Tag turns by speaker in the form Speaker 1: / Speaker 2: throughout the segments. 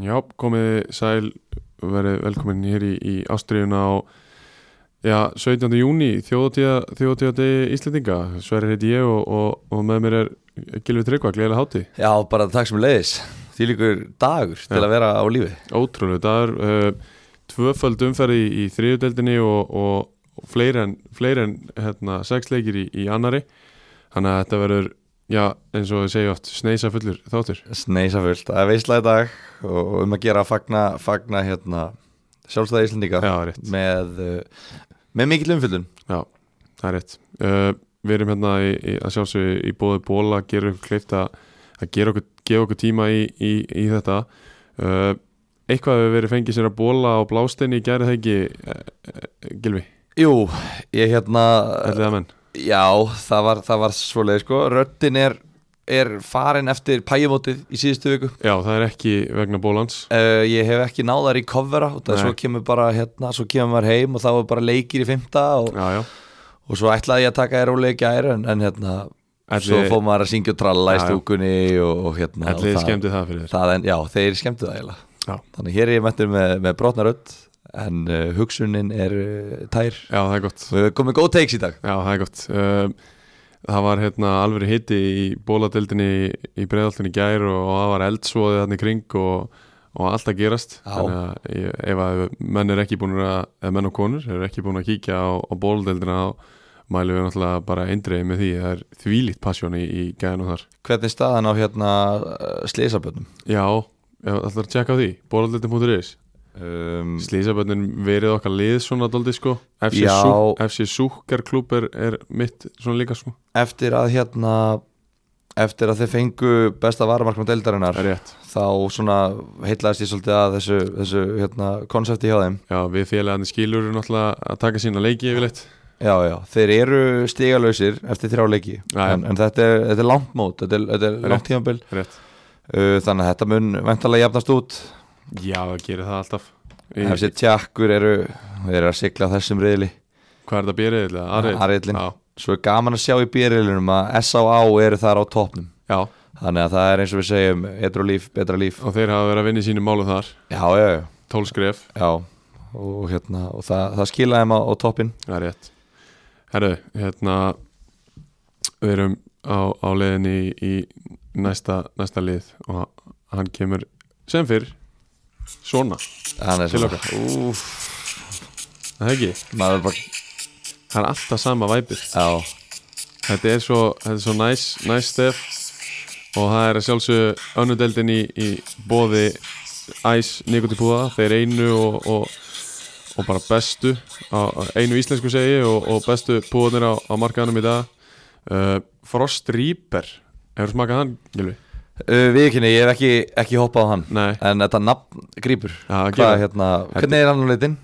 Speaker 1: Já, komið sæl, verið velkomin hér í, í Ástriðuna á já, 17. júni, þjóðtíða degi Íslendinga, sverri heiti ég og, og, og með mér er Gilvi Tryggva, gleðilega háti,
Speaker 2: Já, bara takk sem leiðis Því líkur dagur til
Speaker 1: Já.
Speaker 2: að vera á lífi
Speaker 1: ótrúlega, það er uh, tvöföld umferði í, í þriðudeldinni og, og, og fleiri en, fleiri en hérna, sex leikir í, í annari, þannig að þetta verður, já, eins og ég segi oft, sneisa fullur þáttur.
Speaker 2: Sneisa fullt, það er veisla í dag og um að gera að fagna, fagna hérna, sjálfstæði Íslendinga
Speaker 1: Já, rétt.
Speaker 2: með, uh, með mikil umfyllun
Speaker 1: Já, það er rétt uh, Við erum hérna í, í, að sjálfsögðu í bóði bóla gera ykkur kleift að að gera okkur, gefa okkur tíma í, í, í þetta uh, Eitthvað hefur verið fengið sér að bóla á blásteini í gæri það ekki uh, uh, Gilvi,
Speaker 2: Jú, ég hérna
Speaker 1: ætlið það menn
Speaker 2: Já, það var, það var svoleið sko Röddin er, er farin eftir pæjumótið í síðustu viku
Speaker 1: Já, það er ekki vegna bólans
Speaker 2: uh, Ég hef ekki náð að recovera út að
Speaker 1: Nei.
Speaker 2: svo kemur bara hérna, svo kemur maður heim og þá er bara leikir í fymta og,
Speaker 1: Já, já,
Speaker 2: og svo ætlaði ég að taka þér ólega gæri en, en hérna, Svo
Speaker 1: ætlið
Speaker 2: fór maður að syngja og tralla í
Speaker 1: Já, já.
Speaker 2: stúkunni og, og hérna og
Speaker 1: ætli
Speaker 2: það-
Speaker 1: skemmdi það fyrir þér
Speaker 2: það en, Já, þeir skemmtu það
Speaker 1: Já.
Speaker 2: eiginlega Þannig hér er ég mættur með, með brotnarödd En uh, hugsunin er uh, tær
Speaker 1: Já, það er gott
Speaker 2: Og við komum með góð takes í dag
Speaker 1: Já, það er gott um, Það var hérna alveg hitti í bóladeldinni í breiðaltinni gær og það var eldsvoðið hann í kring og, og allt að gerast
Speaker 2: Já.
Speaker 1: þannig að ég- ef að menn er ekki búin að eða menn og konur er ekki búin að kíkja á, á bóladeldina þá mælum við náttúrulega bara eindreiði með því það er þvílíkt passjón í, í gæðinu þar
Speaker 2: Hvernig er staðan á hérna uh, slísabönnum
Speaker 1: Já, alltaf að tjekka á því bóladeldin.is
Speaker 2: um,
Speaker 1: Slísaböndin verið okkar lið svona daldi sko FC,
Speaker 2: Já.
Speaker 1: Súk, FC Súkarklúb er, er mitt svona líka sko
Speaker 2: Eftir að hérna Eftir að þeir fengu besta varumarknum deildarinnar
Speaker 1: Það er rétt
Speaker 2: Þá svona heitlaðist ég svolítið að þessu, þessu hérna, konsepti hjá þeim
Speaker 1: Já, við félagarnir skilur eru náttúrulega að taka sína leiki yfirleitt.
Speaker 2: Já, já, þeir eru stigalausir eftir þrjá leiki
Speaker 1: Já, já.
Speaker 2: en, en þetta er, þetta er langt mót, þetta er, þetta er langt tímabil
Speaker 1: Rétt.
Speaker 2: uh, Þannig að þetta mun ventalega jafnast út
Speaker 1: Já, það gerir það alltaf. Í,
Speaker 2: Ef sér tjakkur eru, eru að sigla á þessum reyðli
Speaker 1: hvað er það bérið? Ariðil?
Speaker 2: Ariðlinn.
Speaker 1: Já,
Speaker 2: Svo er gaman að sjá í byrjulinum að S.A.A. eru þar á topnum
Speaker 1: já,
Speaker 2: Þannig að það er eins og við segjum, etru líf, betra líf
Speaker 1: og þeir hafa verið að vinna í sínum málum þar.
Speaker 2: Já, já, já,
Speaker 1: 12 skref,
Speaker 2: já. Og, hérna, og það, það skilaði þeim á, á toppin
Speaker 1: það er rétt. Herru, hérna, við erum á, á leiðinni í, í næsta, næsta lið og hann kemur sem fyrr svona.
Speaker 2: Þannig
Speaker 1: Til
Speaker 2: að úf,
Speaker 1: Er Það ekki,
Speaker 2: maður bara,
Speaker 1: það er alltaf sama væpið.
Speaker 2: já,
Speaker 1: Þetta er svo, þetta er svo næs, næs stef og það er að sjálfsögðu önnudeldin í, í bóði æs nikotipúða, þeir einu og, og, og bara bestu á, á- einu íslensku segi og, og bestu púðanir á, á markaðanum í dag uh, Frost Reaper hefur smakað hann, Gilvi?
Speaker 2: uh, viðkynni, ég hef ekki, ekki hoppað á hann
Speaker 1: Nei,
Speaker 2: En þetta nafn grýpur
Speaker 1: Já, það
Speaker 2: Hvað,
Speaker 1: gerir.
Speaker 2: hérna, Hvernig er hann á litin?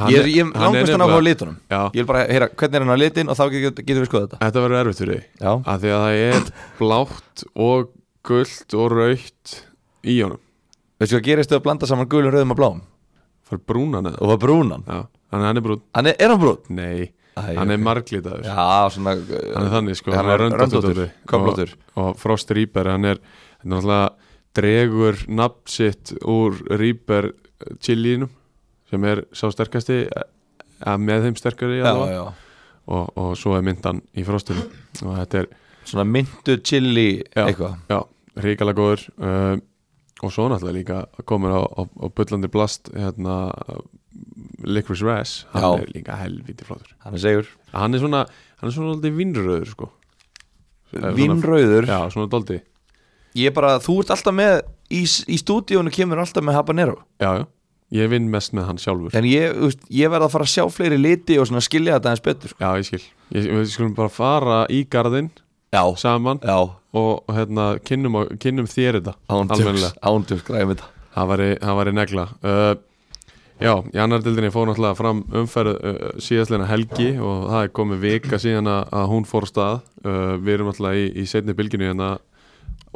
Speaker 1: hann
Speaker 2: Ég er, ég
Speaker 1: hann
Speaker 2: langast hann á
Speaker 1: nefnilega-
Speaker 2: litunum
Speaker 1: Já,
Speaker 2: Ég vil bara heyra hvernig er hann á litin og þá getur getu við skoða þetta
Speaker 1: þetta verður erfitt fyrir þig
Speaker 2: Já,
Speaker 1: af því að það er blátt og gullt og rautt í honum,
Speaker 2: veistu hvað gerist þau að blanda saman gulum, rauðum og blám
Speaker 1: fara brúnan eða
Speaker 2: og var brúnan
Speaker 1: Já, hann hann er brún
Speaker 2: Hann er, er hann brún?
Speaker 1: Nei,
Speaker 2: Æ,
Speaker 1: hann er
Speaker 2: ok.
Speaker 1: marglitaður
Speaker 2: Já, svona uh,
Speaker 1: Hann er þannig sko,
Speaker 2: Hann er röndóttur,
Speaker 1: dálítið.
Speaker 2: köflóttur
Speaker 1: og, og Frost Reaper, hann er hann er náttúrulega dregur nafn sitt úr Reaper chillinum sem er sá sterkasti að með þeim sterkari
Speaker 2: Já,
Speaker 1: allavega.
Speaker 2: já,
Speaker 1: og, og svo er myndan í Frostinu og þetta er
Speaker 2: svona myndu chili
Speaker 1: Já.
Speaker 2: eitthvað
Speaker 1: ríkala góður um, og svo náttúrulega líka komin á, á, á bullandi blast hérna Licorice Rash, hann
Speaker 2: Já.
Speaker 1: er líka helviti flottur
Speaker 2: Hann er segur
Speaker 1: hann er svona, hann er svona aldrei vinnröður sko Eh, svona-
Speaker 2: Vínröður
Speaker 1: Já, svona daldi
Speaker 2: Ég bara, þú ert alltaf með Í, í stúdíónu kemur alltaf með habanero
Speaker 1: Já, já, ég vinn mest með hann sjálfur
Speaker 2: En ég, þú veist, ég verð að fara að sjá fleiri liti og svona skilja þetta eins betur sko.
Speaker 1: Já, ég skil ég, Við skulum bara fara í garðinn
Speaker 2: Já,
Speaker 1: saman
Speaker 2: já,
Speaker 1: og, og hérna, kynnum, á- kynnum þér þetta
Speaker 2: ándjöks,
Speaker 1: almennilega.
Speaker 2: ándjöks, græðum þetta
Speaker 1: Það væri, það væri negla uh, Já, í annar dildinni fór náttúrulega fram umferð uh, síðastleina helgi og það er komið vika síðan að, að hún fór af stað uh, Við erum náttúrulega í, í setni bylginu hérna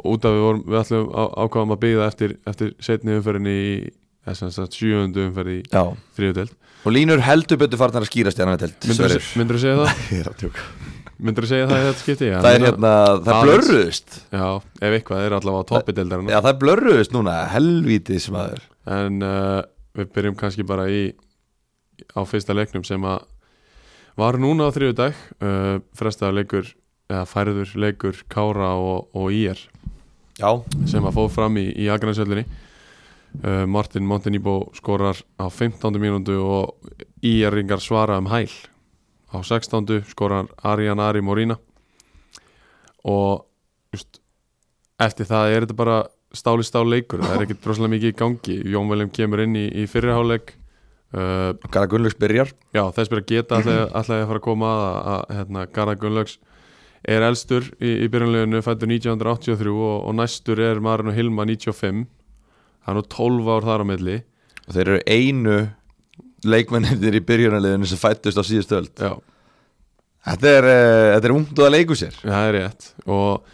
Speaker 1: út af við, vorum, við ætlum á, ákvaðum að byggja eftir, eftir setni umferðinni í þess að sjöundu umferði í
Speaker 2: Já,
Speaker 1: þriðutild
Speaker 2: og línur heldur betur farnar að skýrast í annan telt
Speaker 1: Myndur þú segja það?
Speaker 2: Ég er að tjóka
Speaker 1: myndur þú segja það í þetta skipti? Já,
Speaker 2: það er
Speaker 1: meina-
Speaker 2: hérna, það
Speaker 1: aðeins.
Speaker 2: blörruðust
Speaker 1: Já, ef eitthvað, þeir eru allavega á toppi deildarinn
Speaker 2: Já, það blörruðust núna, helvítis maður
Speaker 1: En uh, við byrjum kannski bara í á fyrsta leiknum sem að var núna á þriðu dag uh, frestaður leikur, eða færður leikur Kára og, og IR
Speaker 2: Já,
Speaker 1: sem að fóð fram í, í Akranesöllinni uh, Martin Montenibó skorar á 15. mínúndu og IR ringar svara um hæl á 16. skorar Arjan Ari Morína og just, eftir það er þetta bara stáli stál leikur, það er ekkert droslega mikið í gangi Jón Veljum kemur inn í, í fyrirháleik uh,
Speaker 2: Garðar Gunnlaugs byrjar
Speaker 1: Já, þess byrja geta alltaf að fara að koma að, að, að hérna, Garðar Gunnlaugs er elstur í, í byrjunleginu fættur 1983 og, og næstur er Marino Hilma 95 hann er nú 12 ár þar á milli
Speaker 2: og þeir eru einu leikmennir í byrjunarliðinu sem fættust á síðustu öld
Speaker 1: Já,
Speaker 2: Þetta er, uh, þetta er ungt og að leiku sér
Speaker 1: það er rétt og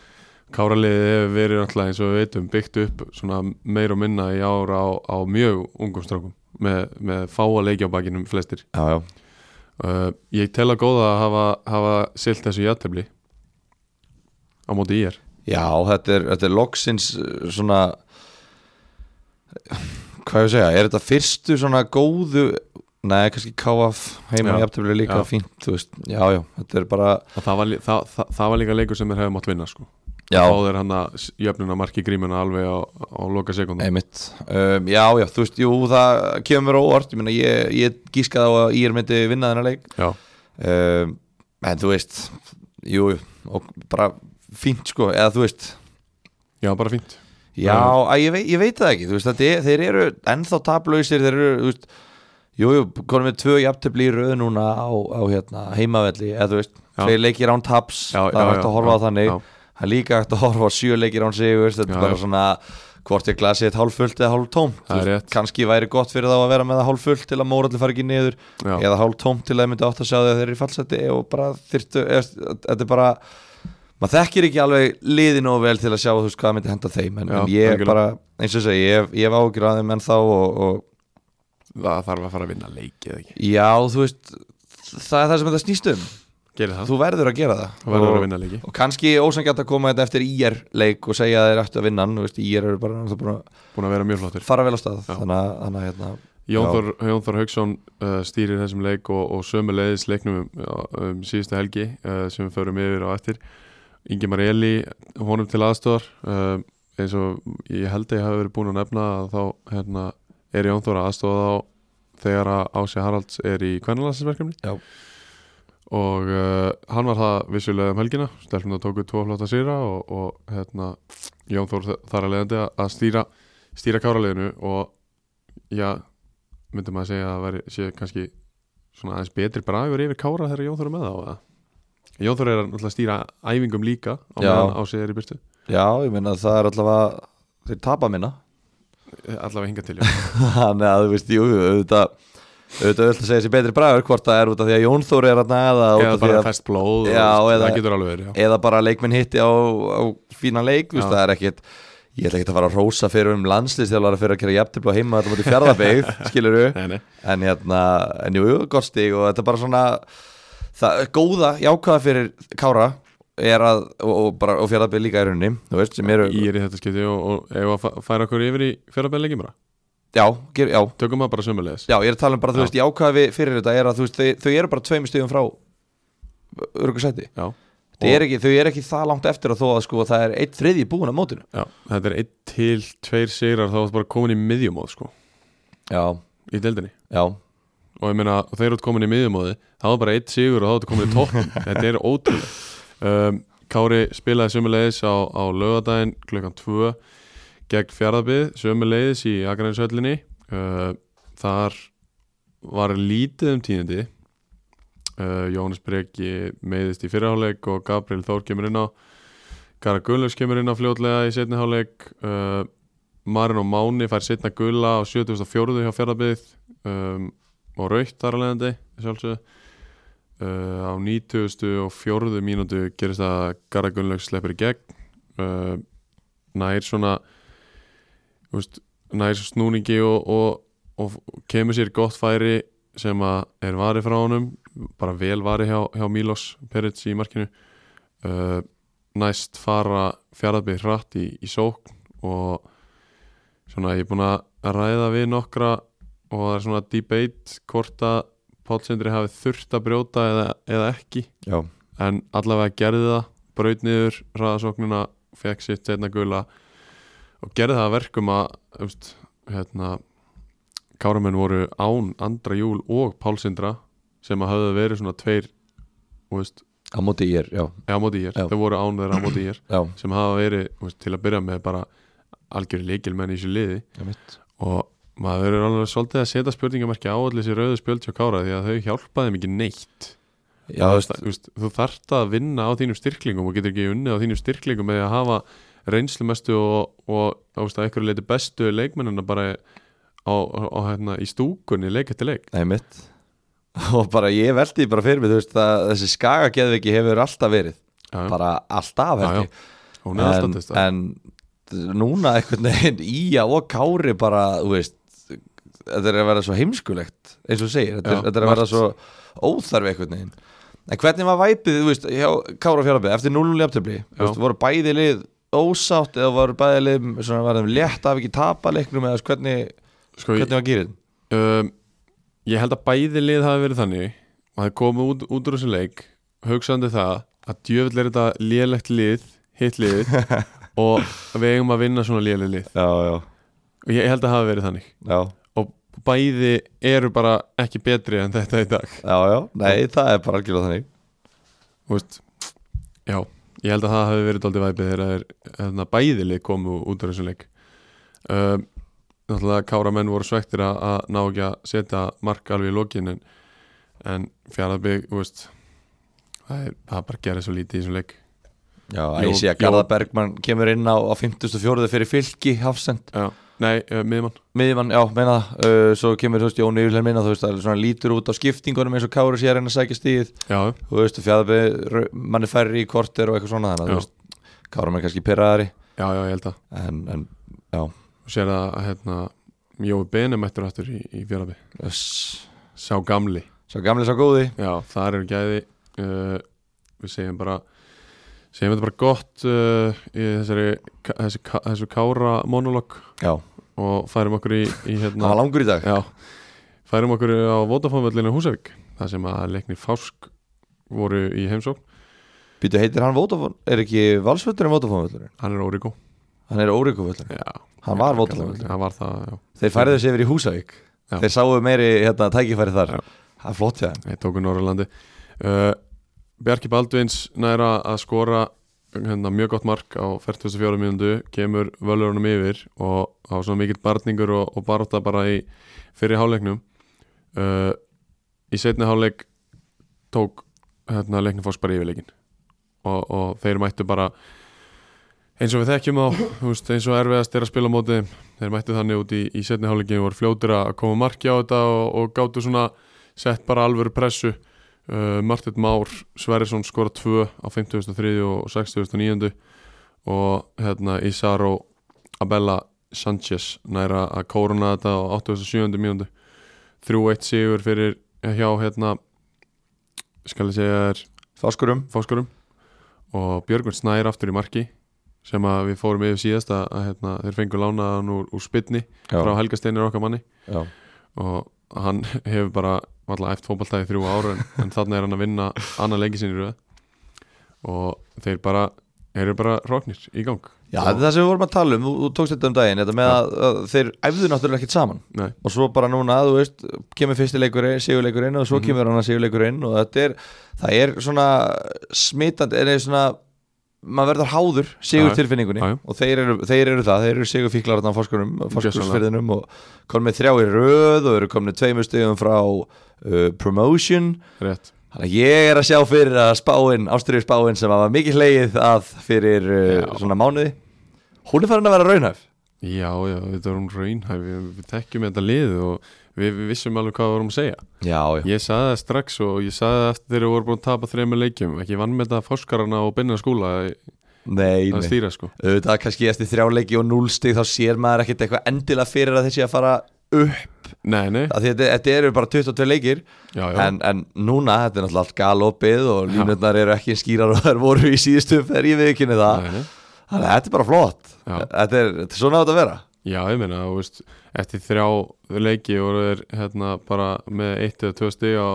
Speaker 1: Káraliðið hefur verið náttúrulega eins og við veitum byggt upp svona meir og minna í ára á, á mjög ungum strákum með, með fáa leiki á bakinum flestir
Speaker 2: Já, já,
Speaker 1: uh, Ég tel að góða að hafa, hafa silt þessu játefli á móti í er
Speaker 2: já þetta, er, þetta er loksins uh, svona hvað ég að segja, er þetta fyrstu svona góðu Nei, kannski KF heima
Speaker 1: Já.
Speaker 2: í aftöfli líka
Speaker 1: Já.
Speaker 2: fínt, þú veist, já, já, þetta er bara
Speaker 1: og það var, lí- það, það, það var líka leikur sem þeir hefði mátt vinna sko.
Speaker 2: já,
Speaker 1: þá þeir hann að jöfnuna marki grímuna alveg á, á loka sekundum
Speaker 2: einmitt, um, já, já, þú veist, jú, það kemur mér á óvart, ég meina, ég, ég gískaði á að ég myndi vinna þennan leik
Speaker 1: já,
Speaker 2: um, en þú veist jú, jú, og bara fínt sko, eða þú veist
Speaker 1: já, bara fínt
Speaker 2: já, að, ég, veit, ég veit það ekki, þú veist þetta er, þeir eru ennþá taplausir, þeir eru þú veist, jú, jú, konum við tvö jafntöfli í röð núna á, á hérna, heimavelli, eða þú veist,
Speaker 1: Já.
Speaker 2: tveir leikir án taps,
Speaker 1: Já,
Speaker 2: það er
Speaker 1: já,
Speaker 2: hægt að
Speaker 1: já,
Speaker 2: horfa á
Speaker 1: já,
Speaker 2: þannig
Speaker 1: já.
Speaker 2: það er líka hægt að horfa á sjö leikir án sig veist,
Speaker 1: Já,
Speaker 2: þetta er bara
Speaker 1: já.
Speaker 2: svona hvort er glasið eitt hálffullt eða
Speaker 1: Það er
Speaker 2: hálftómt
Speaker 1: rétt.
Speaker 2: kannski væri gott fyrir þá að vera með það hálffullt til að móralli fari ekki niður
Speaker 1: Já.
Speaker 2: eða hálftómt til að þið myndi átt að sjá því að þeir eru í fallseti og bara þyrtu, eða, þetta er bara maður þekkir ekki alveg liðin og vel til að sjá þú veist hvað myndi henda þeim en,
Speaker 1: Já,
Speaker 2: en ég
Speaker 1: algjörlega.
Speaker 2: bara, eins og segi, ég, hef- ég hef ágjur að þeim en þá og, og
Speaker 1: það þarf að fara að vinna leiki eða ekki
Speaker 2: já, þú veist það er það sem þetta snýst um,
Speaker 1: gerir það,
Speaker 2: þú verður að gera það
Speaker 1: það verður
Speaker 2: og,
Speaker 1: að vinna leiki
Speaker 2: og kannski ósangjart að koma þetta eftir IR leik og segja að þeir ættu að vinna hann, þú veist, IR eru bara náttúrulega búin að
Speaker 1: búin að vera mjög flottur
Speaker 2: fara vel á stað
Speaker 1: Já.
Speaker 2: þannig að, þannig að hérna, Já.
Speaker 1: Jón Þór- Jón Þór Hauksson uh, stýrir þessum leik og, og sömu leiðis leiknum um, um síðustu helgi uh, sem við förum yfir á eftir Ingemar Eli, honum til aðstofar uh, eins og ég held að ég hafi verið búin að nefna að þá hérna, er Jón Þór aðstofa þá þegar að Ási Haralds er í kvennalansinsverkefni
Speaker 2: Já.
Speaker 1: og uh, hann var það vissulega um helgina stelpnum það tóku tvo flotta sýra og, og hérna, Jón Þór þ- þar að leiðandi að- að stýra, stýra káraliðinu og já, myndi maður segja að það væri, sé kannski svona aðeins betri bragur yfir Kára þegar Jón Þór er með þá eða? Jón Þór er að náttúrulega stýra æfingum líka á
Speaker 2: Já.
Speaker 1: meðan á sig er í byrtu
Speaker 2: já, ég meina að það er allavega þeir tapa minna
Speaker 1: allavega hinga til já.
Speaker 2: Þannig að þú veist, jú, jú, auðvitað auðvitað vilt að segja sér betri bragur hvort það er út af því að Jón Þór er að næða
Speaker 1: eða bara að... fest blóð
Speaker 2: Já,
Speaker 1: og,
Speaker 2: eða-
Speaker 1: það getur alveg verið já.
Speaker 2: eða bara leikminn hitti á, á fína leik, þú veist,
Speaker 1: Já.
Speaker 2: það er ekkit ég ætla ekkit að fara að rósa fyrir um landslýstjálfara fyrir að gera jafntefla heima þetta mútið fjárðabegð skilur
Speaker 1: Nei, nei.
Speaker 2: en hérna, en jú, jú, gott stig og þetta er bara svona það góða, jákvæða fyrir Kára er að, og, og, bara- og fjárðabegð líka í rauninni, þú veist, sem eru
Speaker 1: ég er í þetta skipti og, og ef að fa- færa okkur yfir í fjörabæðleikin bara
Speaker 2: já, ger, já,
Speaker 1: tökum maður bara sömulegis
Speaker 2: Já, ég er að tala um bara, þú
Speaker 1: Já.
Speaker 2: veist, jákvæði fyrir þetta er að þú veist, þau, þau eru bara tveimur stíðum frá örgursæti
Speaker 1: já.
Speaker 2: Þau eru ekki, þau eru ekki það langt eftir að þó að sko það er eitt þriðji búin á mótinu
Speaker 1: já, þetta er einn til tveir sigrar þá er bara komin í miðjumóð sko,
Speaker 2: Já,
Speaker 1: í deildinni
Speaker 2: já,
Speaker 1: og ég meina, og þeir eru komin í miðjumóði þá er bara eitt sigur og þá er þetta komin í topp þetta er ótrúlega um, Kári spilaði sömuleiðis á, á lögadaginn klukkan 2 gegn fjaraðbyð, sömuleiðis í Akarnænsöllinni uh, þar var lítið um tíðindi uh, Jónas Breki meiðist í fyrirháleik og Gabriel Þór kemur inn á Gara Gunnlaugs kemur inn á fljótlega í setni háleik uh, Marino Máni fær setna gulla á 74. hjá fjaraðbyð um, og raukt þar að leiðandi sjálfsög uh, á 94. mínútu gerist það að Garra Gunnlaugs sleppur í gegn uh, nær svona þú veist, nær snúningi og, og, og kemur sér gott færi sem að er varið frá honum bara vel vari hjá, hjá Milos Peric í markinu uh, næst fara fjaraðbyrð hratt í, í sókn og svona ég er búin að ræða við nokkra og það er svona debate hvort að Pálsendri hafi þurft að brjóta eða, eða ekki
Speaker 2: já,
Speaker 1: en allavega gerði það braut niður hraðasóknina fekk sitt setna gula og gerði það að verkum að umst, hérna, káramenn voru án Andra Júl og Pálsindra sem að höfðu verið svona tveir þú veist,
Speaker 2: á móti ég er, já,
Speaker 1: eða á móti ég
Speaker 2: Já.
Speaker 1: þau voru án þeirra á móti ég
Speaker 2: já,
Speaker 1: sem hafa verið þú veist, til að byrja með bara algjör leikilmenn í þessu liði
Speaker 2: já mitt
Speaker 1: og maður er alveg svolítið að setja spurningamarki á allir þessi rauðu spjöld hjá Kára því að þau hjálpaði mikið neitt
Speaker 2: Já, þú veist,
Speaker 1: Þú veist, þú þarft að vinna á þínum styrklingum og getur ekki unnið á þínum styrklingum með að hafa reynslumestu og, og þú veist, að einhverju leiti bestu leikmennina bara á, á, hérna, í stúkunni leik eftir leik
Speaker 2: nei mitt Og bara ég veldi bara fyrir mig, þú veist, að þessi skagageðviki hefur alltaf verið
Speaker 1: Já, já.
Speaker 2: Bara
Speaker 1: Já,
Speaker 2: alltaf held
Speaker 1: já.
Speaker 2: ég
Speaker 1: hún er alltaf
Speaker 2: en,
Speaker 1: til þess
Speaker 2: en núna einhvern veginn Ía og Kári bara þú veist, þetta er að vera svo heimskulegt eins og þú segir, þetta,
Speaker 1: Já,
Speaker 2: er, þetta er að vera
Speaker 1: margt.
Speaker 2: svo óþarfi einhvern veginn en hvernig var væpið, þú veist, hjá Kára fjárabæð eftir 0 jafntöfli,
Speaker 1: Já.
Speaker 2: þú veist, voru bæði lið ósátt eða voru bæði lið svona var þeim létt af ekki tapa leiknum eða þú veist, hvernig,
Speaker 1: sko, ég,
Speaker 2: hvernig var gýrin
Speaker 1: um, ég held að bæði lið hafi verið þannig að það komið út, út úr þessu leik hugsaðandi það að djöfull er þetta lélegt lið hitt liðið og við eigum að vinna svona léleg lið
Speaker 2: Já, já,
Speaker 1: og ég held að hafi verið þannig
Speaker 2: já,
Speaker 1: og bæði eru bara ekki betri en þetta í dag
Speaker 2: já, já nei, það er bara algjörlega þannig
Speaker 1: Þú veist, já, ég held að það hafi verið daldið væpið þegar þeir, hérna, bæðilið komu út af þessum leik um, náttúrulega kára menn voru svektir að, að ná ekki að setja mark alveg í lokin en, en fjaraðbygg veist, það, er, það bara gerir svo lítið í þessum leik
Speaker 2: Já,
Speaker 1: Jó,
Speaker 2: ég sé að
Speaker 1: jó.
Speaker 2: Garðar Bergmann kemur inn á, á 54. fyrir fylki hafsend
Speaker 1: já. nei, uh, miðmann
Speaker 2: miðjumann, já, meina það uh, svo kemur, þú veist, Jón Yfirlein minna, þú veist, það er svona lítur út á skiptingunum eins og Kári sé að reyna að sækja stíð
Speaker 1: já,
Speaker 2: þú veist, fjæðabæði, mann er færri í korter og eitthvað svona
Speaker 1: Já.
Speaker 2: þannig, að, þú veist, Kári er kannski pyrraðari
Speaker 1: já, já, ég held að
Speaker 2: en, en, já
Speaker 1: og sér að hérna, Jói Benem eftir aftur í, í fjaraðbygg
Speaker 2: öss,
Speaker 1: sá gamli
Speaker 2: svo gamli, svo góði
Speaker 1: Já, þar eru gæði uh, Við segjum bara segjum þetta bara gott uh, í þessari, ka- þessi, ka- þessu kára monolog
Speaker 2: já,
Speaker 1: og færum okkur í, í
Speaker 2: það var
Speaker 1: hérna,
Speaker 2: langur í dag
Speaker 1: já, færum okkur á Vodafónvöllinu Húsavík þar sem að leiknir Fásk voru í heimsókn,
Speaker 2: býtu, heitir hann Vótafón, er ekki valsvöllurinn Vótafónvöllurinn,
Speaker 1: hann er Órigó
Speaker 2: hann er Órikuvöllurinn,
Speaker 1: Já,
Speaker 2: hann var
Speaker 1: Völlurinn,
Speaker 2: Vótafónvöllurinn
Speaker 1: hann var það, já,
Speaker 2: þeir færðu þessi yfir í Húsavík
Speaker 1: Já.
Speaker 2: þeir sáu meiri, hérna, tækifæri þar
Speaker 1: Já.
Speaker 2: það er flott, já,
Speaker 1: ég tóku Norrlandi uh, Bjarki Baldvins næra að skora hérna, mjög gott mark á 44 mínundu kemur völurunum yfir og það var svona mikill barningur og, og baróta bara í fyrir háleiknum uh, í setni háleik tók hérna, leiknum fórst bara yfirleikin og, og þeir mættu bara eins og við þekkjum á þú veist, eins og erfiðast er að spila á móti þeim. þeir mættu þannig út í, í setni háleikin voru fljótur að koma marki á þetta og, og gáttu svona sett bara alvöru pressu uh, Martin Már Sverrisson skora 2 á 53. og 69. og hérna Isaro Abella Sanchez næra að kóruna þetta á 87. mínúndu 3-1 sigur fyrir hjá hérna skal ég segja er
Speaker 2: Fáskurum,
Speaker 1: fóskurum og Björgun Snær aftur í marki sem að við fórum yfir síðast að, að hérna, þeir fengu lánaðan úr, úr spytni
Speaker 2: já,
Speaker 1: frá Helga Steinir okkar manni
Speaker 2: já.
Speaker 1: og hann hefur bara alltaf eftir fótballtæði þrjú ára en, en þannig er hann að vinna annan leiki sinni röð og þeir bara eru bara roknir í gang
Speaker 2: Já,
Speaker 1: og,
Speaker 2: þetta er það sem við vorum að tala um, þú, þú tókst þetta um daginn þetta með
Speaker 1: Já.
Speaker 2: að, að þeir æfðu náttúrulega ekkert saman
Speaker 1: nei,
Speaker 2: og svo bara núna, þú veist, kemur fyrsti leikurinn sigurleikurinn og svo
Speaker 1: Mhm.
Speaker 2: kemur hann að sigurleikurinn og þetta er, það er svona smitandi, er svona maður verður háður sigurtilfinningunni
Speaker 1: Já, já.
Speaker 2: og þeir eru, þeir eru það, þeir eru sigurfíklar þarna á fórskurum, fórskursferðinum og komið þrjá í röð og eru komið tveimur stegum frá uh, promotion
Speaker 1: rétt
Speaker 2: Þannig að ég er að sjá fyrir að spáin, ástriðu spáin sem að var mikið hleyið að fyrir uh,
Speaker 1: Já.
Speaker 2: svona mánuði Hún er farin að vera raunhæf
Speaker 1: já, já, þetta er hún raunhæf við, við tekjum þetta lið og við, við vissum alveg hvað við vorum að segja
Speaker 2: Já, já,
Speaker 1: ég saði það strax og ég saði það eftir þegar við vorum búin að tapa þreymur leikjum ekki vann með þetta fórskarana og benna skúla
Speaker 2: nei,
Speaker 1: að
Speaker 2: nei
Speaker 1: stýra sko
Speaker 2: Auðvitað kannski eftir þrjáleiki og núlstig þá sér maður ekkert eitthvað endilega fyrir að þessi að fara upp
Speaker 1: Nei, nei,
Speaker 2: af því að þetta- þetta eru bara 22 leikir
Speaker 1: já, já
Speaker 2: en, en núna, þetta er náttúrulega allt galopið og línutnar eru ekki eins skýrar og þær voru í síðustu þegar ég viðkynni það
Speaker 1: nei, nei.
Speaker 2: þannig að þetta er bara flott
Speaker 1: Já.
Speaker 2: þetta er, þetta er svona átt að vera
Speaker 1: Já, ég meina, þú veist, eftir þrjá leiki voru þeir hérna bara með eitt eða tvö stig á,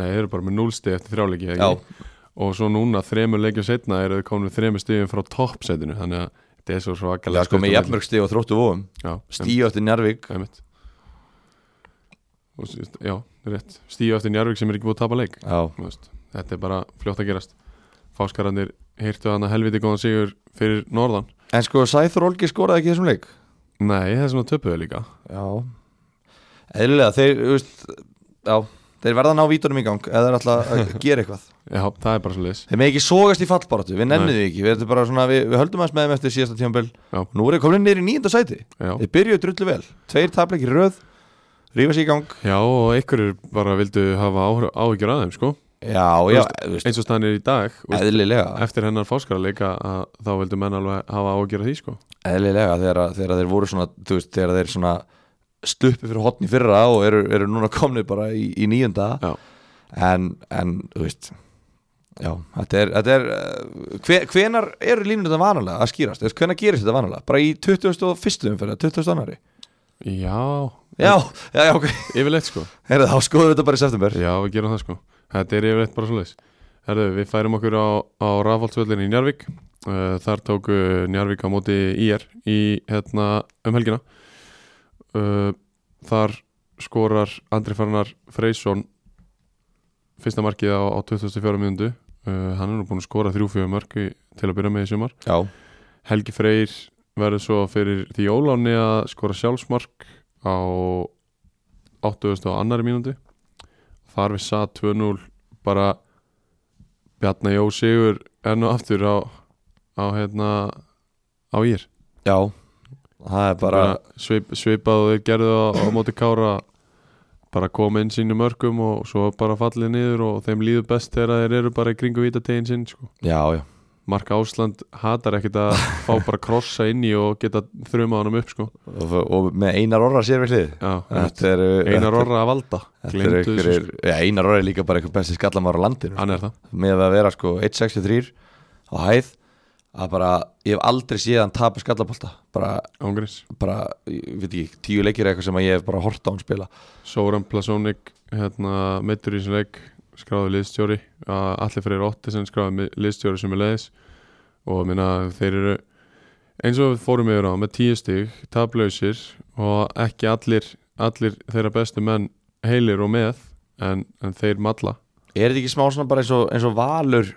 Speaker 1: nei, þeir eru bara með núl stig eftir þrjá leiki, eða ekki? Og svo núna, þremur leikjum setna, eru þeir komin þremur stigum frá toppsetinu, þannig að þetta er svo
Speaker 2: Já,
Speaker 1: svakalega
Speaker 2: sko með
Speaker 1: skrítið.
Speaker 2: jafnmörgsti og þróttu vóum
Speaker 1: Já, stíu
Speaker 2: Stíu eftir Njarvík
Speaker 1: Já, rétt, stíu eftir Njarvík sem er ekki búið að tapa leik
Speaker 2: Já,
Speaker 1: Þú veist, Þetta er bara fljótt að gerast Fáskararnir heyrtu hann að helviti góðan sigur fyrir norðan
Speaker 2: en sko Sæþur Olgi skoraði ekki í þessum leik
Speaker 1: Nei, það er svona töpuðu líka
Speaker 2: Já Eðlilega, þeir, þú veist Já, þeir verða að ná vítunum í gang eða þeir alltaf að gera eitthvað
Speaker 1: Já, það er bara svo leiðis
Speaker 2: Þeir með ekki sógast í fallbaratu, við nennum
Speaker 1: Nei.
Speaker 2: því ekki við, þetta er bara svona, við, við höldum aðeins með þeim eftir síðasta tímabil
Speaker 1: Já.
Speaker 2: Nú er þeir komin niður í nýjunda sæti
Speaker 1: Já.
Speaker 2: Þeir byrjuðu drullu vel, tveir tapleikir í röð Rífa sér í gang
Speaker 1: Já, og einhverjir bara vildu hafa áhr- áhyggjur að þeim, sko
Speaker 2: Já, já, þú veist,
Speaker 1: Eins og staðan er í dag þú veist,
Speaker 2: eðlilega
Speaker 1: Eftir hennar fáskararleika að þá vildu menn alveg hafa áhyggjur að því, sko
Speaker 2: eðlilega þegar, að- þegar að þeir voru svona þú veist, þegar þeir svona sluppi fyrir hotn í fyrra og eru, eru núna komni bara í, í nýjunda
Speaker 1: Já.
Speaker 2: en, en þú veist já, þetta er, þetta er uh, hve- hvenar eru línur þetta vanalega að skýrast, Þú veist, hvenar gerist þetta vanalega bara í 21. umferða, 22.
Speaker 1: Já,
Speaker 2: já, já, já, ok
Speaker 1: yfirleitt, sko
Speaker 2: Heyrðu, þá skoðum við þetta bara í september
Speaker 1: Já, við gerum það sko Þetta er yfirleitt bara svoleiðis Herðu, við færum okkur á, á Rafaldsvöllin í Njarvík uh, Þar tóku Njarvík á móti IR í hérna um helgina uh, Þar skorar Andri Farnar Freysson fyrsta markið á, á 24 minundu uh, Hann er nú búin að skora 3-4 marki til að byrja með í sumar
Speaker 2: já,
Speaker 1: Helgi Freyr verður svo fyrir því óláni að skora sjálfsmark á 80. og annari mínúti þar við sað 2-0 bara Bjarni Jó Sigur enn og aftur á, á hérna á ír
Speaker 2: já það er bara,
Speaker 1: bara svip, svipað og þeir gerðu á, á móti kára bara koma inn sínum örgum og svo bara fallið niður og þeim líður best þegar þeir eru bara í kringu vítategin sinn sko
Speaker 2: já, já
Speaker 1: Mark Ásland hatar ekkert að fá bara krossa inn í og geta þrjum á honum upp sko
Speaker 2: og, og með Einar Orra sér við hlið
Speaker 1: Já,
Speaker 2: þetta er
Speaker 1: Einar orra að valda
Speaker 2: Þetta er
Speaker 1: Gleymdu þessu,
Speaker 2: einhverjir, já, Einar Orri er líka bara einhver besti skallamár á landinu
Speaker 1: sko. Hann er það
Speaker 2: með að vera sko 1.63 á hæð að bara, ég hef aldrei séð hann tapa skallabólta bara,
Speaker 1: Ángurins
Speaker 2: bara, ég veit ekki, tíu leikir eða eitthvað sem að ég hef bara hort á hann spila
Speaker 1: Sóran Plasónik hérna, meittur í sem leik skráði liðstjóri A- Atli Freyr Ottisen skráði mi- liðstjóri sem er leiðis og minna þeir eru eins og við fórum yfir á með tíu stig tablausir og ekki allir allir þeirra bestu menn heilir og með en, en þeir malla
Speaker 2: er þetta ekki smá svona bara eins og, eins og valur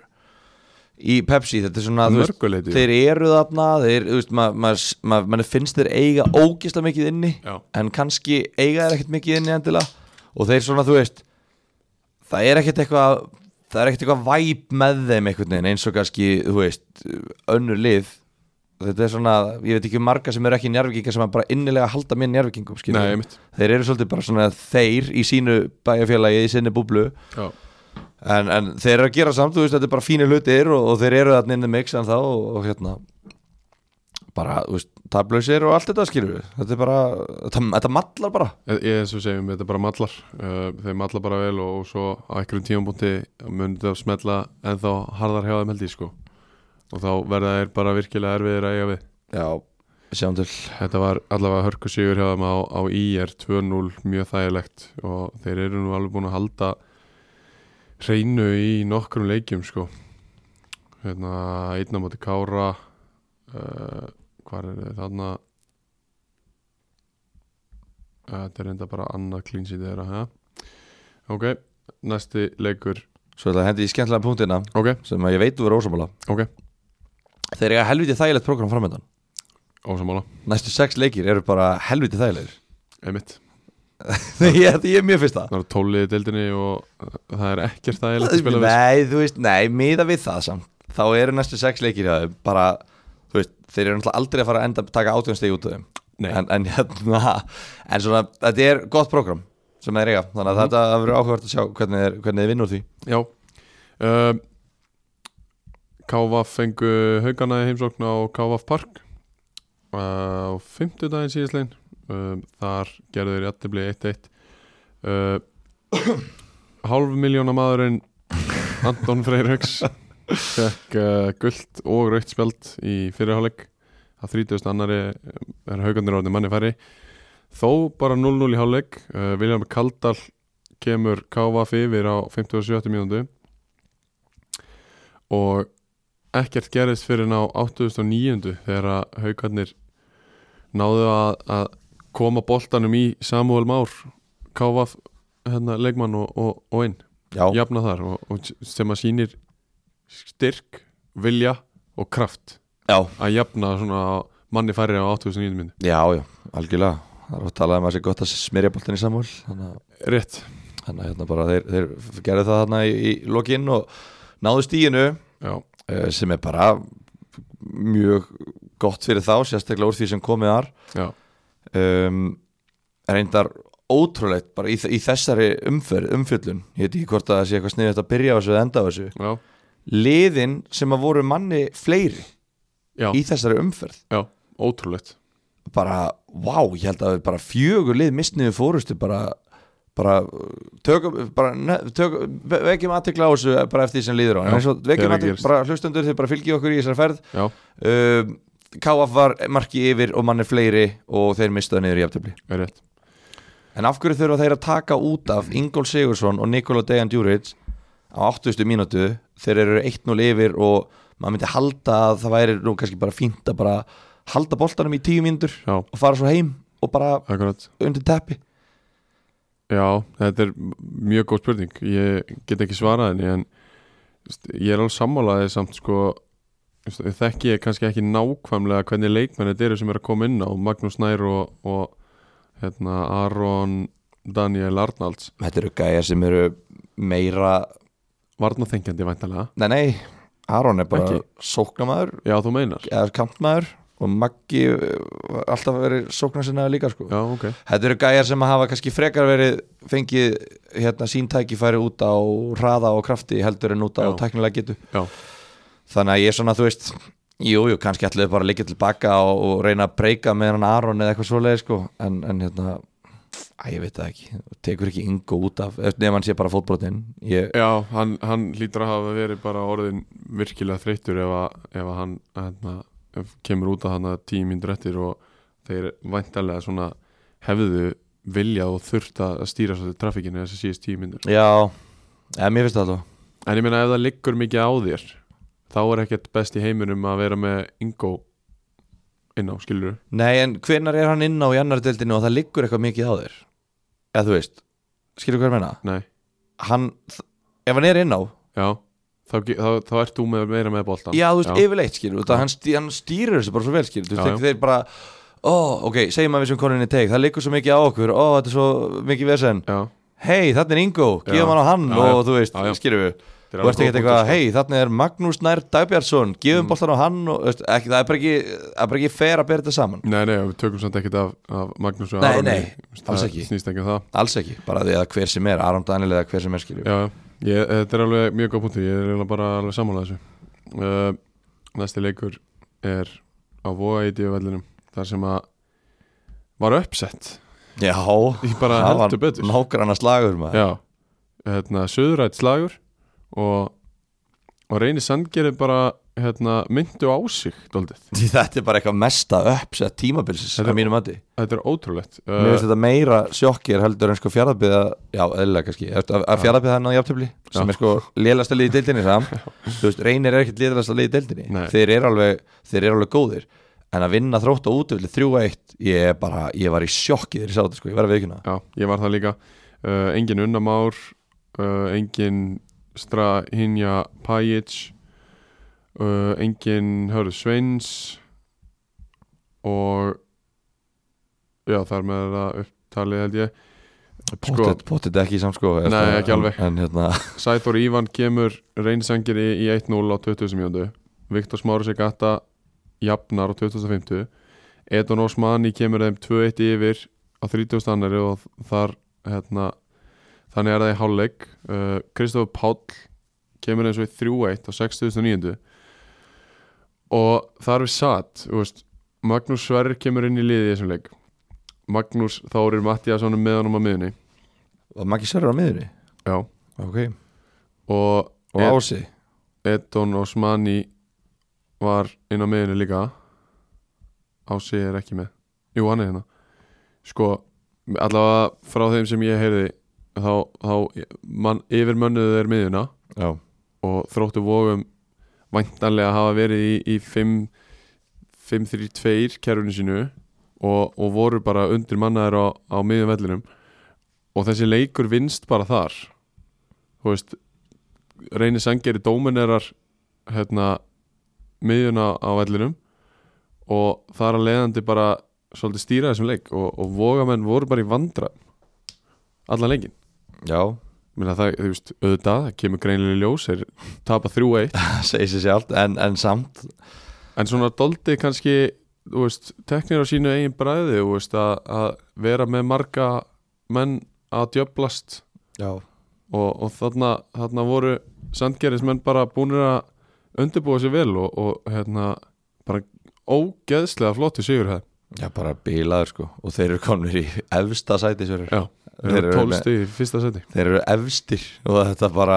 Speaker 2: í Pepsi, þetta er svona þú veist,
Speaker 1: mörguleiti
Speaker 2: þeir eru þarna, þeir, þú veist maður ma, ma, ma, finnst þeir eiga ógisla mikið inni
Speaker 1: Já,
Speaker 2: en kannski eiga þeir ekkert mikið inni endilega og þeir svona, þú veist það er ekkert eitthvað það er ekkert eitthvað væp með þeim einhvern veginn eins og kannski, þú veist önnur lið þetta er svona, ég veit ekki um marga sem eru ekki njárvikingar sem að bara innilega halda með njárvikingum skilur.
Speaker 1: nei, mitt
Speaker 2: þeir eru svolítið bara svona þeir í sínu bæjarfélagi, í sinni búblu
Speaker 1: Já,
Speaker 2: en, en þeir eru að gera samt, þú veist, þetta er bara fínir hlutir og, og þeir eru þarna inn í mixan þá og, og hérna bara, þú veist, tablausir og allt þetta skilur við, þetta er bara, þetta, þetta mallar bara,
Speaker 1: Ég, ég- Eh, eins og við segjum, þetta bara mallar uh, þeir malla bara vel og, og svo á einhverjum tímapunkti mun það smetla en þá harðar hjá þeim held ég sko og þá verða þeir bara virkilega erfiðir að eiga við
Speaker 2: já, sjáum til
Speaker 1: þetta var allavega hörku sigur hjá þeim á, á IR 2-0 mjög þægilegt og þeir eru nú alveg búin að halda hreinu í nokkrum leikjum sko hérna einna mátti Kára uh, hvar er þið þarna Eh, þetta er reynda bara annað klínsið þeirra ha? ok, næsti leikur
Speaker 2: svo ætla að hendi í skemmtilega punktina
Speaker 1: ok,
Speaker 2: sem að ég veit þú verður ósamála
Speaker 1: ok,
Speaker 2: þeir eru helviti þægilegt program framöndan
Speaker 1: ósamála
Speaker 2: næstu sex leikir eru bara helviti þægilegir
Speaker 1: einmitt,
Speaker 2: ég, þetta- ég er mjög fyrsta
Speaker 1: það eru tóliðið deildinni og eh, það er ekkert þægilegt að spila við
Speaker 2: nei, þú veist, nei, miða við það samt þá eru næstu sex leikir hjá þeim bara, þú veist, þeir eru náttúrulega aldrei að fara að enda taka átjónstegi út af þeim
Speaker 1: Nei.
Speaker 2: en, en, hérna, en svona, þetta er gott program sem þeir eiga, þannig að þetta verður áhugavert að sjá hvernig þeir, hvernig þeir vinnur því
Speaker 1: Já uh, Kávaf fengu haugana í heimsókn á Kávaf Park uh, á fimmtudaginn síðastlegin um, þar gerðu þeir jættibli 1-1 uh, hálf miljóna maðurinn Anton Freyrhauks fekk uh, gult og rautt spjald í fyrirháleik að 30. annari er haugandir orðin manni færi þó bara 0-0 í háleik uh, William Kaldal kemur KVF yfir á 57. mínútu og ekkert gerist fyrir ná 8.900 þegar að haugarnir náðu að, að koma boltanum í Samuel Már KVF hérna, leikmann og, og, og inn
Speaker 2: já,
Speaker 1: jafna þar og, og sem að sýnir styrk, vilja og kraft
Speaker 2: já,
Speaker 1: að jafna svona manni færri á 8.900 myndi
Speaker 2: já, já algjörlega það er oft talað um að það sé gott að smyrja boltin í samúl þannig að
Speaker 1: Rétt,
Speaker 2: þannig að hérna bara þeir, þeir gerðu það þarna í, í lokinn og náðu stíinu
Speaker 1: já,
Speaker 2: eh, sem er bara mjög gott fyrir þá sérstaklega úr því sem komið þar
Speaker 1: já,
Speaker 2: um, reyndar ótrúlegt bara í, þ- í þessari umferð, umfjöllun ég veit ekki hvort að það sé eitthvað sniðið að byrja á þessu eða enda á þessu
Speaker 1: já,
Speaker 2: liðin sem að voru manni fleiri
Speaker 1: já,
Speaker 2: í þessari umferð
Speaker 1: já, ótrúlegt
Speaker 2: bara, wow, ég held að við bara fjögur lið mistniðu fórustu bara, bara tökum, bara ne- tökum ve- vekjum aðtekla á þessu eh, bara eftir því sem líður á
Speaker 1: Já,
Speaker 2: en svo,
Speaker 1: þegar
Speaker 2: vekjum
Speaker 1: það
Speaker 2: aðtekla,
Speaker 1: gerist.
Speaker 2: bara hlustundur þið bara fylgjið okkur í þessari ferð
Speaker 1: Já,
Speaker 2: um, KF var marki yfir og mann er fleiri og þeir mistaðu niður í aftöfli
Speaker 1: rétt
Speaker 2: en af hverju þurfa þeir að taka út af Ingól Sigursson og Nikola Dejan Djuric á 80. mínútu þeir eru 1-0 yfir og maður myndi halda að það væri nú kannski bara fínt að bara halda boltanum í 10 mínútur
Speaker 1: Já,
Speaker 2: og fara svo heim og bara
Speaker 1: akkurat
Speaker 2: undir teppi
Speaker 1: Já, þetta er mjög góð spurning Ég get ekki svarað henni en st- ég er alveg sammálaðið samt sko st- þekki ég kannski ekki nákvæmlega hvernig leikmenn þetta eru sem eru að koma inn á Magnús Nær og, og hérna, Aron Daniel Arnalds
Speaker 2: Þetta eru gæjar sem eru meira
Speaker 1: Varnaþengjandi væntalega
Speaker 2: Nei, nei, Aron er bara
Speaker 1: Ekki.
Speaker 2: sóknamaður
Speaker 1: Já, þú meinar
Speaker 2: eða kantmaður og Maggi uh, alltaf verið sóknarsinnaður líka sko.
Speaker 1: Já, ok
Speaker 2: Þetta eru gæjar sem hafa kannski frekar verið fengið hérna, síntækifæri út á hraða og krafti heldur en út á
Speaker 1: Já.
Speaker 2: teknilega getu
Speaker 1: Já,
Speaker 2: Þannig að ég er svona, þú veist Jú, jú, kannski ætlaðu bara að liggja tilbaka og, og reyna að breyka með hann Aron eða eitthvað svoleiði sko. en, en hérna Æ, ég veit það ekki, tekur ekki yngu út af nefn hann sé bara fótbrotinn ég,
Speaker 1: Já hann, hann lítur að hafa verið bara orðin virkilega þreyttur ef, að, ef að hann hérna, ef kemur út að hann að tíu mínútur eftir og þeir væntalega svona hefðu viljað og þurft að stýra svolítið trafikinu þessi síðast tíu mínútur
Speaker 2: Já, eða mér finnst það alveg
Speaker 1: En ég meina ef það liggur mikið á þér þá er ekkert best í heiminum að vera með Ingo inn á skilur
Speaker 2: Nei, en hvenar er hann inn á í annar deildinu og það liggur eitthvað mikið á þér Eða þú veist, skilur hvað ég meina
Speaker 1: Nei,
Speaker 2: Hann, þ- ef hann er inn á
Speaker 1: já Þá, ge- þá, þá ert þú með meira með boltan
Speaker 2: Já, þú veist, yfirleitt skilur Það hann, stý, hann stýrir þessu bara svo vel skilur Þú
Speaker 1: Já,
Speaker 2: veist, þeir bara, ó, ok, segjum að við sem koninni teik Það liggur svo mikið á okkur, ó, þetta er svo mikið vesen
Speaker 1: Já,
Speaker 2: Hei, þarna er Ingo,
Speaker 1: Já.
Speaker 2: gefum hann á hann
Speaker 1: Já,
Speaker 2: og
Speaker 1: já.
Speaker 2: þú veist,
Speaker 1: Já, já.
Speaker 2: skilur við
Speaker 1: þetta er
Speaker 2: Þú ert
Speaker 1: alveg
Speaker 2: ekkert
Speaker 1: góð punktur,
Speaker 2: eitthvað,
Speaker 1: sko.
Speaker 2: hei, þarna er Magnús Nær Dagbjartsson, gefum mm. boltan á hann og, veist, ekki, það, er bara ekki, það er bara ekki fair að bera þetta saman
Speaker 1: Nei, nei, við tökum samt ekkert af, af Magnús og
Speaker 2: Nei,
Speaker 1: Aroni
Speaker 2: nei,
Speaker 1: Það
Speaker 2: alls ekki.
Speaker 1: Snýst ekki um það
Speaker 2: Alls ekki, bara því að hver sem er, Aron Daniel eða hver sem er skilur
Speaker 1: Já, já. ég, eh, þetta er alveg mjög góð punktur Ég er eiginlega bara alveg sammálað þessu uh, Næsti leikur er á voga í djöfellinum Þar sem að var uppsett
Speaker 2: Já,
Speaker 1: Ég bara
Speaker 2: það var
Speaker 1: heldur betur
Speaker 2: nágranna slagur maður
Speaker 1: Já, hérna, söðrætt slagur og, og reynir sandgerði bara hérna, myndu á sig dóldið.
Speaker 2: Því Þetta er bara eitthvað mesta uppsett tímabilsis
Speaker 1: Þetta-
Speaker 2: að mínu mati
Speaker 1: Þetta er ótrúlegt
Speaker 2: Mér
Speaker 1: uh,
Speaker 2: finnst þetta meira sjokkir heldur en sko fjaraðbyða Já, eðlilega kannski, Eftir að, að fjaraðbyða hann á jafntöfli sem
Speaker 1: Já.
Speaker 2: er sko lélasta liði í deildinni sam Þú veist, reynir er ekkert lélasta liði í deildinni
Speaker 1: Nei.
Speaker 2: Þeir eru alveg, þeir eru alveg góðir En að vinna þrótt á útöfli 3-1 Ég er bara, ég var í sjokki þegar ég sá þetta sko, ég var að viðkjöna
Speaker 1: Já, ég var það líka uh, Engin Unnamár uh, Engin Strahinja Pajic uh, Engin Hörðu Sveins og já, þar með það upptalið held ég Sko-
Speaker 2: Pottet, pottet ekki í samsko
Speaker 1: Nei, ekki alveg.
Speaker 2: En, en hérna,
Speaker 1: Sæþór Ívan kemur reynsangeri í 1-0 á 20. mjöndu Viktor Smári Segata jafnar á 2050 Edon Osmani kemur þeim 2-1 yfir á 30. annari og þar hérna, þannig er það í hálfleik uh, Kristofur Páll kemur eins og í 3-1 á 60.9 og þar við satt þú veist, Magnús Sverrir kemur inn í liðið í þessum leik Magnús Þórir Mattiasson er með honum á miðunni
Speaker 2: Var Maggi Sörur á miðunni?
Speaker 1: Já.
Speaker 2: Ok
Speaker 1: og
Speaker 2: Og
Speaker 1: Ed-
Speaker 2: Ási
Speaker 1: Edon Osmani var inn á miðunni líka Ási er ekki með Jú, hann er hérna Sko, allavega frá þeim sem ég heyrði þá, þá man, yfir mönnuðu þeir miðuna
Speaker 2: Já
Speaker 1: og þróttu vógum væntanlega hafa verið í, í 5 5-3-2 kerfinu sínu og, og voru bara undir mannaðir á, á miðjum vellinum og þessi leikur vinst bara þar þú veist reynir sangeri dóminerar hérna miðjuna á vellinum og þar að leiðandi bara svolítið stýra þessum leik og, og vogamenn voru bara í vandra allan leikin
Speaker 2: Já
Speaker 1: Mér að það, þú veist, auðvitað, það kemur greinilega í ljós, þeir tapa 3-1
Speaker 2: Segir sér sjálft en, en samt
Speaker 1: En svona doldi kannski, þú veist, teknir á sínu eigin bræði, þú veist, að, að vera með marga menn að djöblast
Speaker 2: Já
Speaker 1: og, og þarna, þarna voru sandgerismenn bara búinir að undirbúa sér vel og, og hérna, bara ógeðslega flottu sigur það
Speaker 2: Já bara bílaður sko Og þeir eru komnir í efsta sæti Sverrir
Speaker 1: Já, þeir eru
Speaker 2: með-
Speaker 1: 12 stig í fyrsta seti
Speaker 2: Þeir eru efstir og þetta bara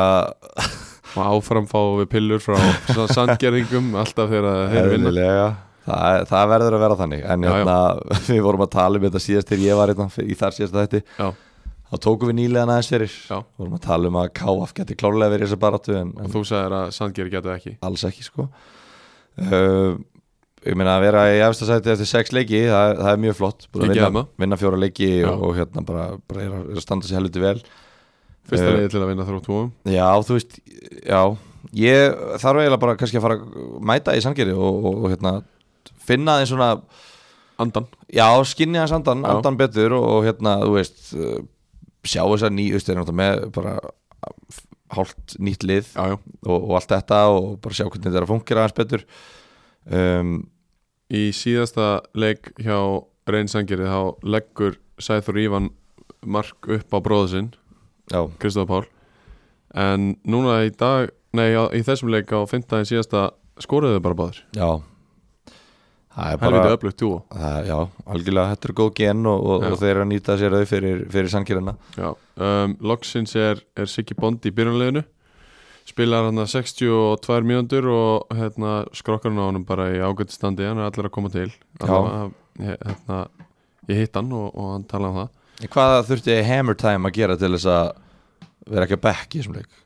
Speaker 1: og áfram fá við pillur frá sandgerðingum alltaf þegar þeir vinna
Speaker 2: eðlilega það, það verður að vera þannig en
Speaker 1: Já, já.
Speaker 2: hérna, við vorum að tala um þetta síðast þegar ég var hérna, í þar síðasta þetta
Speaker 1: Já,
Speaker 2: þá tókum við nýlega næðins fyrir
Speaker 1: Já.
Speaker 2: vorum að tala um að KF geti klárlega verið í þessu baratu en,
Speaker 1: og
Speaker 2: en
Speaker 1: þú sagðir að sandgeri getur ekki
Speaker 2: alls ekki sko uh, ég meina að vera í efsta sæti eftir sex leiki, það, það er mjög flott búin
Speaker 1: Ekki
Speaker 2: að vinna,
Speaker 1: heima.
Speaker 2: vinna fjóra leiki
Speaker 1: Já.
Speaker 2: og, og hérna bara, bara er, að, er að standa sér helviti vel
Speaker 1: Fyrsta
Speaker 2: Eh,
Speaker 1: leiði til að vinna um. þrótt vóum
Speaker 2: Já, þú veist, já Ég þarf eiginlega bara kannski að fara að mæta í sangeri og, og, og hérna finna þeim svona,
Speaker 1: Andan
Speaker 2: já, skinni hans andan,
Speaker 1: Já.
Speaker 2: andan betur og, og hérna, þú veist uh, sjá þess að nýjust er náttúrulega með bara hálft nýtt lið
Speaker 1: Já, já
Speaker 2: og, og allt þetta og bara sjá hvernig þetta er að fungera hans betur um,
Speaker 1: Í síðasta leik hjá Reynsangeri þá leggur Sæþur Ívan mark upp á bróðu sinn
Speaker 2: Já,
Speaker 1: Kristof Pál En núna í dag, nei á, í þessum leik á fimmtæðin síðasta skoruðu þau bara báður
Speaker 2: já Það er bara
Speaker 1: Helviti öflugt dúo
Speaker 2: það, Já, algjörlega, þetta er góð gen og, og,
Speaker 1: Já.
Speaker 2: og þeir eru að nýta sér þau fyrir, fyrir sangerina
Speaker 1: Já, um, loksins er, er Siggi Bond í byrjunleginu spilar hann að 62 mínútur og hérna, skrokkar hann á honum bara í ágætt standi, hann er allir að koma til Allavega, he- hérna, ég hitt hann og, og hann talaði um það
Speaker 2: Hvað þurfti Hammer Time að gera til þess að vera ekki að back í þessum leik?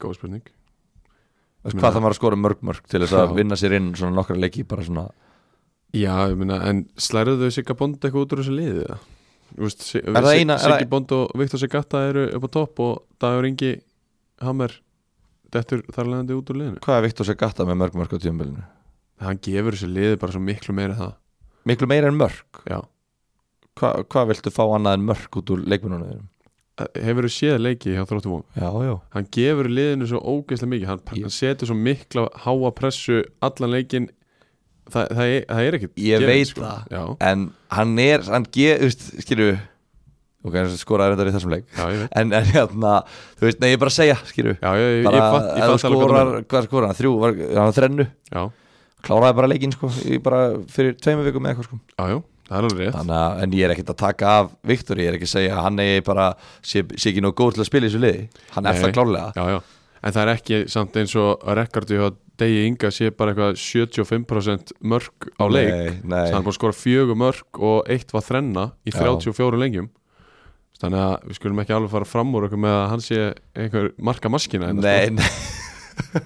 Speaker 1: góð spurning
Speaker 2: Hvað
Speaker 1: Meina-
Speaker 2: það maður að skora mörg mörg til þess að
Speaker 1: Já.
Speaker 2: vinna sér inn svona nokkra leiki bara svona
Speaker 1: Já, ég meina, en slæruðu þau Sigga Bond eitthvað út úr þessu liðið það? Vist, sig,
Speaker 2: það eina- er
Speaker 1: Siggi
Speaker 2: það-
Speaker 1: Bond og Viktor Sigata eru upp á topp og Dagur Ingi Hammer dettur þar leðandi út úr liðinu
Speaker 2: Hvað er Viktor Segata með mörg mörg á tíumbilinu?
Speaker 1: Hann gefur þessu liðið bara svo miklu meira en það
Speaker 2: Miklu meira en mörg
Speaker 1: Já,
Speaker 2: Hva, Hvað viltu fá annað en mörg út úr leikmennunum? þínum?
Speaker 1: hefur þau séð leiki hjá Þróttu Vóum
Speaker 2: Já, já
Speaker 1: hann gefur liðinu svo ógeðslega mikið hann,
Speaker 2: Ég-
Speaker 1: hann setur svo mikla háa pressu allan leikin Þa, það, er, það er ekkert
Speaker 2: Ég
Speaker 1: gefið,
Speaker 2: veit
Speaker 1: sko.
Speaker 2: það.
Speaker 1: já,
Speaker 2: En hann er, hann geð, veist, skilju Ok, hann skoraði reyndar í þessum leik
Speaker 1: já, ég veit
Speaker 2: En, en hérna, þú veist, nei, ég er bara að segja, skilju
Speaker 1: já, ég, ég,
Speaker 2: Bara,
Speaker 1: ég fatt, ég
Speaker 2: ef hann
Speaker 1: fatt alveg hvað
Speaker 2: skorar,
Speaker 1: það
Speaker 2: hvað skorar hann? Þrjú, var, hann á þrennu
Speaker 1: já,
Speaker 2: Kláraði bara leikinn, sko, í bara fyrir tveimur vikum eða eitthvað, sko
Speaker 1: já, já, það er alveg rétt
Speaker 2: Þannig að, en ég er ekkert að taka af Viktor, ég er ekki að segja að hann eigi bara sé, sé ekki nóg góð til að spila í þessu liði hann er
Speaker 1: Nei.
Speaker 2: það klálega
Speaker 1: já, já. en það er ekki samt eins og rekordi hjá Degi Inga sé bara eitthvað 75% mörg á leik
Speaker 2: nei,
Speaker 1: Þannig að hann
Speaker 2: nei.
Speaker 1: búið að skora fjögur mörg og eitt var þrenna í
Speaker 2: Já.
Speaker 1: 34 lengjum Þannig að við skulum ekki alveg fara fram úr okkur með að hann sé einhver marka maskina hérna,
Speaker 2: nei, nei.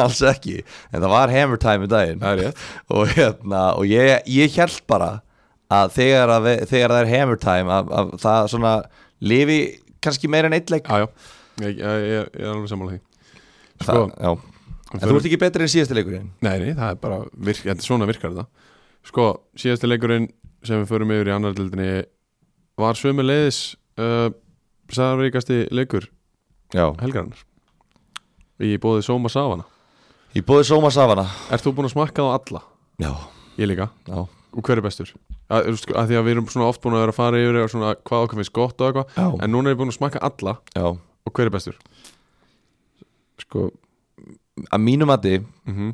Speaker 2: alls ekki en það var hammer time í
Speaker 1: sko.
Speaker 2: daginn
Speaker 1: Það er rétt
Speaker 2: og, hérna, og ég, ég held bara að þegar, að, við- þegar það er hammer time að, að það svona lifi kannski meira en eitt leik
Speaker 1: Já, já, ég, ég, ég, ég er alveg sammála því Sko,
Speaker 2: það, já. en þú ert ekki betri en síðasti leikurinn
Speaker 1: Nei, nei, það er bara, virk, þetta er svona virkar þetta Sko, síðasti leikurinn sem við förum yfir í annar dildinni var sömu leiðis uh, sagðarríkasti leikur
Speaker 2: já.
Speaker 1: helgarinnar í bóði Sóma Savana
Speaker 2: ég bóði Sóma Savana
Speaker 1: Ert þú búin að smakka þá alla?
Speaker 2: já,
Speaker 1: Ég líka
Speaker 2: já,
Speaker 1: og hver er bestur að, þú veist, að því að við erum svona oft búin að vera að fara yfir og svona hvað okkar finnst gott og eitthvað
Speaker 2: já,
Speaker 1: en núna er ég búin að smakka alla
Speaker 2: já.
Speaker 1: og hver er bestur
Speaker 2: Sko, að mínum að
Speaker 1: mm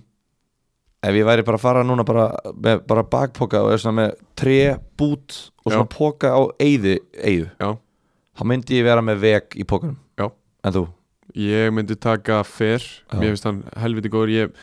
Speaker 2: ef ég væri bara að fara núna bara, með, bara bakpoka og er svona með tre bút og svona
Speaker 1: Já.
Speaker 2: poka á eyði, eyðu
Speaker 1: Já.
Speaker 2: þá myndi ég vera með veg í pokanum
Speaker 1: Já.
Speaker 2: en þú,
Speaker 1: Ég myndi taka Fer
Speaker 2: Já.
Speaker 1: Mér finnst hann helviti góður Ég er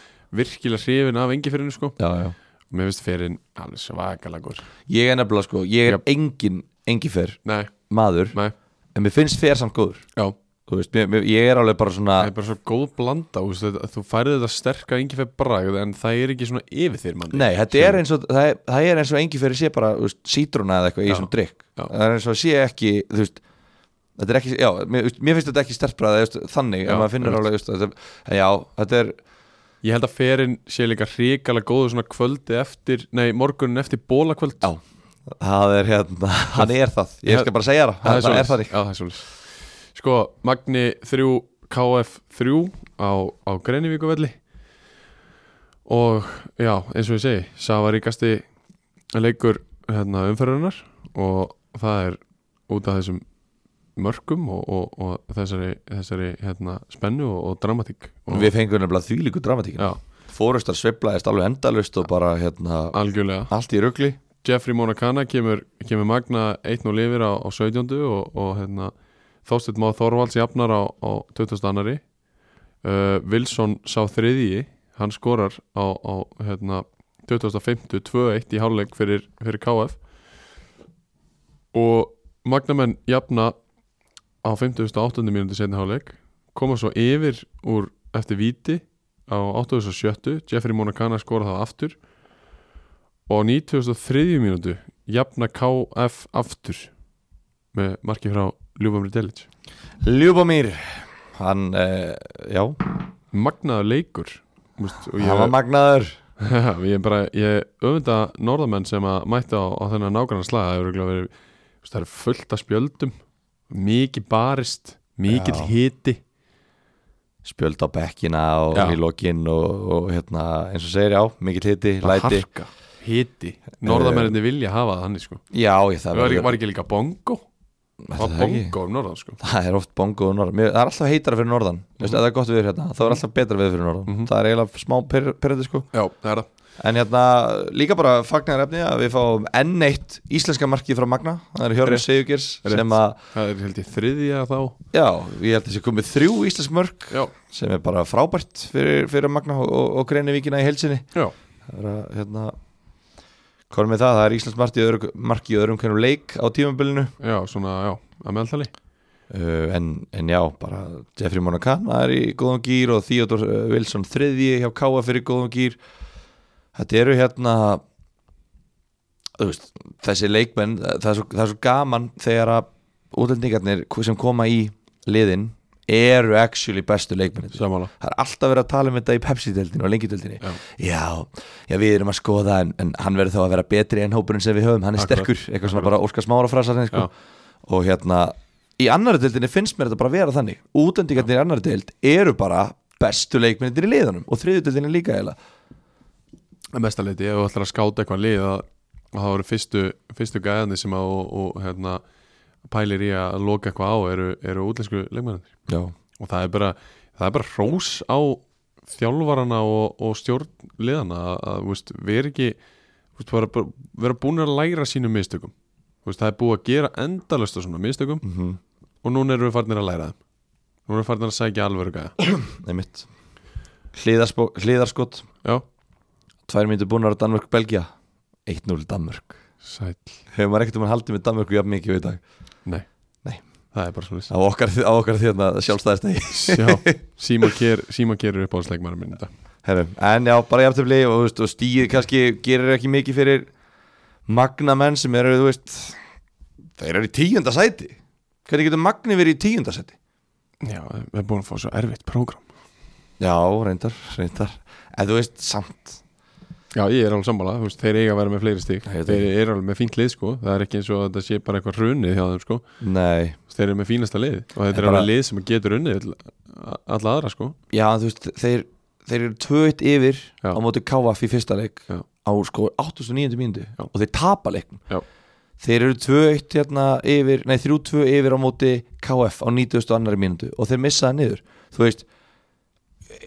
Speaker 1: virkilega hrifin af engi ferinu sko
Speaker 2: já, já.
Speaker 1: Mér finnst Ferin alveg svakalega góður
Speaker 2: ég er nefnilega sko, ég er
Speaker 1: Já.
Speaker 2: engin engi fer
Speaker 1: Nei,
Speaker 2: maður
Speaker 1: nei,
Speaker 2: en mér finnst fer samt góður
Speaker 1: já
Speaker 2: þú veist, mér, mér, ég er alveg bara svona
Speaker 1: Það er bara svo góð blanda úst, þetta, Þú færði þetta sterka engi fer bragð En það er ekki svona yfir þér manni
Speaker 2: Nei, þetta er eins og það er, það er eins og engi fyrir sé bara þú veist, sítruna eða eitthvað í
Speaker 1: Já,
Speaker 2: þessum drikk
Speaker 1: já.
Speaker 2: það er eins og sé ekki þú veist þetta er ekki, já, mér, þú veist, mér finnst þetta ekki stertbræða þannig,
Speaker 1: Já,
Speaker 2: en maður finnur
Speaker 1: einmitt.
Speaker 2: alveg þú veist, þetta, en já, þetta er
Speaker 1: Ég held að Ferin sé líka hrikalega góður Svona kvöldi eftir, nei morgunin eftir bólakvöld
Speaker 2: Já. það er hérna, hann er það ég
Speaker 1: Já.
Speaker 2: skal bara segja það,
Speaker 1: það er
Speaker 2: það er
Speaker 1: svoleiðis.
Speaker 2: það
Speaker 1: Já, það er svoleiðis Sko, Magni 3 KF 3 á, á Greinivíkuvelli og já, eins og ég segi Savaríkasti leikur hérna, umferðunar og það er út af þessum mörkum og, og, og þessari, þessari hérna, spennu og, og dramatík og,
Speaker 2: við fengum nefnilega þvílíku dramatíkina
Speaker 1: Já,
Speaker 2: fórustar sveiflaðist alveg endalust og bara hérna,
Speaker 1: algjörlega
Speaker 2: allt í rugli
Speaker 1: Jeffrey Monacana kemur, kemur Magna 1-0 yfir á, á 17. og, og hérna, Þorstedt Má Þorvalds jafnar á, á 22. Uh, Wilson sá þriðji hann skorar á, á hérna, 2050 2-1 í hálfleik fyrir, fyrir KF og Magnamenn jafna á 58. mínúti setni hálfleik koma svo yfir úr eftir víti á 87. Jeffrey Monacana skora það aftur og á 93. mínútu jafna KF aftur með marki frá Ljúfamri Delic
Speaker 2: Ljúbamír, hann eh, já,
Speaker 1: magnaður leikur Múst, og
Speaker 2: hann var
Speaker 1: ég,
Speaker 2: magnaður
Speaker 1: ég, bara, ég öfunda norðamenn sem að mætti á, á þennan nágrann slaga það eru örugglega verið- þú veist, það er fullt af spjöldum mikið barist mikill
Speaker 2: Já.
Speaker 1: hiti
Speaker 2: spjöld á bekkina og
Speaker 1: Já.
Speaker 2: í lokin og, og hérna, eins og segir já, mikill hiti,
Speaker 1: bara
Speaker 2: læti
Speaker 1: harka, hiti norðamenninni vilja hafa það hann sko.
Speaker 2: já, ég, það,
Speaker 1: var,
Speaker 2: verður-
Speaker 1: ekki- var ekki líka bongo
Speaker 2: Er
Speaker 1: var
Speaker 2: það ekki?
Speaker 1: bongo um norðan sko.
Speaker 2: það er oft bongo og norðan Mér, það er alltaf heitara fyrir norðan
Speaker 1: Mhm.
Speaker 2: mm -hmm. það er gott við hérna, það er alltaf betra við fyrir norðan það er eiginlega smá perrandi sko
Speaker 1: já, það er það
Speaker 2: en hérna, líka bara fagnar efni að við fáum enn eitt íslenska markið frá Magna, það er Hjörn
Speaker 1: Rétt.
Speaker 2: Sigurgers
Speaker 1: Rétt.
Speaker 2: sem að,
Speaker 1: það er held ég þriðja þá
Speaker 2: já, ég held að þessi komið þrjú íslensk mörk
Speaker 1: já,
Speaker 2: sem er bara frábært fyrir, fyrir Magna og, og, og Greinivíkina í helsinni
Speaker 1: já
Speaker 2: Það er að, hérna Hvað er með það? Það er Íslands marki í öðru, marki í öðrum hvernig leik á tímabilinu
Speaker 1: Já, svona, já, að meðaltali
Speaker 2: uh, en, en já, bara Jeffrey Monacana er í góðum gýr og Theodor uh, Wilson þriðji hjá Káa fyrir góðum gýr Þetta eru hérna þú veist, þessi leikmenn það það er, svo, það er svo gaman þegar að útlendingarnir sem koma í liðin eru actually bestu leikmenn
Speaker 1: Samála
Speaker 2: það er alltaf verið að tala um þetta í Pepsi-deldinu og lengi-deldinu
Speaker 1: Já.
Speaker 2: já. Já, við erum að skoða en, en hann verður þá að vera betri enn hópurinn sem við höfum hann er
Speaker 1: Akkurat.
Speaker 2: sterkur, eitthvað svona bara Óskar Smára frasar sko.
Speaker 1: Já.
Speaker 2: og hérna í annari deldinu finnst mér þetta bara að vera þannig útlendingarnir í annari deld eru bara bestu leikmennir í liðunum og þriðju deldinu líka eiginlega
Speaker 1: Að mesta leiti, ef þú ætlar að skáta eitthvað lið að að það eru fyrstu, fyrstu gæðandi sem að og, og hérna pælir í að loka eitthvað á eru, eru útlensku leikmennir
Speaker 2: já,
Speaker 1: og það er bara, það er bara hrós á þjálfarana og, og stjórn liðana að, að þú veist, við erum ekki þú veist, bara, bara, vera búin að læra sínum mistökum Þú veist, það er búið að gera endalösta svona mistökum
Speaker 2: Mhm.
Speaker 1: og núna erum við farnir að læra þeim núna erum við farnir að sækja alvöru gæða
Speaker 2: einmitt Hliðarspó, hliðarskot,
Speaker 1: já,
Speaker 2: tvær myndu búnar á Danmörk-Belgia 1-0 Danmörk
Speaker 1: sæll,
Speaker 2: hefur maður ekkert um hann haldið með Danmörku jafn mikið við í dag
Speaker 1: nei
Speaker 2: Nei.
Speaker 1: það er bara svona
Speaker 2: á okkar, á okkar því að sjálfstæðist
Speaker 1: Já, Sima Kjer, Sima Kjer er uppáhaldsleikmarum minn í þetta
Speaker 2: Herru, en já, bara jafntöfli og, þú veist, og stíð kannski gerir ekki mikið fyrir magna menn sem eru, þú veist þeir eru í tíunda sæti hvernig getur magni verið í tíunda sæti?
Speaker 1: Já, við erum búin að fá svo erfitt prógram
Speaker 2: Já, reyndar, reyndar en þú veist, samt
Speaker 1: Já, ég er alveg sammála, þú veist, þeir eiga að vera með fleiri stík
Speaker 2: Nei, ég veit
Speaker 1: Þeir eru alveg með fínt lið, sko Það er ekki eins og að þetta sé bara eitthvað runnið hjá þeim, sko Þú
Speaker 2: Nei,
Speaker 1: veist, Þeir eru með fínasta lið Og þetta
Speaker 2: En
Speaker 1: er
Speaker 2: bara-
Speaker 1: alveg lið sem getur runnið all- alla aðra, sko
Speaker 2: já, en þú veist, þeir, þeir eru tvöitt yfir
Speaker 1: Já.
Speaker 2: á móti KF í fyrsta leik
Speaker 1: Já.
Speaker 2: á sko 8.900 mínútu
Speaker 1: Já.
Speaker 2: og þeir tapa leiknum
Speaker 1: Já.
Speaker 2: þeir eru 2-1 hérna yfir, nei 3-2 yfir á móti KF á 92. mínútu og þeir missaða niður þú veist,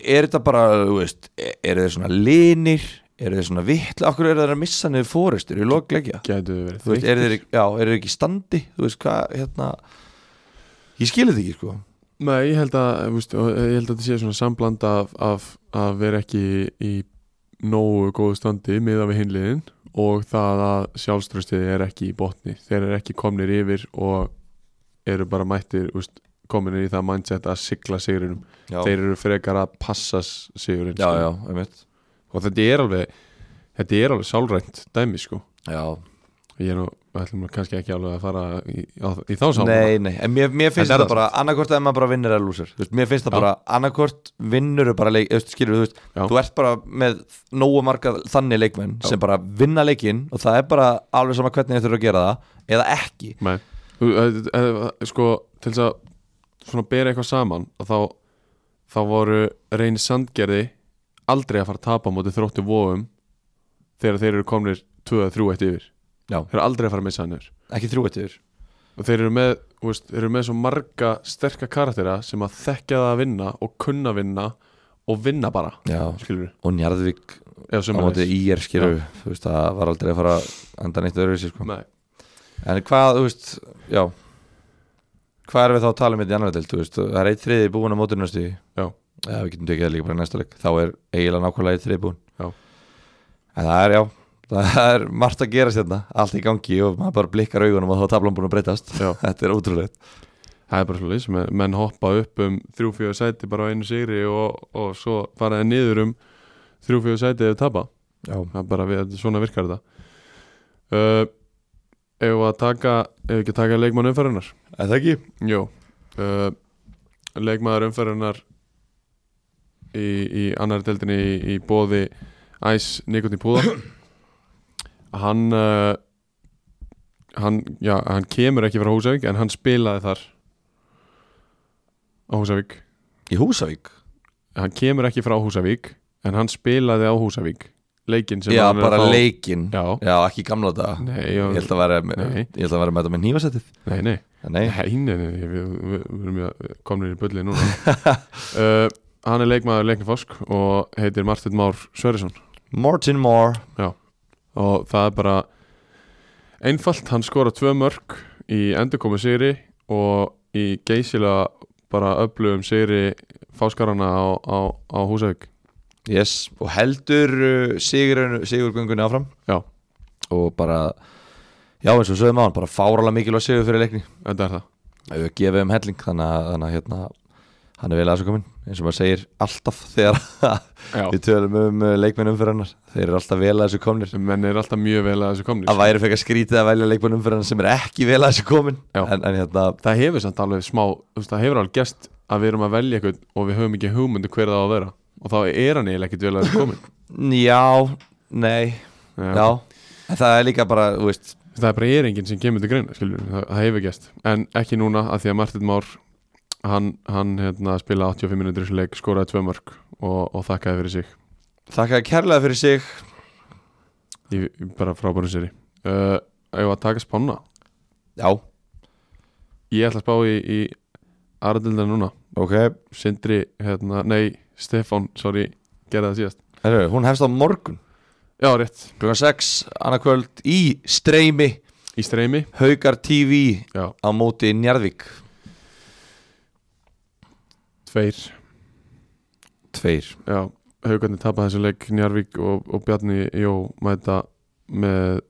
Speaker 2: er þetta bara, þú veist e- eru þeir svona linir, eru þeir svona vitla okkur eru þeir að missa niður fórist, eru þeir lokleggja
Speaker 1: Gætu þau verið
Speaker 2: þú veist, eru þeir, já, eru þeir ekki í standi þú veist hvað, hérna ég skilur þig ekki, sko
Speaker 1: Nei, ég held að, þú veist, og ég held að þetta sé svona sambland af, af að vera ekki í nógu góðu standi miða við hinliðin og það að sjálfströstið er ekki í botni þeir eru ekki komnir yfir og eru bara mættir þú veist, kominir í það mindset að sigla sigurinum
Speaker 2: já,
Speaker 1: þeir eru frekar að passa s- sigurinn
Speaker 2: já,
Speaker 1: sko.
Speaker 2: já, einmitt
Speaker 1: og þetta er alveg þetta er alveg sálrænt dæmi sko
Speaker 2: já,
Speaker 1: ég er nú, ætlum nú kannski ekki alveg að fara í, á, í þá sálrænt
Speaker 2: nei, nei, en mér, mér finnst
Speaker 1: En er
Speaker 2: þetta
Speaker 1: það
Speaker 2: bara annarkvort að maður bara vinnur eða lúsir, þú veist, mér finnst það
Speaker 1: Já.
Speaker 2: bara annarkvort vinnur bara leik, þú veist, skilur þú veist
Speaker 1: Já.
Speaker 2: þú ert bara með nógu marga þannig leikmenn
Speaker 1: Já.
Speaker 2: sem bara vinna leikinn og það er bara alveg sama hvernig þetta eru að gera það eða ekki,
Speaker 1: Nei, Þú- eh, eh, sko til þess að svona bera eitthvað saman og þá, þá voru reynir sandgerði aldrei að fara að tapa á móti þróttu vóum þegar þeir eru komnir 2-3 eitt yfir
Speaker 2: Já.
Speaker 1: þeir eru aldrei að fara að missa hann yfir
Speaker 2: ekki þrjú eittur
Speaker 1: og þeir eru með, þú veist, þeir eru með svo marga sterka karaktera sem að þekkja það að vinna og kunna vinna og vinna bara,
Speaker 2: Já.
Speaker 1: skilur við
Speaker 2: og Njarðvík
Speaker 1: eða
Speaker 2: á móti
Speaker 1: sömuleiðis.
Speaker 2: í er skilu þú veist, það var aldrei að fara að enda neitt öðru sér sko.
Speaker 1: Nei.
Speaker 2: en hvað, þú veist, já hvað erum við þá að tala um þetta í annar del þú veist, það er eitt þriði búin á móti næstu
Speaker 1: Já.
Speaker 2: eða við getum tekið það líka bara í næsta leik þá er eiginlega nákvæmlega eitt þriði búin
Speaker 1: Já.
Speaker 2: en það er, já það er margt að gera sérna, allt í gangi og maður bara blikkar augunum og þá er tablan búin að breytast
Speaker 1: Já.
Speaker 2: þetta er ótrúlegt
Speaker 1: Það er bara svolítið, menn, menn hoppa upp um þrjú fjögur sæti bara á einu sigri og, og svo fara þeir niður um þrjú fjögur sæti eða tapa
Speaker 2: já,
Speaker 1: það er bara við, svona virkar þetta uh, Ef við að taka ef við ekki að taka leikmann umferðunar
Speaker 2: en það ekki
Speaker 1: Jó uh, Leikmaður umferðunar í, í annar deildinni í, í bóði Æs Nikotin Púða Hann uh, hann, já, hann kemur ekki frá Húsavík en hann spilaði þar á Húsavík
Speaker 2: í Húsavík,
Speaker 1: hann kemur ekki frá Húsavík en hann spilaði á Húsavík leikinn sem
Speaker 2: já,
Speaker 1: hann er
Speaker 2: bara
Speaker 1: að fá
Speaker 2: leikinn
Speaker 1: já,
Speaker 2: já, ekki í gamla daga
Speaker 1: nei,
Speaker 2: ég
Speaker 1: já,
Speaker 2: held að vera,
Speaker 1: Nei.
Speaker 2: ég held að vera með þetta með nýfasettið
Speaker 1: nei, nei
Speaker 2: nei,
Speaker 1: Nei, nei, nei, við, við, við erum mjög komnir í bulli núna uh, Hann er leikmaður leiknifosk og heitir Martin Már Sverrisson
Speaker 2: Martin Moore
Speaker 1: og það er bara einfalt, hann skora tvö mörg í endurkomu sigri og í geysilega bara öflugum sigri fáskarana á, á, á Húsavík
Speaker 2: yes. og heldur uh, sigurinn- sigurgöngunni áfram
Speaker 1: Já.
Speaker 2: og bara já eins og sögum á hann, bara fáralega mikilvæg sigur fyrir leikni
Speaker 1: Þetta er það
Speaker 2: við gefum um helling þannig að, þannig að hérna, hann er vel aðsökuminn eins og maður segir alltaf þegar
Speaker 1: Já.
Speaker 2: við tölum um uh, leikmennum fyrir hennar þeir eru alltaf vel að þessu komnir
Speaker 1: Menn er alltaf mjög vel að þessu komnir
Speaker 2: að væri fekar skrítið að velja leikmennum fyrir hennar sem er ekki vel að þessu komin
Speaker 1: Já.
Speaker 2: en, en hérna,
Speaker 1: Það hefur samt alveg smá, þú veist, það hefur alveg gest að við erum að velja eitthvað og við höfum ekki hugmyndu hver það á að vera og þá er hann eiginlega ekkert vel að þessu komin
Speaker 2: já, nei já, en það er líka bara þú veist,
Speaker 1: það er bara er enginn sem kemur til greina skilur, það, það hefur gæst, en ekki núna að því að Martin Már hann, hann hérna, spila 85 minútur í þessu leik, skoraði tvö mörg og, og þakkaði fyrir sig
Speaker 2: þakka kærlega fyrir sig
Speaker 1: í, í bara frábærum séri uh, ef að taka spanna
Speaker 2: já,
Speaker 1: ég ætla að spá í, í Aradilda núna
Speaker 2: ok,
Speaker 1: Sindri, hérna, nei, Stefán sorry, gerði það síðast
Speaker 2: Heru, hún hefst á morgun
Speaker 1: já, rétt,
Speaker 2: klukkan 6 annarkvöld í streymi
Speaker 1: í streymi
Speaker 2: Haukar TV
Speaker 1: já,
Speaker 2: á móti Njarðvík
Speaker 1: tveir
Speaker 2: tveir
Speaker 1: Já, haugarnir tapa þessu leik Njarvík og, og Bjarni Jó mæta með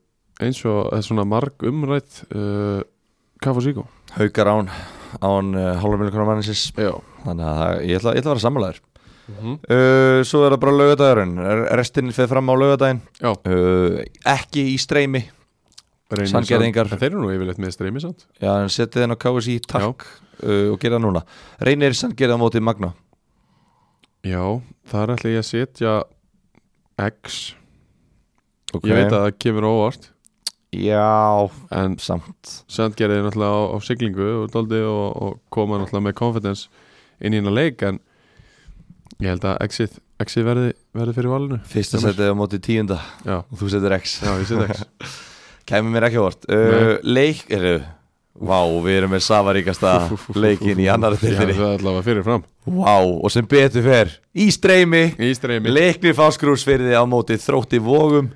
Speaker 1: eins og eh, svona marg umrætt uh, Kaff og Síko
Speaker 2: Haukar án, án uh, hálfurmiljónar manninsins
Speaker 1: Já
Speaker 2: þannig að það- ég ætla, ég ætla að vera sammálaður
Speaker 1: mm
Speaker 2: uh, svo er það bara laugadagurinn restinn fyrir fram á laugadaginn
Speaker 1: Já.
Speaker 2: uh, ekki í streymi Sandgerðingar.
Speaker 1: Þeir eru nú yfirleitt með streymi samt
Speaker 2: já, en setið henn á KSI, takk uh, og gera það núna reynir sanngerði á móti Magna
Speaker 1: Já, þar ætla ég að setja X Ég veit að það kemur á óvart
Speaker 2: já,
Speaker 1: En
Speaker 2: samt
Speaker 1: Sandgerði er náttúrulega á, á siglingu og doldi og, og koma náttúrulega með confidence inn í hennar leik en ég held að exit, exit verði, verði fyrir valinu
Speaker 2: fyrsta
Speaker 1: Hjá mér.
Speaker 2: setið á móti tíunda
Speaker 1: Já,
Speaker 2: og þú setur X
Speaker 1: já ég set X
Speaker 2: Kæmi mér ekki á vort
Speaker 1: Nei.
Speaker 2: uh, Leik, eru Vá, við erum með safaríkasta leikin í annara
Speaker 1: Já,
Speaker 2: deildinni
Speaker 1: það er allavega fyrirfram
Speaker 2: Vá, og sem betur fer Í streymi,
Speaker 1: Í streymi
Speaker 2: leikni fáskrúsfyrði á móti þrótti vógum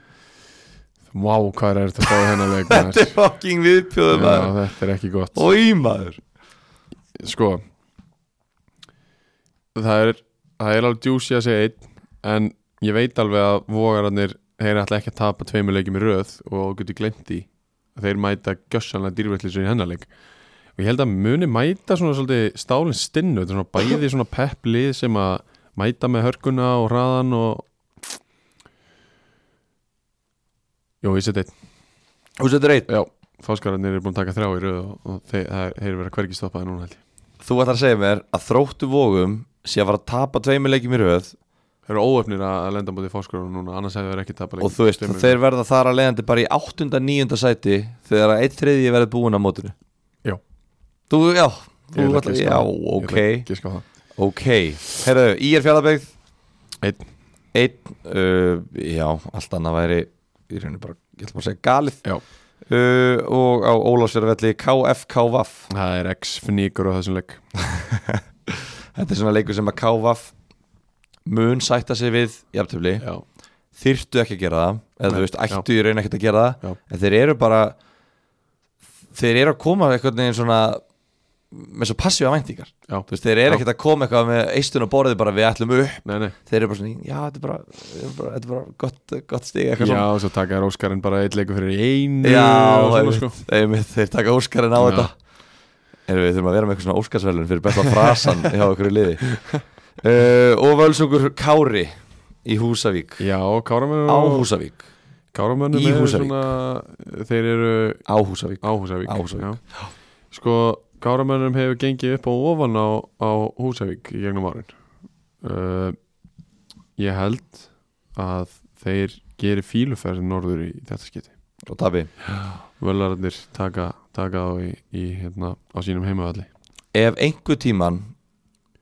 Speaker 1: Vá, hvað er þetta að fá hennar leik maður?
Speaker 2: Þetta er fucking viðbjóðum
Speaker 1: Já,
Speaker 2: maður
Speaker 1: þetta er ekki gott
Speaker 2: Og í maður
Speaker 1: Sko Það er, það er alveg djúsi að segja einn En ég veit alveg að vogararnir Þeir ætla ekki að tapa tveimur leikjum í röð Og getur glemt því Þeir mæta gjössanlega dýrvillisur í hennar leik Og ég held að muni mæta svona svolítið stálinn stinnu Þetta er svona bæði svona pepplið sem að mæta með hörkuna og hraðan og Jó, ég seti einn
Speaker 2: Þú setur einn,
Speaker 1: Já, fáskararnir eru búin að taka þrjá í röð og, og þeir, það er- þeir eru verið að hvergi stoppaði núna held ég
Speaker 2: þú ætlar að segja mér að þróttu vógum sé að fara að tapa tveimur leikjum í röð
Speaker 1: Þeir eru óöfnir að að lenda mútið fáskararnir núna annars hefur þeir ekki tapað
Speaker 2: og þú veist,
Speaker 1: Tveimur.
Speaker 2: þeir verða þar að leiðandi bara í 8. 9. sæti þegar að 1. þriðji verður búin á mótinu
Speaker 1: Já.
Speaker 2: Þú, já,
Speaker 1: Ég
Speaker 2: þú
Speaker 1: ætla
Speaker 2: ætlar,
Speaker 1: að giska
Speaker 2: já,
Speaker 1: á það. Ég
Speaker 2: ok
Speaker 1: ætla að giska á það.
Speaker 2: Ok, herðu, í er fjallabegð
Speaker 1: Einn.
Speaker 2: Einn, uh, já, allt annað væri í rauninu bara, ég ætla bara að segja galið
Speaker 1: Já.
Speaker 2: uh, og á Ólásjörvelli KFKVaf
Speaker 1: Það er X fnýkur á þessum leik
Speaker 2: Þetta er svona leikur sem að KVaf mun sætta sig við jafntöfli,
Speaker 1: Já,
Speaker 2: þyrftu ekki að gera það eða
Speaker 1: Nei,
Speaker 2: þú veist,
Speaker 1: já.
Speaker 2: ættu í raun ekkert að gera það
Speaker 1: Já.
Speaker 2: en þeir eru bara þeir eru að koma eitthvað neginn svona með svo passífa væntingar
Speaker 1: já,
Speaker 2: Þú veist, þeir eru
Speaker 1: Já.
Speaker 2: ekkert að koma eitthvað með eistun og borðið bara við ætlum upp
Speaker 1: nei, nei
Speaker 2: þeir eru bara svona, já, þetta er bara, þetta er bara, þetta er bara gott, gott stig eitthvað
Speaker 1: Já, svo taka þær Óskarinn bara eitt leiku fyrir einu
Speaker 2: svona
Speaker 1: og
Speaker 2: já,
Speaker 1: svona,
Speaker 2: einmitt,
Speaker 1: sko.
Speaker 2: einmitt, þeir taka Óskarinn á
Speaker 1: Já.
Speaker 2: þetta Erum við þurfum að vera með eitthvað svona Óskarsverðlun fyrir besta frasan hjá okkur í liði uh, og völsungur Kári í Húsavík
Speaker 1: Já, Káramönnum
Speaker 2: á Húsavík,
Speaker 1: Káramönnum
Speaker 2: Í
Speaker 1: eru
Speaker 2: Húsavík.
Speaker 1: svona Þeir eru
Speaker 2: á Húsavík
Speaker 1: á Húsavík,
Speaker 2: Á Húsavík.
Speaker 1: Já. Sko, Káramönnum hefur gengið upp á ofan á, á Húsavík í gegnum árin uh, Ég held að þeir gerir fíluferð norður í þetta skiti
Speaker 2: og Tabi
Speaker 1: Völararnir taka, taka á, í, í, hérna, á sínum heimavalli
Speaker 2: ef einhver tíman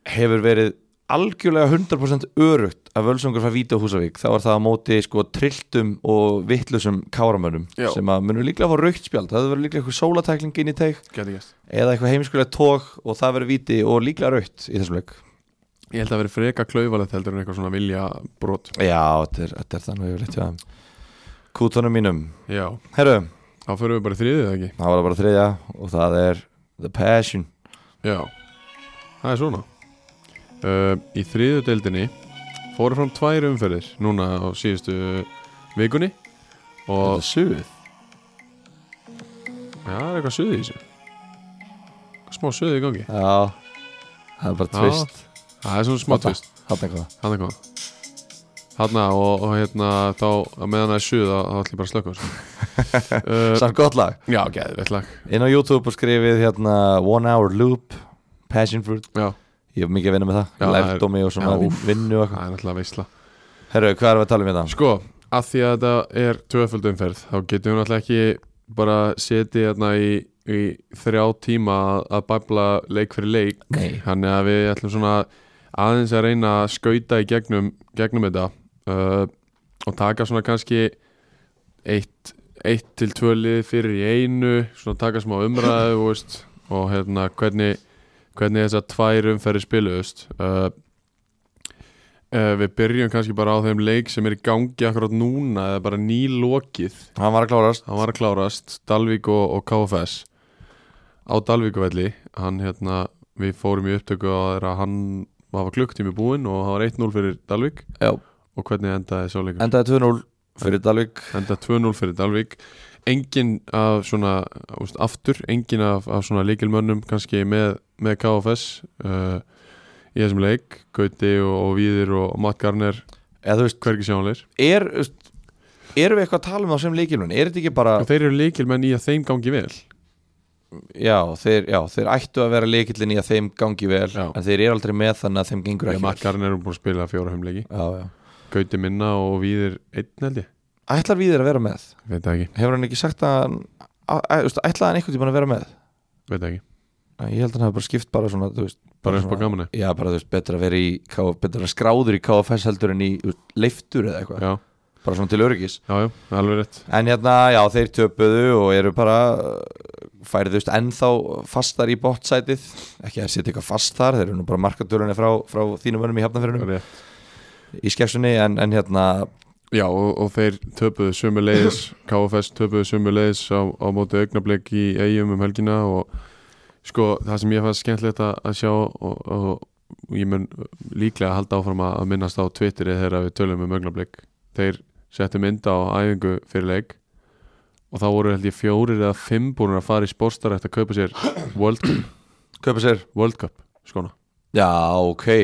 Speaker 2: hefur verið algjörlega 100% örugt að völsungur fær víti á Húsavík þá er það á móti sko trilltum og vittlusum káramönnum
Speaker 1: Já.
Speaker 2: sem að munur líklega fá raukt spjald það verður líklega eitthvað sólatækling inn í teik
Speaker 1: Gæti gæst
Speaker 2: eða eitthvað heimskulega tók og það verður víti og líklega raukt í þessum leik
Speaker 1: Ég held að vera freka klauvalegt heldur en eitthvað svona vilja brot
Speaker 2: Já, þetta er, þetta er þannig yfirleitt hjá þeim Kútonum mínum
Speaker 1: Já,
Speaker 2: Herru,
Speaker 1: þá förum við bara í þriðið eða ekki
Speaker 2: það var það bara þriðja og það er The Passion
Speaker 1: Já, það er svona uh, Í þriðu deildinni fóru fram tvær umferðir núna á síðustu vikunni
Speaker 2: Þetta
Speaker 1: og
Speaker 2: er suð
Speaker 1: já, það er eitthvað suðið í þessu smá suðið í gangi
Speaker 2: Já, það er bara
Speaker 1: Já,
Speaker 2: tvist
Speaker 1: það er svona smá
Speaker 2: Þarna.
Speaker 1: tvist
Speaker 2: Þarna hvað
Speaker 1: hann er hvað Hanna og, og hérna þá á meðan það er suð þá þá ætlum ég bara að slökka á þessu. uh,
Speaker 2: Samt gott lag
Speaker 1: Já, geðveitt lag
Speaker 2: inn á YouTube og skrifið hérna One Hour Loop, Passion Fruit
Speaker 1: Já,
Speaker 2: ég hef mikið að vinna með það,
Speaker 1: Já,
Speaker 2: ég
Speaker 1: það er-
Speaker 2: lært domi og svona
Speaker 1: já,
Speaker 2: vin-
Speaker 1: úff.
Speaker 2: vinnu og
Speaker 1: það
Speaker 2: eitthvað
Speaker 1: er náttúrulega veisla
Speaker 2: Herru, hvað erum við að tala um þetta?
Speaker 1: Sko, að því að þetta er tvöföldumferð þá getum við náttúrulega ekki bara setið hérna í, í þrjá tíma að- að bæbla leik fyrir leik
Speaker 2: Nei.
Speaker 1: þannig að við ætlum svona aðeins að reyna að skauta í gegnum, gegnum þetta uh, og taka svona kannski eitt, eitt til tvö lið fyrir í einu svona taka smá umræðu þú veist, og hérna hvernig hvernig þessar tvær umferði spiluðust uh, uh, við byrjum kannski bara á þeim leik sem er í gangi akkurat núna eða bara nýlokið
Speaker 2: Hann var að klárast
Speaker 1: hann var að klárast, Dalvík og, og KFS á Dalvíkuvelli hann hérna, við fórum í upptöku að það er að hann það var klukktími búinn og það var 1-0 fyrir Dalvík
Speaker 2: Já.
Speaker 1: og hvernig endaði svo leikur?
Speaker 2: endaði 2-0 fyrir Dalvik
Speaker 1: enda 2-0 fyrir Dalvik engin af svona úst, aftur, engin af, af svona líkilmönnum kannski með, með KFS uh, í þessum leik Gauti og, og Víðir og Matt Garner
Speaker 2: eða þú veist,
Speaker 1: hvergi sjáanleir
Speaker 2: er þú veist, erum við eitthvað að tala um það sem leikilun er þetta ekki bara,
Speaker 1: og þeir eru líkilmenn í að þeim gangi vel
Speaker 2: já þeir, já, þeir ættu að vera leikilin í að þeim gangi vel
Speaker 1: Já.
Speaker 2: en þeir eru aldrei með þannig að þeim gengur
Speaker 1: Ég,
Speaker 2: ekki
Speaker 1: Matt
Speaker 2: vel
Speaker 1: Garner er búin að spila fjóra heimleiki
Speaker 2: já, já.
Speaker 1: Gauti minna og Víðir einn held ég,
Speaker 2: Ætlar við að vera með?
Speaker 1: veit það ekki,
Speaker 2: Hefur hann ekki sagt að hann að- að- þú veist, ætlaði hann einhvern tímann að vera með?
Speaker 1: veit það ekki
Speaker 2: Æ, Ég held að hann hafi bara skipt bara svona, þú veist
Speaker 1: bara upp á
Speaker 2: svona-
Speaker 1: gamani
Speaker 2: Já, bara þú veist, betra að vera í K- betra að vera skráður í KFS heldur en í leiftur eða eitthvað
Speaker 1: já,
Speaker 2: bara svona til öryggis
Speaker 1: já, já, það er alveg rétt
Speaker 2: En hérna, já, þeir töpuðu og eru bara uh, færðust ennþá fastar í bottsætið ekki að setja eitthvað fast þar, þeir eru nú bara markatölunni frá, frá þínum önum í hafnafyrinum
Speaker 1: rétt.
Speaker 2: í skefsunni, en, en hérna
Speaker 1: Já, og, og þeir töpuðu sömuleiðis KFS töpuðu sömuleiðis á, á móti augnablik í eigum um helgina og sko, það sem ég fannst skemmtilegt að, að sjá og, og, og ég mun líklega halda áfram að að minnast á Twitterið þegar við tölum um augnablik þeir settu mynda á æfingu fyrir leik og þá voru held ég fjórir eða fimm búin að fara í spórstar eftir að kaupa sér World,
Speaker 2: kaupa sér
Speaker 1: World Cup sko. skona.
Speaker 2: Já, ok,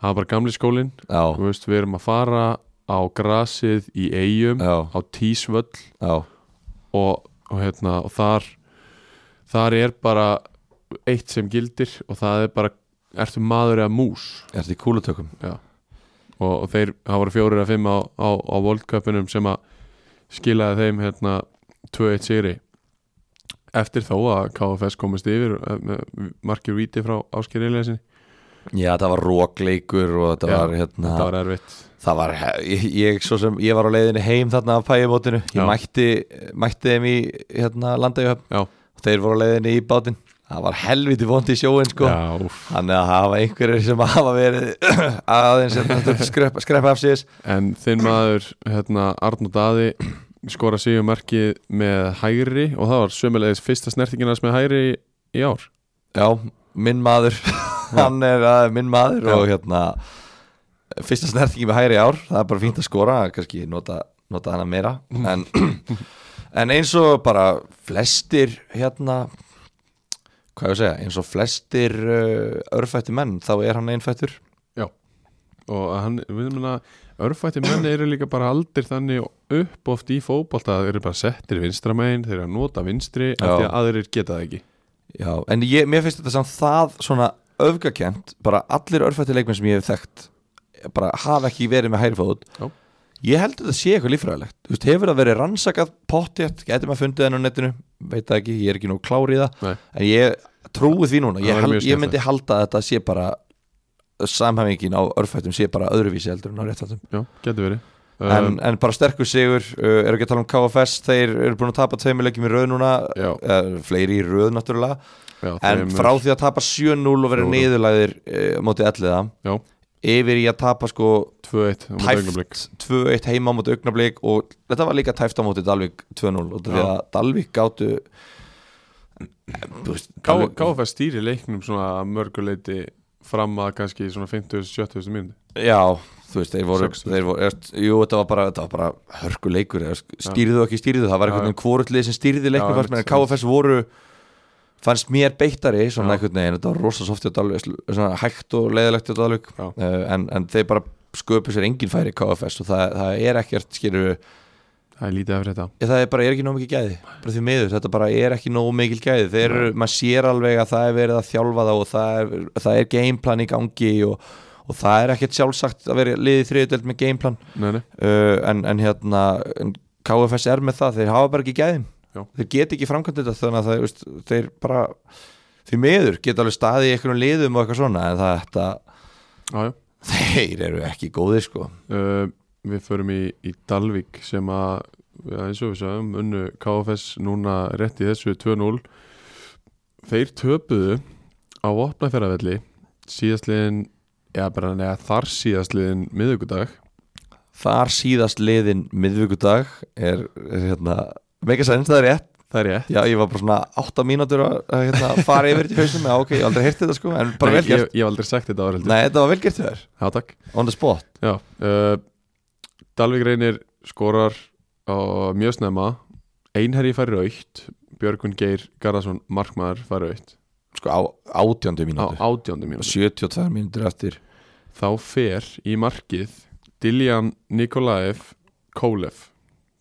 Speaker 1: Það var bara gamli skólinn
Speaker 2: já,
Speaker 1: Þú veist, við erum að fara á grasið í eigum
Speaker 2: já,
Speaker 1: á tísvöll
Speaker 2: já
Speaker 1: og, og, hérna, og þar þar er bara eitt sem gildir og það er bara ertu maður eða mús
Speaker 2: Er þetta í kúlutökum?
Speaker 1: og, og þeir hafa voru fjórir að fimm á, á, á World Cupinum sem að skilaði þeim hérna 2-1 sigri eftir þó að KFS komist yfir eh, með markið víti frá Ásker Eliasson
Speaker 2: Já, það var rókleikur og þetta
Speaker 1: Já,
Speaker 2: var hérna
Speaker 1: þetta var erfitt
Speaker 2: það var, ég, ég, svo sem, ég var á leiðinni heim þarna af pæjumótinu ég
Speaker 1: Já.
Speaker 2: mætti, mætti þeim í hérna,
Speaker 1: Já.
Speaker 2: landaðjöfn þeir voru á leiðinni í bátinn það var helviti vond í sjóin sko
Speaker 1: Já, úff.
Speaker 2: þannig að hafa einhverjir sem hafa verið aðeins hérna, skrepp, skrepp af síðis
Speaker 1: En þinn maður, hérna, Arnó Daði skora síðu markið með hægri og það var sömulegis fyrsta snertingin hans með hægri í ár
Speaker 2: já, minn maður hann er uh, minn maður
Speaker 1: Já.
Speaker 2: og hérna fyrsta snertingi með hægri í ár það er bara fínt að skora, kannski nota, nota hana meira en, en eins og bara flestir hérna hvað ég að segja, eins og flestir uh, örfætti menn, þá er hann einfættur
Speaker 1: og að hann, við erum að örfætti menni eru líka bara aldir þannig upp oft í fótbolta að þeir eru bara settir vinstramegin, þeir eru að nota vinstri af
Speaker 2: Já.
Speaker 1: því að aðrir geta það ekki
Speaker 2: já, en ég, mér finnst þetta samt það svona öfgakent, bara allir örfætti leikmenn sem ég hef þekkt eh, bara hafa ekki verið með hægri fót
Speaker 1: Já.
Speaker 2: ég held að þetta sé eitthvað líffræðilegt Þú veist, hefur það verið rannsakað pottjætt getur maður fundið henn á netinu, veit það ekki ég er ekki nú klár í það,
Speaker 1: Nei.
Speaker 2: en ég trúi því núna,
Speaker 1: Það
Speaker 2: ég,
Speaker 1: væri
Speaker 2: hal,
Speaker 1: mjög
Speaker 2: ég myndi halda að þetta sé bara samhæfingin á örfættum sé bara öðruvísi heldur en á réttfættum
Speaker 1: Já, getur verið Um,
Speaker 2: en, en bara sterkur sigur, uh, eru ekki að tala um KFS þeir eru búin að tapa tveimur leikjum í röð núna
Speaker 1: já,
Speaker 2: uh, fleiri í röð náttúrulega
Speaker 1: já,
Speaker 2: en
Speaker 1: þeim-
Speaker 2: frá því að tapa 7-0 og verið
Speaker 1: Fjórum.
Speaker 2: niðurlæðir uh, mótið elliða
Speaker 1: Já.
Speaker 2: yfir í að tapa sko
Speaker 1: 2-1 á móti um augnablik.
Speaker 2: tæft 2-1 heima á móti augnablik og þetta var líka tæft á móti Dalvik 2-0 og því
Speaker 1: Já.
Speaker 2: að Dalvik gáttu Þú veist,
Speaker 1: K-
Speaker 2: Dalvík-
Speaker 1: KFS stýri leiknum svona að mörguleiti fram að kannski svona 50-70 mínúti
Speaker 2: já, þú veist, þeir voru,
Speaker 1: Sex, þú veist.
Speaker 2: þeir voru er, jú, þetta var bara, þetta var bara hörkuleikur eða sk- stýrðu og ekki stýrðu, það var
Speaker 1: Já,
Speaker 2: einhvern veginn kvorullið sem stýrði
Speaker 1: Já,
Speaker 2: leiknum fannst mér, en
Speaker 1: einmitt,
Speaker 2: KFS voru fannst mér beittari, svona
Speaker 1: Já.
Speaker 2: einhvern veginn þetta var rosa softi á Dalvik, svona hægt og leiðilegt á Dalvik
Speaker 1: Já.
Speaker 2: uh, en, en þeir bara sköpu sér engin færi í KFS og það, það er ekkert, skilur við
Speaker 1: Það er lítið af þetta
Speaker 2: Ég, það er bara er ekki nóg mikil gæði bara því miður, þetta bara er ekki nóg mikil gæði þeir eru, maður sér alveg að það er verið að þjálfa þá og það er, það er gameplan í gangi og, og það er ekkert sjálfsagt að vera liðið þriðutöld með gameplan uh,
Speaker 1: Nei, nei
Speaker 2: en, en hérna en KFS er með það, þeir hafa bara ekki gæðin
Speaker 1: Já.
Speaker 2: þeir geta ekki framkvæmt þetta þannig að það, veist, þeir bara því miður geta alveg staðið í einhvern liðum og eitthvað svona en það, þetta,
Speaker 1: Já, já.
Speaker 2: þeir eru ekki góðir sko
Speaker 1: Uh, við förum í, í Dalvík sem að, ja, eins og við sagðum, unnu KFS núna rétt í þessu 2-0. Þeir töpuðu á opnafjarafelli síðastliðin, já bara neða þar síðastliðin miðugudag.
Speaker 2: þar síðast liðin miðvíkudag er, er hérna, mega sæns það er rétt
Speaker 1: Það er ég.
Speaker 2: Já, ég var bara svona 8 mínútur að að, hérna, fara yfir þetta í hausnum, já ok, ég hef aldrei heyrti þetta sko, en bara
Speaker 1: Nei,
Speaker 2: vel gert.
Speaker 1: Ég, ég hef aldrei sagt þetta ára heldur.
Speaker 2: Nei, þetta var vel gert hjá þér,
Speaker 1: Já, takk.
Speaker 2: on the spot.
Speaker 1: Já, uh, Dalvík reynir skorar á mjög snemma, einherji fær raukt, Björgun Geir Garðarsson Markmaður fær raukt
Speaker 2: Sko, á
Speaker 1: á
Speaker 2: 18 mínútur,
Speaker 1: átjóndu mínútu.
Speaker 2: 72 mínútur eftir.
Speaker 1: þá fer í markið Diljan Nikolaev Kolev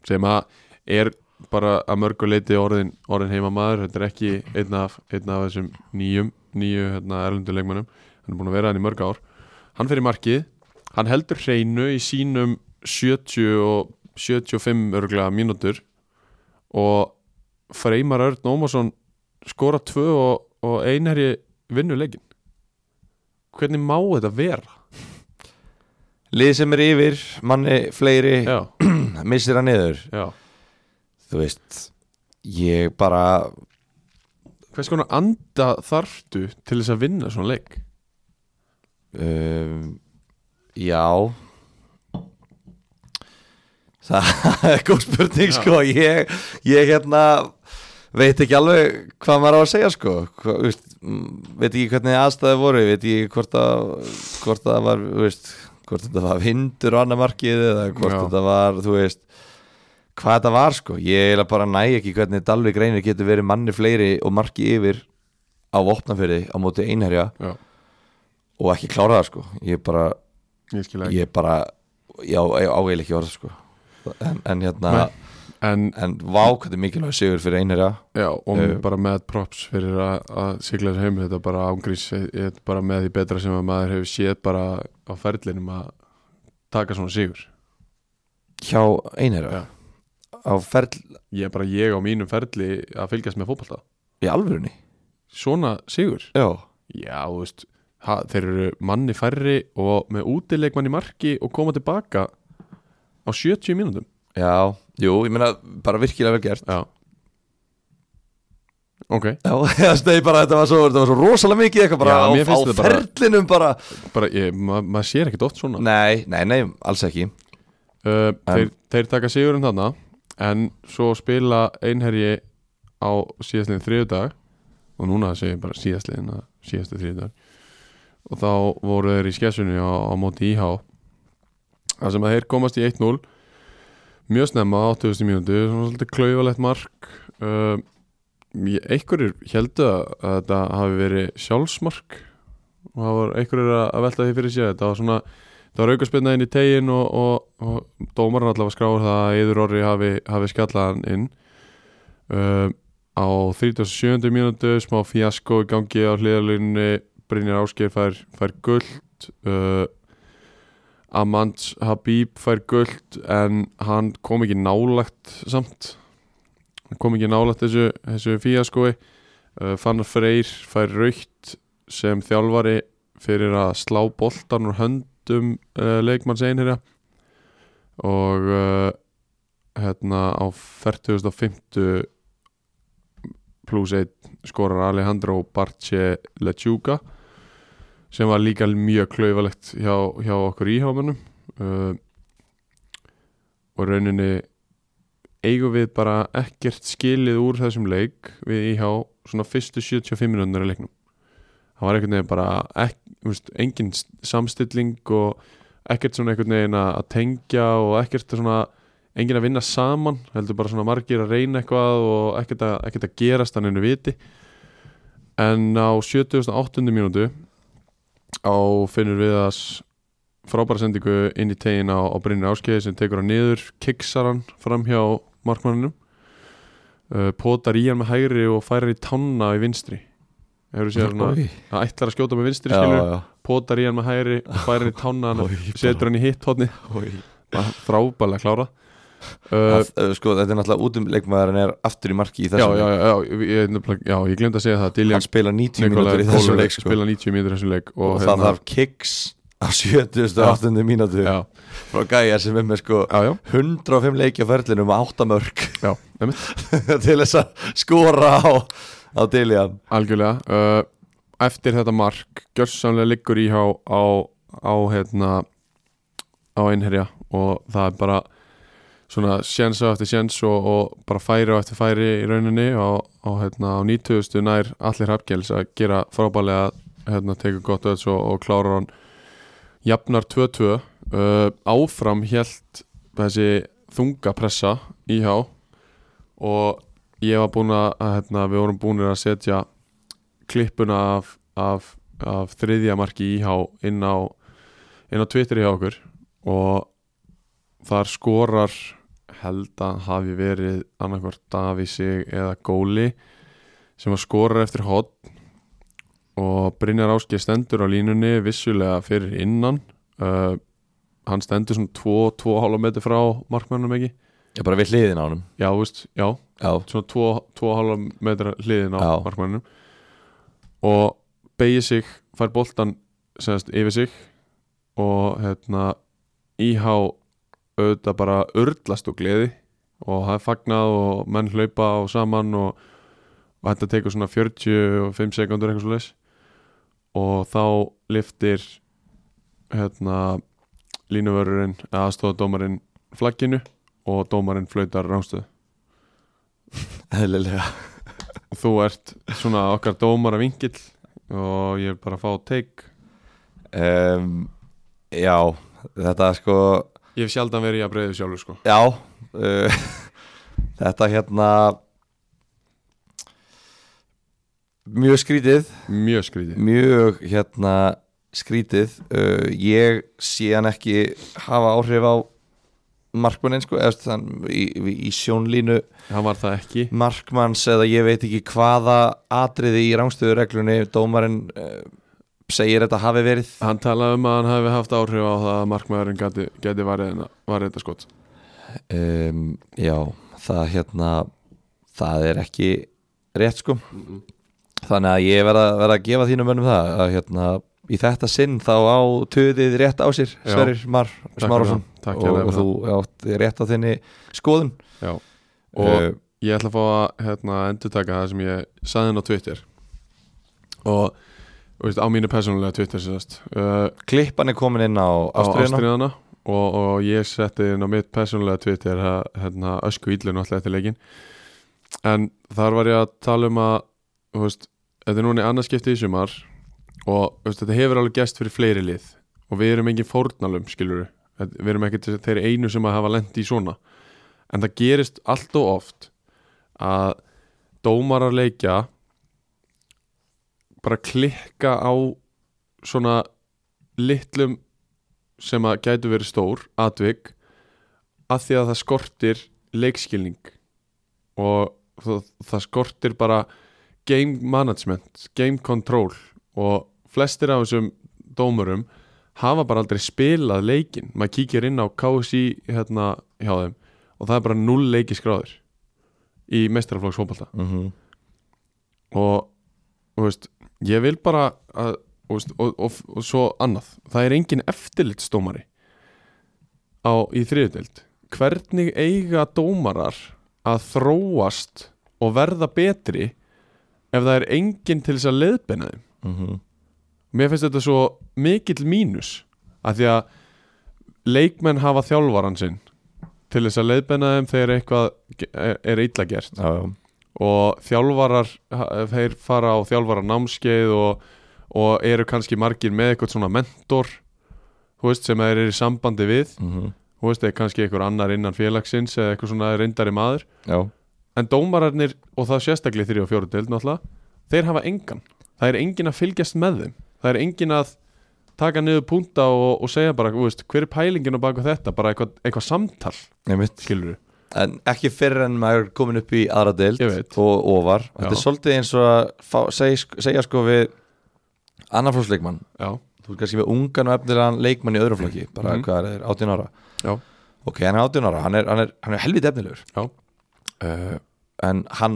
Speaker 1: sem að er bara að mörgu leiti orðin, orðin heima maður þetta er ekki einn af, einn af þessum nýjum nýju hérna, erlenduleikmannum hann er búin að vera hann í mörg ár hann fer í markið, hann heldur hreinu í sínum 70 og 75 örglega mínútur og Freymar Örn Ómarsson skora tvö og, og einherji vinnu leikin hvernig má þetta vera?
Speaker 2: Lið sem er yfir, manni fleiri,
Speaker 1: Já,
Speaker 2: missir hann niður
Speaker 1: já
Speaker 2: þú veist ég bara,
Speaker 1: Hvers konar anda þarftu til þess að vinna svona leik?
Speaker 2: um, já það er góð spurning sko, ég, ég hérna veit ekki alveg hvað maður á að segja sko, Hva, þú veist, mm, veit ekki hvernig aðstæði voru, veit ekki hvort að hvort að það var, þú veist hvort þetta var vindur og annað markið eða hvort
Speaker 1: Já.
Speaker 2: þetta var, þú veist hvað þetta var sko, ég eiginlega bara næ ekki hvernig Dalvik reynir getur verið manni fleiri og marki yfir á opnafyrði á móti einherja
Speaker 1: Já,
Speaker 2: og ekki klára það sko ég bara,
Speaker 1: ég skil ekki
Speaker 2: ég bara já, ég áeil ekki orð sko en, en hérna,
Speaker 1: Nei. En,
Speaker 2: en vá hvað þetta er mikilvæg sigur fyrir einherja
Speaker 1: já, og
Speaker 2: Eh.
Speaker 1: bara með props fyrir að, að sigla þessu heim þetta bara ángrís, ég ég er bara með því betra sem að maður hefur séð bara á ferlinum að taka svona sigur
Speaker 2: hjá einherja
Speaker 1: Já.
Speaker 2: á ferl,
Speaker 1: Ég er bara ég á mínum ferli að fylgjast með fótballta
Speaker 2: í alvörunni
Speaker 1: Svona sigur
Speaker 2: já,
Speaker 1: Já, þú veist, ha, þeir eru manni færri og með útileikmann í marki og koma tilbaka á 70 mínútum
Speaker 2: já, jú, ég meina bara virkilega vel gert
Speaker 1: Já Ok,
Speaker 2: já, það stegi bara, þetta var svo, þetta var svo rosalega mikið eitthvað bara
Speaker 1: Já,
Speaker 2: á,
Speaker 1: mér
Speaker 2: á
Speaker 1: finnst þetta bara-
Speaker 2: ferlinum bara,
Speaker 1: bara ég, ma maður sér ekkert oft svona
Speaker 2: nei, nei, nei, alls ekki
Speaker 1: Uh,
Speaker 2: En-
Speaker 1: þeir, þeir taka sigurinn þarna en svo spila einherji á síðastliðin þriðudag og núna segjum bara síðastliðin að síðastu þriðudag og þá voru þeir í skessunni á, á móti íhá þar sem að þeir komast í 1-0 mjög snemma á 8000 mínútu svona svolítið klaufalegt mark uh, ég- einhverjir heldu að að þetta hafi verið sjálfsmark og það var einhverjir að að velta því fyrir sér þetta var svona Það var aukarspilna inn í tegin og, og, og dómarinn allavega skráður það að Eður Orri hafi, hafi skallað hann inn uh, á 37. mínútu smá fjasko í gangi á hliðalunni Brynjar Ásgeir fær, fær guld uh, Amand Habib fær guld en hann kom ekki nálagt samt hann kom ekki nálagt þessu, þessu fjaskoi uh, Fannar Freyr fær raukt sem þjálfari fyrir að slá boltan úr höndum uh, leikmanns einherja og uh, hérna á 40.50 plus 1 skorar Alejandro Barche Lechuga sem var líka mjög klaufalegt hjá, hjá okkur íhámanum uh, og rauninni eigum við bara ekkert skilið úr þessum leik við íhá svona fyrstu 75 minútur í leiknum það var einhvern veginn bara ek, þú veist, engin s- samstilling og ekkert svona einhvern veginn að að tengja og ekkert svona engin að vinna saman, heldur bara svona margir að reyna eitthvað og ekkert að, ekkert að gerast hann einu viti en á 78. mínútu á finnur við að s- frábæra sendingu inn í tegin á, á Brynni Áskeiði sem tekur hann niður, kiksar hann fram hjá markmanninum uh, potar í hann með hægri og færir í tanna í vinstri hefur þú séð svona
Speaker 2: Oj.
Speaker 1: Það ætlar að skjóta með vinstri
Speaker 2: já,
Speaker 1: hérna, skilur
Speaker 2: já,
Speaker 1: Potar í hann með hægri, færir í tánna hann
Speaker 2: Oj, bara-
Speaker 1: Setur hann í hitt hótni
Speaker 2: Oj.
Speaker 1: Frábælega klára uh,
Speaker 2: Það, uh, sko, þetta er náttúrulega út um leikmaðurinn er aftur í marki í
Speaker 1: já,
Speaker 2: þessum
Speaker 1: já,
Speaker 2: leik.
Speaker 1: já, já, ég, nefnilega- já, ég glemt að segja það
Speaker 2: hann
Speaker 1: Diljan
Speaker 2: spila 90
Speaker 1: Nikolaj
Speaker 2: mínútur í þessum
Speaker 1: Kólur
Speaker 2: leik sko.
Speaker 1: spila 90 mínútur í þessum leik
Speaker 2: og, hérna-
Speaker 1: Og, hérna-
Speaker 2: það þarf kicks á 78. mínútu
Speaker 1: Já,
Speaker 2: frá gæja sem er með sko
Speaker 1: já, já,
Speaker 2: 105 leikja ferlinum og 8 mörg
Speaker 1: já nefnir.
Speaker 2: til þess að skora á, á Diljan
Speaker 1: Algjörlega uh, Eftir þetta mark Gjörsamlega liggur íhá á, á hérna á einherja og það er bara svona sjensa eftir sjens og, og bara færi á eftir færi í rauninni og, og hérna á 90. nær allir hafgels að gera frábælega hérna tekur gott öðs og, og klárar hann jafnar 2-2 uh, áfram hjælt þessi þungapressa íhá og ég var búinn að að, hérna, við vorum búinir að setja klippuna af, af, af þriðja marki íhá inn á inn á Twitter hjá okkur og þar skorar held að hafi verið annarkvort Davísi eða Góli sem að skorar eftir hot og Brynjar Áskei stendur á línunni vissulega fyrir innan uh, hann stendur svona 2-2,5 metri frá markmannum ekki
Speaker 2: ég bara við hliðin á hann
Speaker 1: já, þú veist, já,
Speaker 2: já,
Speaker 1: svona 2,5 metra hliðin á
Speaker 2: Já.
Speaker 1: markmannum og beigir sig, fær boltan semast yfir sig og hérna íhá auðvitað bara urðlast og gleði og það er fagnað og menn hlaupa og saman og, og þetta tekur svona 45 sekundur eitthvað svo leis og þá liftir hérna línuvörurinn eða aðstofa dómarinn flagginu og dómarinn flautar ránstöð
Speaker 2: eðlilega
Speaker 1: og þú ert svona okkar dómara vingill og ég vil bara fá teik
Speaker 2: um, Já, þetta er sko
Speaker 1: ég hef sjaldan verið í að breyðu sjálfur sko
Speaker 2: Já uh, Þetta hérna Mjög skrítið
Speaker 1: mjög skrítið
Speaker 2: Mjög hérna skrítið uh, Ég sé hann ekki hafa áhrif á markmannin sko eða þú veist, hann í, í sjónlínu
Speaker 1: hann var það ekki
Speaker 2: markmanns eða ég veit ekki hvaða atriði í rángstöðureglunni dómarinn uh, segir þetta hafi verið
Speaker 1: Hann talaði um að hann hefði haft áhrif á það að markmaðurinn geti, geti varðið varðið þetta skot
Speaker 2: um, já, það hérna það er ekki rétt sko
Speaker 1: Mhm.
Speaker 2: þannig að ég verða verð að gefa þínum mönnum það að hérna í þetta sinn þá á töðið rétt á sér
Speaker 1: Já.
Speaker 2: Sverrir Mar
Speaker 1: Takk fyrir
Speaker 2: Smárásson
Speaker 1: það. Takk
Speaker 2: og,
Speaker 1: hérlega
Speaker 2: og
Speaker 1: fyrir
Speaker 2: þú átt rétt á þinni skoðun
Speaker 1: Já. Og
Speaker 2: Eh,
Speaker 1: ég ætla að fá að hérna, endurtaka það sem ég saði hann á Twitter og þú veist, á mínu persónulega Twitter síðast uh,
Speaker 2: klippan er komin inn á
Speaker 1: á
Speaker 2: ástriðuna
Speaker 1: Ástriðana og, og ég setti inn á mitt persónulega Twitter að, hérna, ösku íllu náttúrulega eftir leikin en þar var ég að tala um að þú veist, þetta er núna í annarskipti í sumar og þú veist, þetta hefur alveg gæst fyrir fleiri lið og við erum engin fórnalum skilur við erum ekki þeir einu sem að hafa lendi í svona en það gerist allt og oft að dómarar leikja bara klikka á svona litlum sem að gætu verið stór atvik að því að það skortir leikskilning og það, það skortir bara game management, game control og flestir af þessum dómurum hafa bara aldrei spilað leikin, maður kíkir inn á KSI hérna hjá þeim og það er bara null leiki skráður í meistaraflokks fótbalta
Speaker 2: mm
Speaker 1: og þú veist, ég vil bara að, þú veist, og, og, og, svo annað það er engin eftirlitsdómari á, í þriðudeld hvernig eiga dómarar að þróast og verða betri ef það er engin til þess að leiðbeina þeim
Speaker 2: mhm.
Speaker 1: mér finnst þetta svo mikill mínus af því að leikmenn hafa þjálfaran sinn til þess að leiðbeina þeim þegar eitthvað ge- er- er illa gert
Speaker 2: já, já.
Speaker 1: og þjálfarar ha- þeir fara á þjálfarar námskeið og, og eru kannski margir með eitthvað svona mentor þú veist, sem þeir eru í sambandi við
Speaker 2: Mm
Speaker 1: þú veist, eða kannski einhver annar innan félagsins eða eitthvað svona reyndari maður
Speaker 2: já.
Speaker 1: en dómararnir, og það sérstaklega þrjá og fjóru deild náttúrulega, þeir hafa engan það er engin að fylgjast með þeim það er engin að taka niður púnta og, og segja bara, þú veist, hver er pælingin á baku þetta, bara eitthvað, eitthvað samtal
Speaker 2: Einmitt.
Speaker 1: skilur
Speaker 2: en ekki fyrr en maður er komin upp í aðra deild
Speaker 1: Ég veit.
Speaker 2: og ofar þetta
Speaker 1: Já.
Speaker 2: er svolítið eins og að fá, seg, segja sko við annar flóksleikmann
Speaker 1: já,
Speaker 2: þú er kannski með ungan og efnilegan leikmann í öðrum flokki bara
Speaker 1: Mhm.
Speaker 2: hvað er, er 18 ára
Speaker 1: já,
Speaker 2: ok, hann er 18 ára, hann er, hann er, hann er helviti efnilegur
Speaker 1: já,
Speaker 2: uh, en hann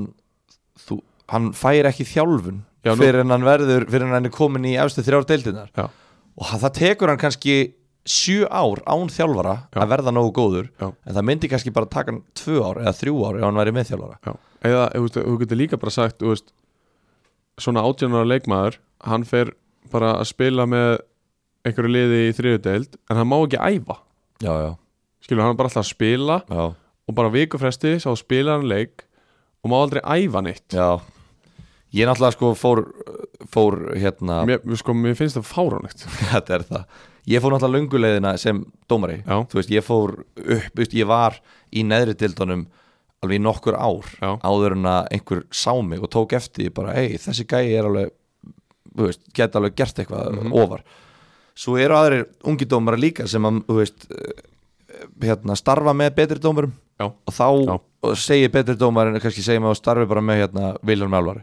Speaker 2: þú, hann fær ekki þjálfun
Speaker 1: Já, nú-
Speaker 2: fyrir en hann verður, fyrir en hann er komin í efstu þrjár deildinnar
Speaker 1: já,
Speaker 2: og hann- það tekur hann kannski sjö ár án þjálfara
Speaker 1: Já.
Speaker 2: að verða nógu góður
Speaker 1: Já.
Speaker 2: en það myndi kannski bara taka hann tvö ár eða þrjú ár ef hann væri með þjálfara
Speaker 1: Já. eða þú veist, þú getur líka bara sagt þú veist, svona 18 ára leikmaður hann fer bara að spila með einhverju liði í þriðudeild en hann má ekki æfa
Speaker 2: já, já,
Speaker 1: skilur hann er bara alltaf að spila
Speaker 2: já
Speaker 1: og bara vikufresti sá spila hann leik og má aldrei æfa neitt
Speaker 2: Já Ég náttúrulega sko fór, fór hérna,
Speaker 1: mér, sko, mér finnst það fáránlegt
Speaker 2: þetta er það Ég fór náttúrulega lönguleiðina sem dómari
Speaker 1: Já.
Speaker 2: Þú veist, ég fór upp, veist, ég var í neðri dildunum alveg í nokkur ár
Speaker 1: Já.
Speaker 2: áður en að einhver sá mig og tók eftir því bara, ei, þessi gæi er alveg þú veist, geta alveg gert eitthvað
Speaker 1: Mhm.
Speaker 2: ofar Svo eru aðrir ungi dómara líka sem að, þú veist eh, hérna, starfa með betri dómarum
Speaker 1: já,
Speaker 2: og þá
Speaker 1: Já.
Speaker 2: og segir betri dómar en kannski segir maður að starfi bara með hérna Vilhelm Álvar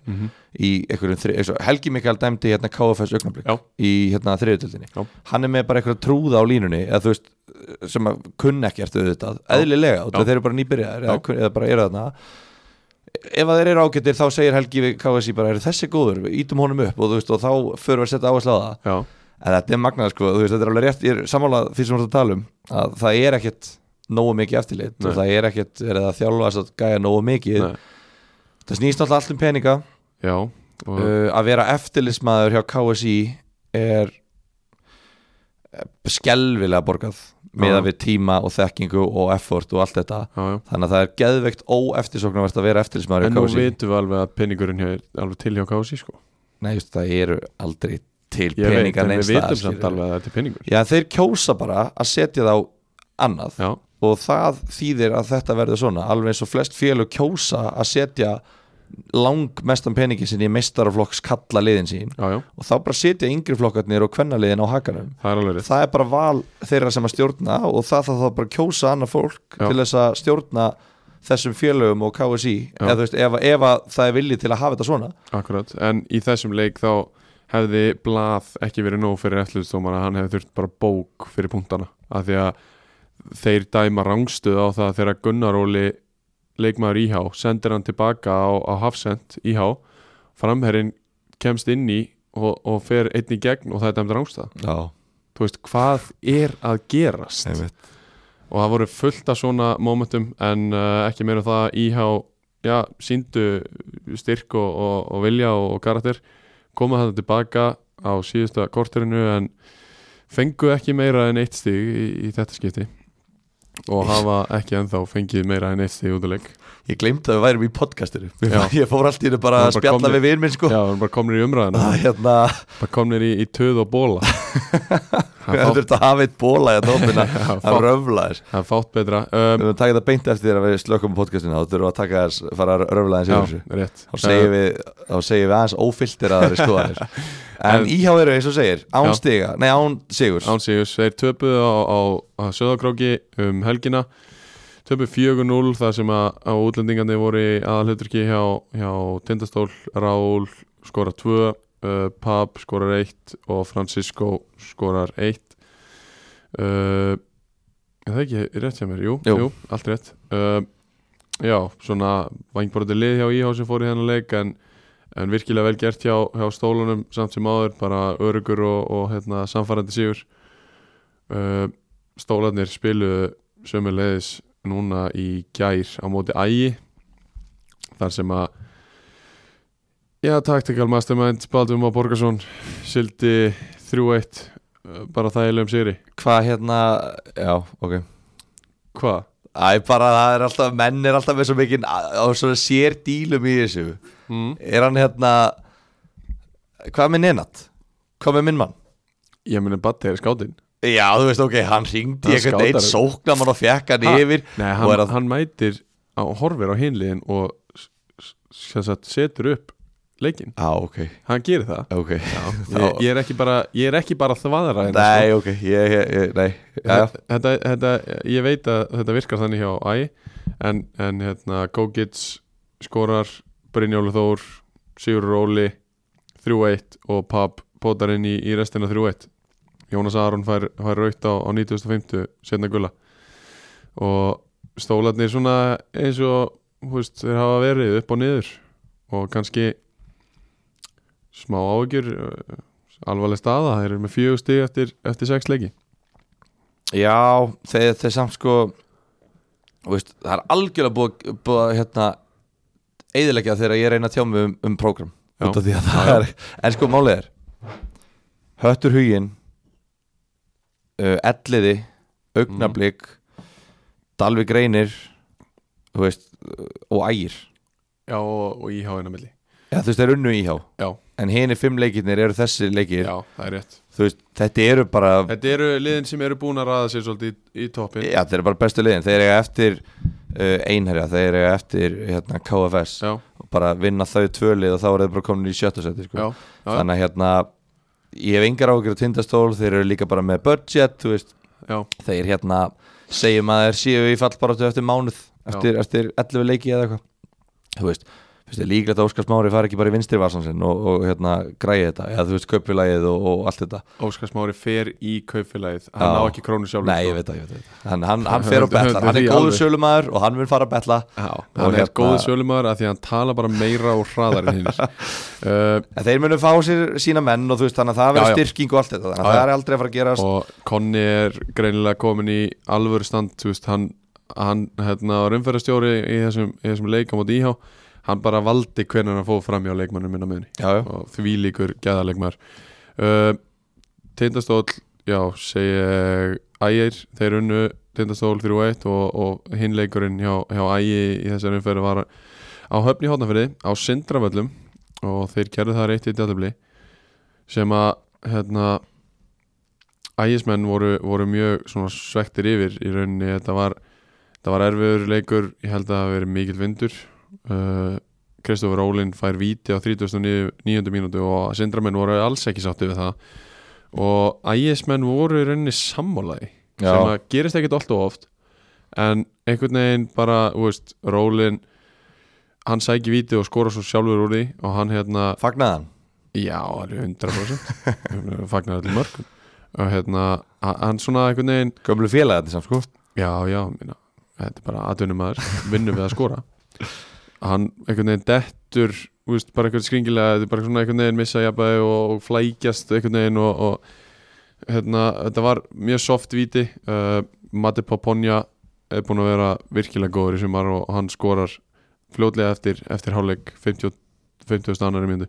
Speaker 2: í einhverjum þri, eins og Helgi Mikael dæmdi hérna KFS augnablik
Speaker 1: Já.
Speaker 2: í hérna þriðutöldinni
Speaker 1: Já.
Speaker 2: hann er með bara einhverja trúða á línunni eða þú veist, sem að kunna ekkert auðvitað, eðlilega, og
Speaker 1: Já.
Speaker 2: þeir eru bara nýbyrjaðir eða, kun- eða bara eru þarna ef að þeir eru ágættir þá segir Helgi við KFS bara eru þessi góður, við ítum honum upp og þú veist, og þá förum við að setja áherslu á það
Speaker 1: já,
Speaker 2: en þetta er magnað sko, þú veist, þetta er alveg rétt ég er sammálað því sem við erum að tala um að það er ekkert nógu mikið eftirlit
Speaker 1: Nei.
Speaker 2: og það er ekkert, er það að þjálfa þess að gæja nógu mikið
Speaker 1: Nei.
Speaker 2: það snýst náttúrulega allt um peninga
Speaker 1: Já og,
Speaker 2: uh, að vera eftirlitsmaður hjá KSI er eh, skelfilega borgað með að við tíma og þekkingu og effort og allt þetta
Speaker 1: já, já.
Speaker 2: þannig að það er geðveikt óeftirsóknarvert að vera eftirlitsmaður
Speaker 1: En nú
Speaker 2: hjá KSI
Speaker 1: vitum við alveg að peningurinn hjá, alveg til hjá KSI sko
Speaker 2: Nei, just, það eru aldrei til
Speaker 1: Ég veit,
Speaker 2: peningar
Speaker 1: en
Speaker 2: neins
Speaker 1: við
Speaker 2: staðar,
Speaker 1: vitum samt
Speaker 2: skilurðu.
Speaker 1: alveg að þetta er peningur
Speaker 2: Já, þeir kjósa bara að setja þá annað
Speaker 1: Já,
Speaker 2: og það þýðir að þetta verður svona alveg eins og flest félög kjósa að setja langmestan peningi sinni í meistaraflokks kalla liðin sín
Speaker 1: já, já,
Speaker 2: og þá bara setja yngri flokkarnir og kvennaliðin á hakanum
Speaker 1: það er alveg rétt
Speaker 2: það er bara val þeirra sem að stjórna og það þarf þá bara að kjósa annað fólk
Speaker 1: Já.
Speaker 2: til þess að stjórna þessum félögum og KSI
Speaker 1: Já.
Speaker 2: eða þú veist, ef, ef að það er vilji til að hafa þetta svona
Speaker 1: Akkurat, en í þessum leik þá hefði Blað ekki verið nóg fyrir ætluðstómar að hann hefði þurft bara bók fyrir punktana af því að þeir dæma rangstuð á það þegar Gunnar Óli leikmaður íhá sendir hann tilbaka á, á hafsend íhá framherrin kemst inn í og, og fer einn í gegn og það er dæmt rangstuð
Speaker 2: Já,
Speaker 1: þú veist, hvað er að gerast og það voru fullt af svona momentum en uh, ekki meira um það IH já, síndu styrk og, og, og vilja og, og karakter koma þetta tilbaka á síðusta korterinu en fengu ekki meira en eitt stig í, í þetta skipti og hafa ekki ennþá fengið meira en eitt stig út af leik
Speaker 2: Ég glemt að við værum í podcastinu
Speaker 1: Já.
Speaker 2: Ég fór allt í hennu bara
Speaker 1: Já,
Speaker 2: að
Speaker 1: bara
Speaker 2: spjalla
Speaker 1: komnir-
Speaker 2: við vinn minn sko
Speaker 1: Já, við erum bara komnir í umræðina
Speaker 2: að hérna,
Speaker 1: bara komnir í, í töð og bóla það er
Speaker 2: við höfum
Speaker 1: fátt,
Speaker 2: þurft að hafa eitt bóla hérna opina að
Speaker 1: fá-
Speaker 2: röfla þess
Speaker 1: það er fátt betra
Speaker 2: Við
Speaker 1: um,
Speaker 2: höfum takið það beint eftir þér að við slökum podcastinu þá þurfum við að taka þess, fara að röfla þess
Speaker 1: Já,
Speaker 2: yfir þessu
Speaker 1: rétt Eh,
Speaker 2: þá segjum við, þá segjum við aðeins ófylltir að það er skoðanir en íhá eru eins og segir, án
Speaker 1: Já.
Speaker 2: stiga nei án sigurs,
Speaker 1: Án Sigurs, þeir töpuðu á, á, á Söðakróki um helgina töpuðu 4-0 þar sem að, að útlendingandi voru í aðalhuturki hjá, hjá Tindastól, Rál skora 2, uh, Pab skorar 1 og Francisco skorar 1 uh, er það ekki rétt hjá mér, jú,
Speaker 2: Jú.
Speaker 1: allt rétt uh, já, svona vangborði lið hjá Íhá sem fór í hennar leik en en virkilega vel gert hjá, hjá stólunum samt sem áður, bara örugur og, og hérna, samfærandi sigur uh, stólarnir spiluðu sömulegis núna í gær á móti ægi þar sem að já, Tactical Mastermind Baldur Má Borgarsson sildi 3-1 uh, bara þægilegum sigri
Speaker 2: hvað hérna já, ok
Speaker 1: Hva?
Speaker 2: Æ, bara það er alltaf, menn er alltaf með svo mikinn á á svona sér dílum í þessu
Speaker 1: Mm.
Speaker 2: er hann hérna hvað með nenat hvað með minn mann
Speaker 1: Ég meni Batti er skátinn
Speaker 2: Já, þú veist, ok, hann ringdi
Speaker 1: Hann
Speaker 2: einhvern veginn
Speaker 1: skátar.
Speaker 2: sóknamann og fekk hann
Speaker 1: Ha?
Speaker 2: yfir
Speaker 1: Nei,
Speaker 2: og
Speaker 1: hann,
Speaker 2: er að,
Speaker 1: hann mætir á horfir á hinliðin og s- s- sem sagt, setur upp leikin,
Speaker 2: á, ok,
Speaker 1: hann gerir það
Speaker 2: ok
Speaker 1: ég, ég er ekki bara, ég er ekki bara þvaðra hérna, sko.
Speaker 2: Nei, ok, ég, ég, ég nei Já,
Speaker 1: þetta, þetta, þetta, ég veit að þetta virkar þannig hjá Æ en, en hérna, Gógits skorar Brynjólu Þór Sigur Róli 3-1 og Pab potar inn í, í restina 3-1 Jónas Aron fær, fær raut á, á 1950 setna gulla og stólarnir svona eins og þú veist, þeir hafa verið upp og niður og kannski smá ágjur alvarleg staða, þeir eru með fjögur stig eftir, eftir sex leiki
Speaker 2: já þeir, þeir samt sko þú veist, Það er algjörlega búið, að- búið að, hérna, eðilegja þegar ég reyna að tjá mig um, um prógram
Speaker 1: Já.
Speaker 2: út af því að það er En sko, málið er Höttur huginn uh, Elliði Augnablík Dalvi greinir þú veist, uh, og ægir
Speaker 1: Já, og, og íhá einu milli
Speaker 2: Já, þú veist, þeir unnu íhjá
Speaker 1: Já,
Speaker 2: En hini fimm leikirnir eru þessi leikir
Speaker 1: já, það er rétt
Speaker 2: Þú veist, þetta eru bara
Speaker 1: Þetta eru liðin sem eru búin að raða sér svolítið í, í toppin
Speaker 2: Já, þeir eru bara bestu liðin Þeir eru eftir uh, einherja Þeir eru eftir hérna, KFS
Speaker 1: Já,
Speaker 2: Og bara vinna þau tvölið og þá eru þeir bara komin í sjötta seti
Speaker 1: já,
Speaker 2: sko.
Speaker 1: já,
Speaker 2: Þannig að hérna Ég hef engar áhyggjur á tindastól Þeir eru líka bara með budget þú veist,
Speaker 1: já,
Speaker 2: Þeir hérna segjum að þeir séu í fallbaráttu eftir mánuð Eftir, eftir 11 leiki eða eitthvað Þú veist finnst þér líklegt að Óskars Mári fari ekki bara í vinstri vasan sinn og, og hérna græði þetta, eða þú veist kaupilagið og, og allt þetta
Speaker 1: Óskar Smári fer í kaupfélagið Hann
Speaker 2: Já.
Speaker 1: á ekki krónu sjálfur
Speaker 2: Nei,
Speaker 1: sko.
Speaker 2: ég veit það, ég veit það Hann, hann, hann fer og
Speaker 1: Höldum-
Speaker 2: betlar,
Speaker 1: höldum
Speaker 2: hann er
Speaker 1: því
Speaker 2: góður
Speaker 1: alveg.
Speaker 2: sölumæður og hann mun fara að betla
Speaker 1: Já,
Speaker 2: Og
Speaker 1: hann er
Speaker 2: hérna-
Speaker 1: góðu sölumæður af því að hann tala bara meira og hraðar en hinnir uh,
Speaker 2: En þeir munu fá sér sína menn og þú veist þannig að
Speaker 1: Já,
Speaker 2: það
Speaker 1: já.
Speaker 2: verður styrking og allt þetta þannig
Speaker 1: Já,
Speaker 2: að
Speaker 1: já.
Speaker 2: það er aldrei að fara að gerast
Speaker 1: og Konni er greinilega komin í alvöru stand þú veist, hann, hann hérna, var umferðarstjóri í þessum, í þessum leikum og díhá hann bara valdi hvernig hann fóð fram hjá leikmannum minna meðinni
Speaker 2: Já, já,
Speaker 1: og því líkur gæðarleikmar uh, Tindastóll já, segi ægir, þeir unnu Tindastóll 3-1 og, og hinn leikurinn hjá, hjá ægi í þessari umferð var á höfni hotnafyrði á Sindravöllum og þeir gerðu það reitt í djáttubli sem að hérna ægismenn voru, voru mjög svona svektir yfir í rauninni þetta var, þetta var erfiður leikur ég held að það hafi verið mikill vindur uh, Kristofur Rólin fær víti á 39. mínútu og sindramenn voru alls ekki sátti við það og ægismenn voru í rauninni sammálaði
Speaker 2: Já.
Speaker 1: sem að gerist ekkit alltaf oft en einhvern veginn bara þú veist, Rólin hann sækir víti og skora svo sjálfur úr því og hann hérna,
Speaker 2: fagnaðan
Speaker 1: já, alveg 100% fagnar allir mörgum og hérna, a- hann svona einhvern veginn
Speaker 2: Gömlu félagarnir samt sko
Speaker 1: Já, já, minna, þetta er bara atvinnum maður, vinnum við að skora Hann einhvern veginn dettur þú veist, bara einhvern skringilega, þetta er bara svona einhvern veginn missa jafnvægi og, og flækjast einhvern veginn og, og hérna, þetta var mjög soft víti uh, Matti Poponja er búin að vera virkilega góður í sumar og hann skorar fljótlega eftir, eftir hálfleik 50, 50. annari myndu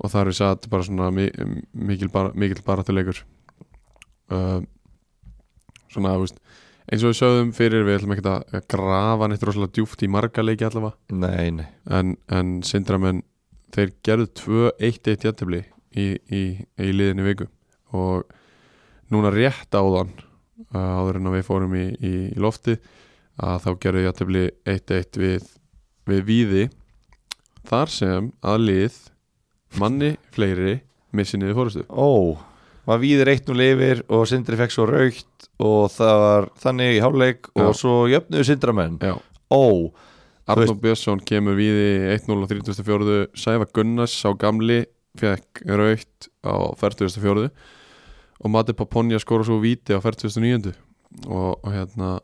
Speaker 1: og þar er satt bara svona mi- mikil, bara, mikil baratuleikur uh, svona, þú veist eins og við sögðum fyrir við ætlum ekki að grafa neitt rosalega djúft í marga leiki allavega
Speaker 2: Nei, nei,
Speaker 1: en, en sindramenn þeir gerðu 2-1-1 jættibli í, í, í liðinni viku og núna rétt áðan uh, áður en að við fórum í, í, í lofti að þá gerðu jættibli 1-1 við, við víði þar sem að lið manni fleiri missi niður fórustu
Speaker 2: ó Var víðir eitt nú lifir og Sindri fekk svo raukt og það var þannig í hálfleik og
Speaker 1: Já.
Speaker 2: svo jöfnuðu Sindramenn
Speaker 1: Já.
Speaker 2: Ó, Þú
Speaker 1: Arnó Björnsson kemur við í 1-0 á 34. Sæfa Gunnars á gamli fekk raukt á 44. og Mati Paponja skora svo víti á 49. og, og hérna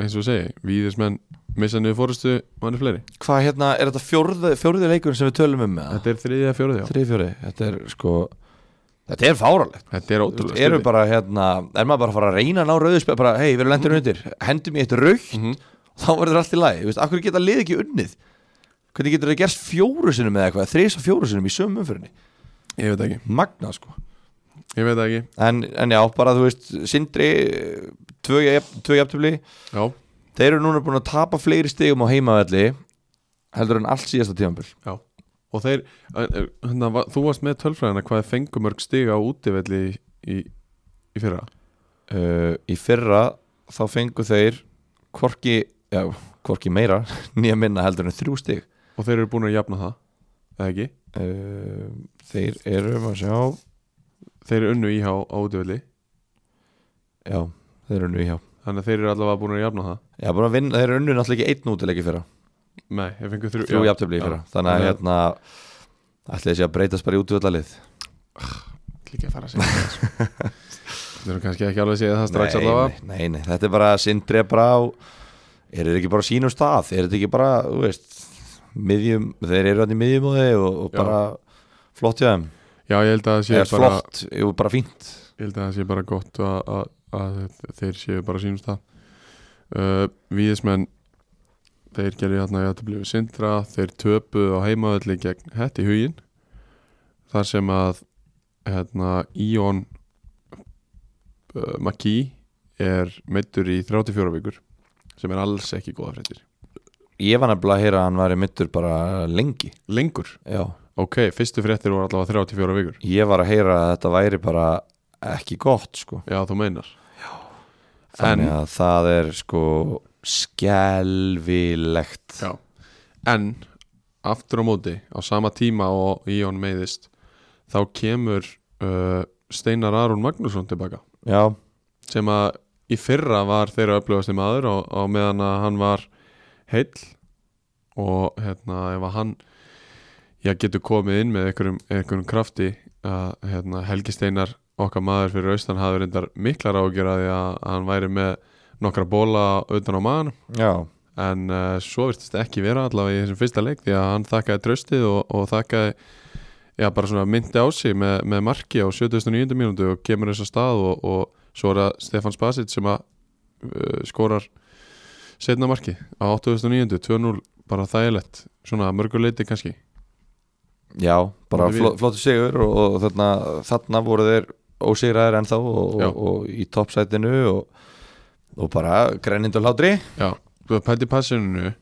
Speaker 1: eins og ég segi, víðismenn missa niður fórustu, mann er fleiri
Speaker 2: hvað hérna, er þetta fjórði, fjórði leikur sem við tölum um með það?
Speaker 1: Þetta er þriðið að fjóruði já
Speaker 2: Þrið fjóri, þetta er sko Þetta er fáralegt
Speaker 1: Þetta er
Speaker 2: Þú veist,
Speaker 1: ótrúlega
Speaker 2: Eru
Speaker 1: stuði.
Speaker 2: bara hérna, er maður bara að fara að reyna að ná rauðspil bara, hei, við erum lendur undir, hendum í eitt raukt
Speaker 1: Mhm.
Speaker 2: þá verður allt í lagi, veist, akkur geta lið ekki unnið hvernig getur það gerst fjóru sinum eða eitthvað, þrís og fjóru sinum í sömu umfyrinni
Speaker 1: Ég veit ekki,
Speaker 2: magna sko,
Speaker 1: ég veit ekki
Speaker 2: en, en já, bara þú veist Sindri, eh, tvö, jafn- tvö jafntöfli
Speaker 1: Já,
Speaker 2: þeir eru núna búin að tapa fleiri stigum á heimavelli heldur en allt síðasta tímanbíl
Speaker 1: já Og þeir, hérna, va- þú varst með tölfræðina hvað þeir fengu mörg stiga á útivelli í, í, í fyrra
Speaker 2: uh, í fyrra þá fengu þeir hvorki, já, hvorki meira nýja minna heldur en þrjú stig
Speaker 1: og þeir eru búin að jafna það, eða ekki?
Speaker 2: uh, þeir eru maður sjá
Speaker 1: þeir unnu íhá á útvöldi
Speaker 2: já, þeir eru nú hjá
Speaker 1: þannig að þeir eru allavega búin að jafna það
Speaker 2: já, búin að vinna, þeir eru unnu náttúrulega ekki einn útileik í fyrra
Speaker 1: Nei, ég fengur þrjú,
Speaker 2: þrjú jafntöfli í fyrra þannig að
Speaker 1: Þannig að-
Speaker 2: hérna ætli þessi að breytast bara í útvöllalið
Speaker 1: Líka að fara að segja það sko. Þeir eru kannski ekki alveg að segja það strax
Speaker 2: nei,
Speaker 1: allavega
Speaker 2: nei, nei, nei, þetta er bara sindri bara á er þeir ekki bara á sínum stað er þetta ekki bara, þú veist miðjum, þeir eru hann í miðjum og þeir og, og
Speaker 1: Já.
Speaker 2: bara flott hjá þeim
Speaker 1: Já, ég held að það sé
Speaker 2: eða
Speaker 1: bara
Speaker 2: flott, jú, bara fínt
Speaker 1: Ég held að það sé bara gott að, að, að þeir séu bara sínum stað uh, Víðismenn þeir gerðu hérna að þetta blífi sindra þeir töpuðu á heimaðalli gegn hett í hugin þar sem að hérna, Íon uh, Maki er meittur í 34 vikur sem er alls ekki góða fréttir
Speaker 2: ég var nefnilega að heyra að hann væri mittur bara lengi
Speaker 1: lengur,
Speaker 2: já.
Speaker 1: ok, fyrstu fréttir voru allavega 34 vikur
Speaker 2: ég var að heyra að þetta væri bara ekki gott sko
Speaker 1: já, þú meinar En-
Speaker 2: þannig að það er sko skelvilegt
Speaker 1: Já. En aftur á móti á sama tíma og Íon meiðist þá kemur uh, Steinar Aron Magnússon tilbaka
Speaker 2: já,
Speaker 1: sem að í fyrra var þeirra upplöfasti maður og, og meðan að hann var heill og hérna ef að hann já, getur komið inn með einhverjum, einhverjum krafti að hérna, Helgi Steinar okkar maður fyrir austan hafði reyndar miklar ágjur að því að hann væri með nokkra bóla utan á maðanum
Speaker 2: já,
Speaker 1: en uh, svo virtist ekki vera allavega í þessum fyrsta leik því að hann þakkaði tröstið og, og þakkaði já, bara svona myndi á sig með, með marki á 79. mínútu og kemur þess að stað og, og svo er það Stefan Spasic sem að uh, skorar setna marki á 89. 2-0 bara þægilegt svona að mörgu leiti kannski
Speaker 2: já bara
Speaker 1: Móti
Speaker 2: fló, flottu sigur og, og þarna, þarna voru þeir ósigraðir ennþá og,
Speaker 1: Já.
Speaker 2: og, og í toppsætinu og, og bara grænind og hlátri
Speaker 1: já, þú er pælt í passuninu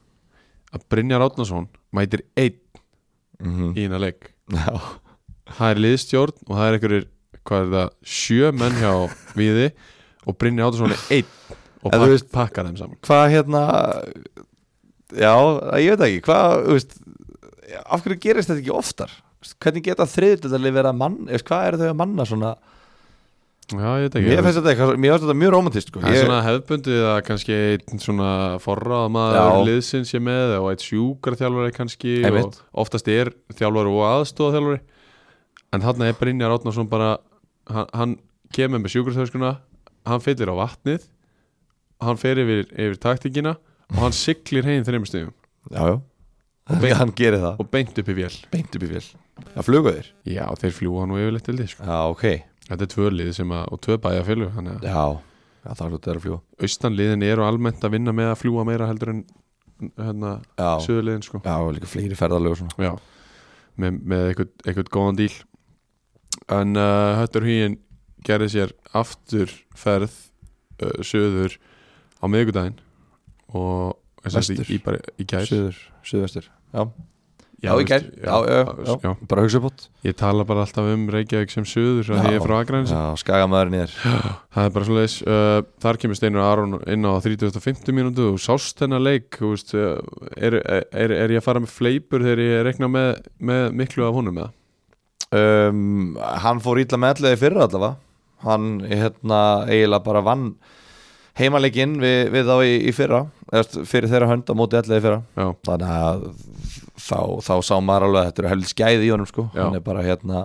Speaker 1: að Brynjar Átnason mætir einn í hérna leik
Speaker 2: já,
Speaker 1: það er liðstjórn og það er einhverjir hvað er það, sjö menn hjá viði og Brynni Átursson er einn og
Speaker 2: En þú
Speaker 1: pak
Speaker 2: veist-
Speaker 1: pakkar þeim saman
Speaker 2: hvað hérna já, ég veit það ekki hvað, þú veist af hverju gerist þetta ekki oftar Þú veist, hvernig geta þriðutöldalið vera mann þú veist, hvað eru þau að manna svona
Speaker 1: já, ég veit ekki
Speaker 2: mér finnst þetta, eitthvað- mér finnst þetta mjög romantist sko.
Speaker 1: það er
Speaker 2: Ég-
Speaker 1: svona hefðbundið að kannski einn svona forrað maður
Speaker 2: Já.
Speaker 1: liðsins sé með og eitt sjúkarþjálfari kannski
Speaker 2: Einmitt.
Speaker 1: og oftast er þjálfari og aðstofaþjálfari en þarna er Brynjar Átnarsson bara hann, hann kemur með sjúkarþjálfskuna hann fyllir á vatnið hann fer yfir, yfir taktíkina og hann siglir heim þreymur stíðum
Speaker 2: já, já og hann gerir það
Speaker 1: og beint upp í vél
Speaker 2: beint upp í fél það fluga þér
Speaker 1: Já, þeir fljúa nú yfirleitt til því sko.
Speaker 2: já, ok
Speaker 1: Þetta er tvö lið sem að, og tvö bæjarfélug Þannig
Speaker 2: já, já það er hlutu að fluga
Speaker 1: að austanliðin eru almennt að vinna með að fljúa meira heldur en hérna,
Speaker 2: já,
Speaker 1: söðurliðin sko.
Speaker 2: já og líka fleiri ferðalög og svona
Speaker 1: Já, með, með eitthvað, eitthvað góðan díl En uh, Höttur Hugin gerði sér aftur ferð uh, söður á miðvikudaginn og sem sagt
Speaker 2: Vestur.
Speaker 1: í, í, bara, í gær
Speaker 2: söður, söðvestur já, já,
Speaker 1: þú
Speaker 2: í gær
Speaker 1: veist,
Speaker 2: já, já, já,
Speaker 1: já.
Speaker 2: bara hugsa upp átt
Speaker 1: Ég tala bara alltaf um Reykjavík sem söður að
Speaker 2: Já.
Speaker 1: því ég er frá Akranins
Speaker 2: já, skagamæðurinn er
Speaker 1: Það er bara svona leis uh, Þar kemur Steinar Aron inn á 30.50 mínútu og sást hennar leik þú veist, uh, er, er, er ég að fara með fleipur þegar ég rekna með, með miklu af honum eða?
Speaker 2: um, hann fór ítla með allega í fyrra allavega hann hérna eiginlega bara vann heimaleikinn við, við þá í, í fyrra eða fyrir þeirra hönd á móti allega í fyrra
Speaker 1: Já,
Speaker 2: þannig að þá, þá sá maður alveg að þetta eru heldur skæði í honum sko
Speaker 1: Já.
Speaker 2: hann er bara hérna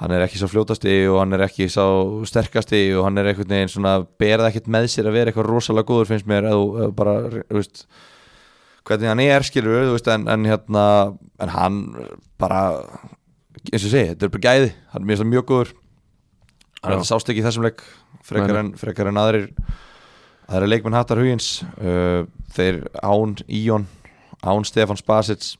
Speaker 2: hann er ekki sá fljótasti og hann er ekki sá sterkasti og hann er einhvern veginn svona berða ekkert með sér að vera eitthvað rosalega góður finnst mér að þú ef þú bara, þú veist hvernig hann er skilur við, þú veist en, en hérna, en hann bara eins og ég segi, þetta er bara gæði hann er mjög, mjög góður hann
Speaker 1: Já.
Speaker 2: er þetta sást ekki í þessum leik
Speaker 1: Nei, nei.
Speaker 2: frekar en, frekar en aðrir Það eru leikmenn Hattar Hugins uh, Þeir Án Íon Án Stefan Spasic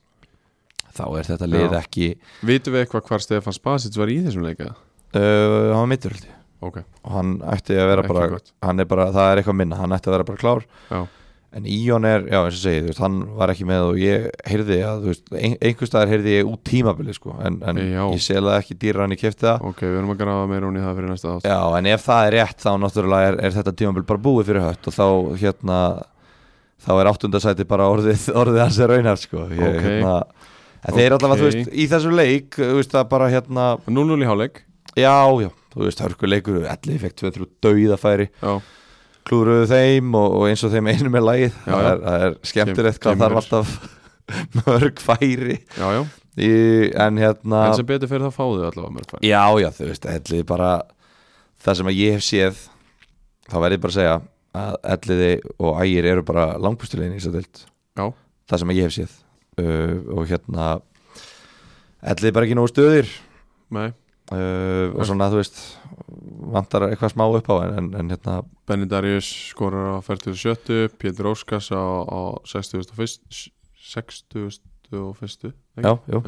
Speaker 2: Þá er þetta lið
Speaker 1: Já.
Speaker 2: ekki
Speaker 1: vitum við eitthvað hvar Stefan Spasic var í þessum leika?
Speaker 2: uh, Hann var mittur held ég.
Speaker 1: Ok,
Speaker 2: og hann ætti að vera
Speaker 1: Ekki
Speaker 2: bara,
Speaker 1: gott.
Speaker 2: hann er bara það er eitthvað minna, hann ætti að vera bara klár
Speaker 1: já,
Speaker 2: en Íon er, já eins og segi, þú veist, hann var ekki með og ég heyrði að, þú veist, ein, einhvers staðar heyrði ég út tímabili sko en, en
Speaker 1: Já.
Speaker 2: ég selaði ekki dýra hann í kefti það
Speaker 1: ok, við erum að grafa meira hún í það fyrir næsta átt
Speaker 2: Já, en ef það er rétt þá náttúrulega er, er þetta tímabil bara búið fyrir hött og þá hérna þá er áttundasæti bara orðið, orðið hans er raunar sko ég,
Speaker 1: Ok.
Speaker 2: hérna, en þeir allavega,
Speaker 1: Ok.
Speaker 2: þú veist, í þessu leik þú veist, það bara hérna,
Speaker 1: 0-0 í hálfleik
Speaker 2: já, já þú veist, hörkuleikur, elli fekk 2-3 dauðafæri
Speaker 1: Já,
Speaker 2: klúruðu þeim og, og eins og þeim einu með lagið
Speaker 1: Já,
Speaker 2: það
Speaker 1: já.
Speaker 2: er, það er skemmtilegt hvað
Speaker 1: Kemur.
Speaker 2: þarf alltaf mörg færi
Speaker 1: já, já,
Speaker 2: í, en hérna
Speaker 1: en sem betur fyrir það fáðu allavega mörg fær
Speaker 2: Já, já, þú veist, elliði bara það sem að ég hef séð þá verð ég bara að segja að elliði og ægir eru bara langbústulegin í þess að dild,
Speaker 1: Já,
Speaker 2: það sem að ég hef séð uh, og hérna elliði bara ekki nógu stöðir
Speaker 1: nei,
Speaker 2: uh, og svona, þú veist vantar eitthvað smá upp á en, en, en hérna,
Speaker 1: Benny Darius skorar á 47 Pétur Óskars á, á 61 61
Speaker 2: já, jú,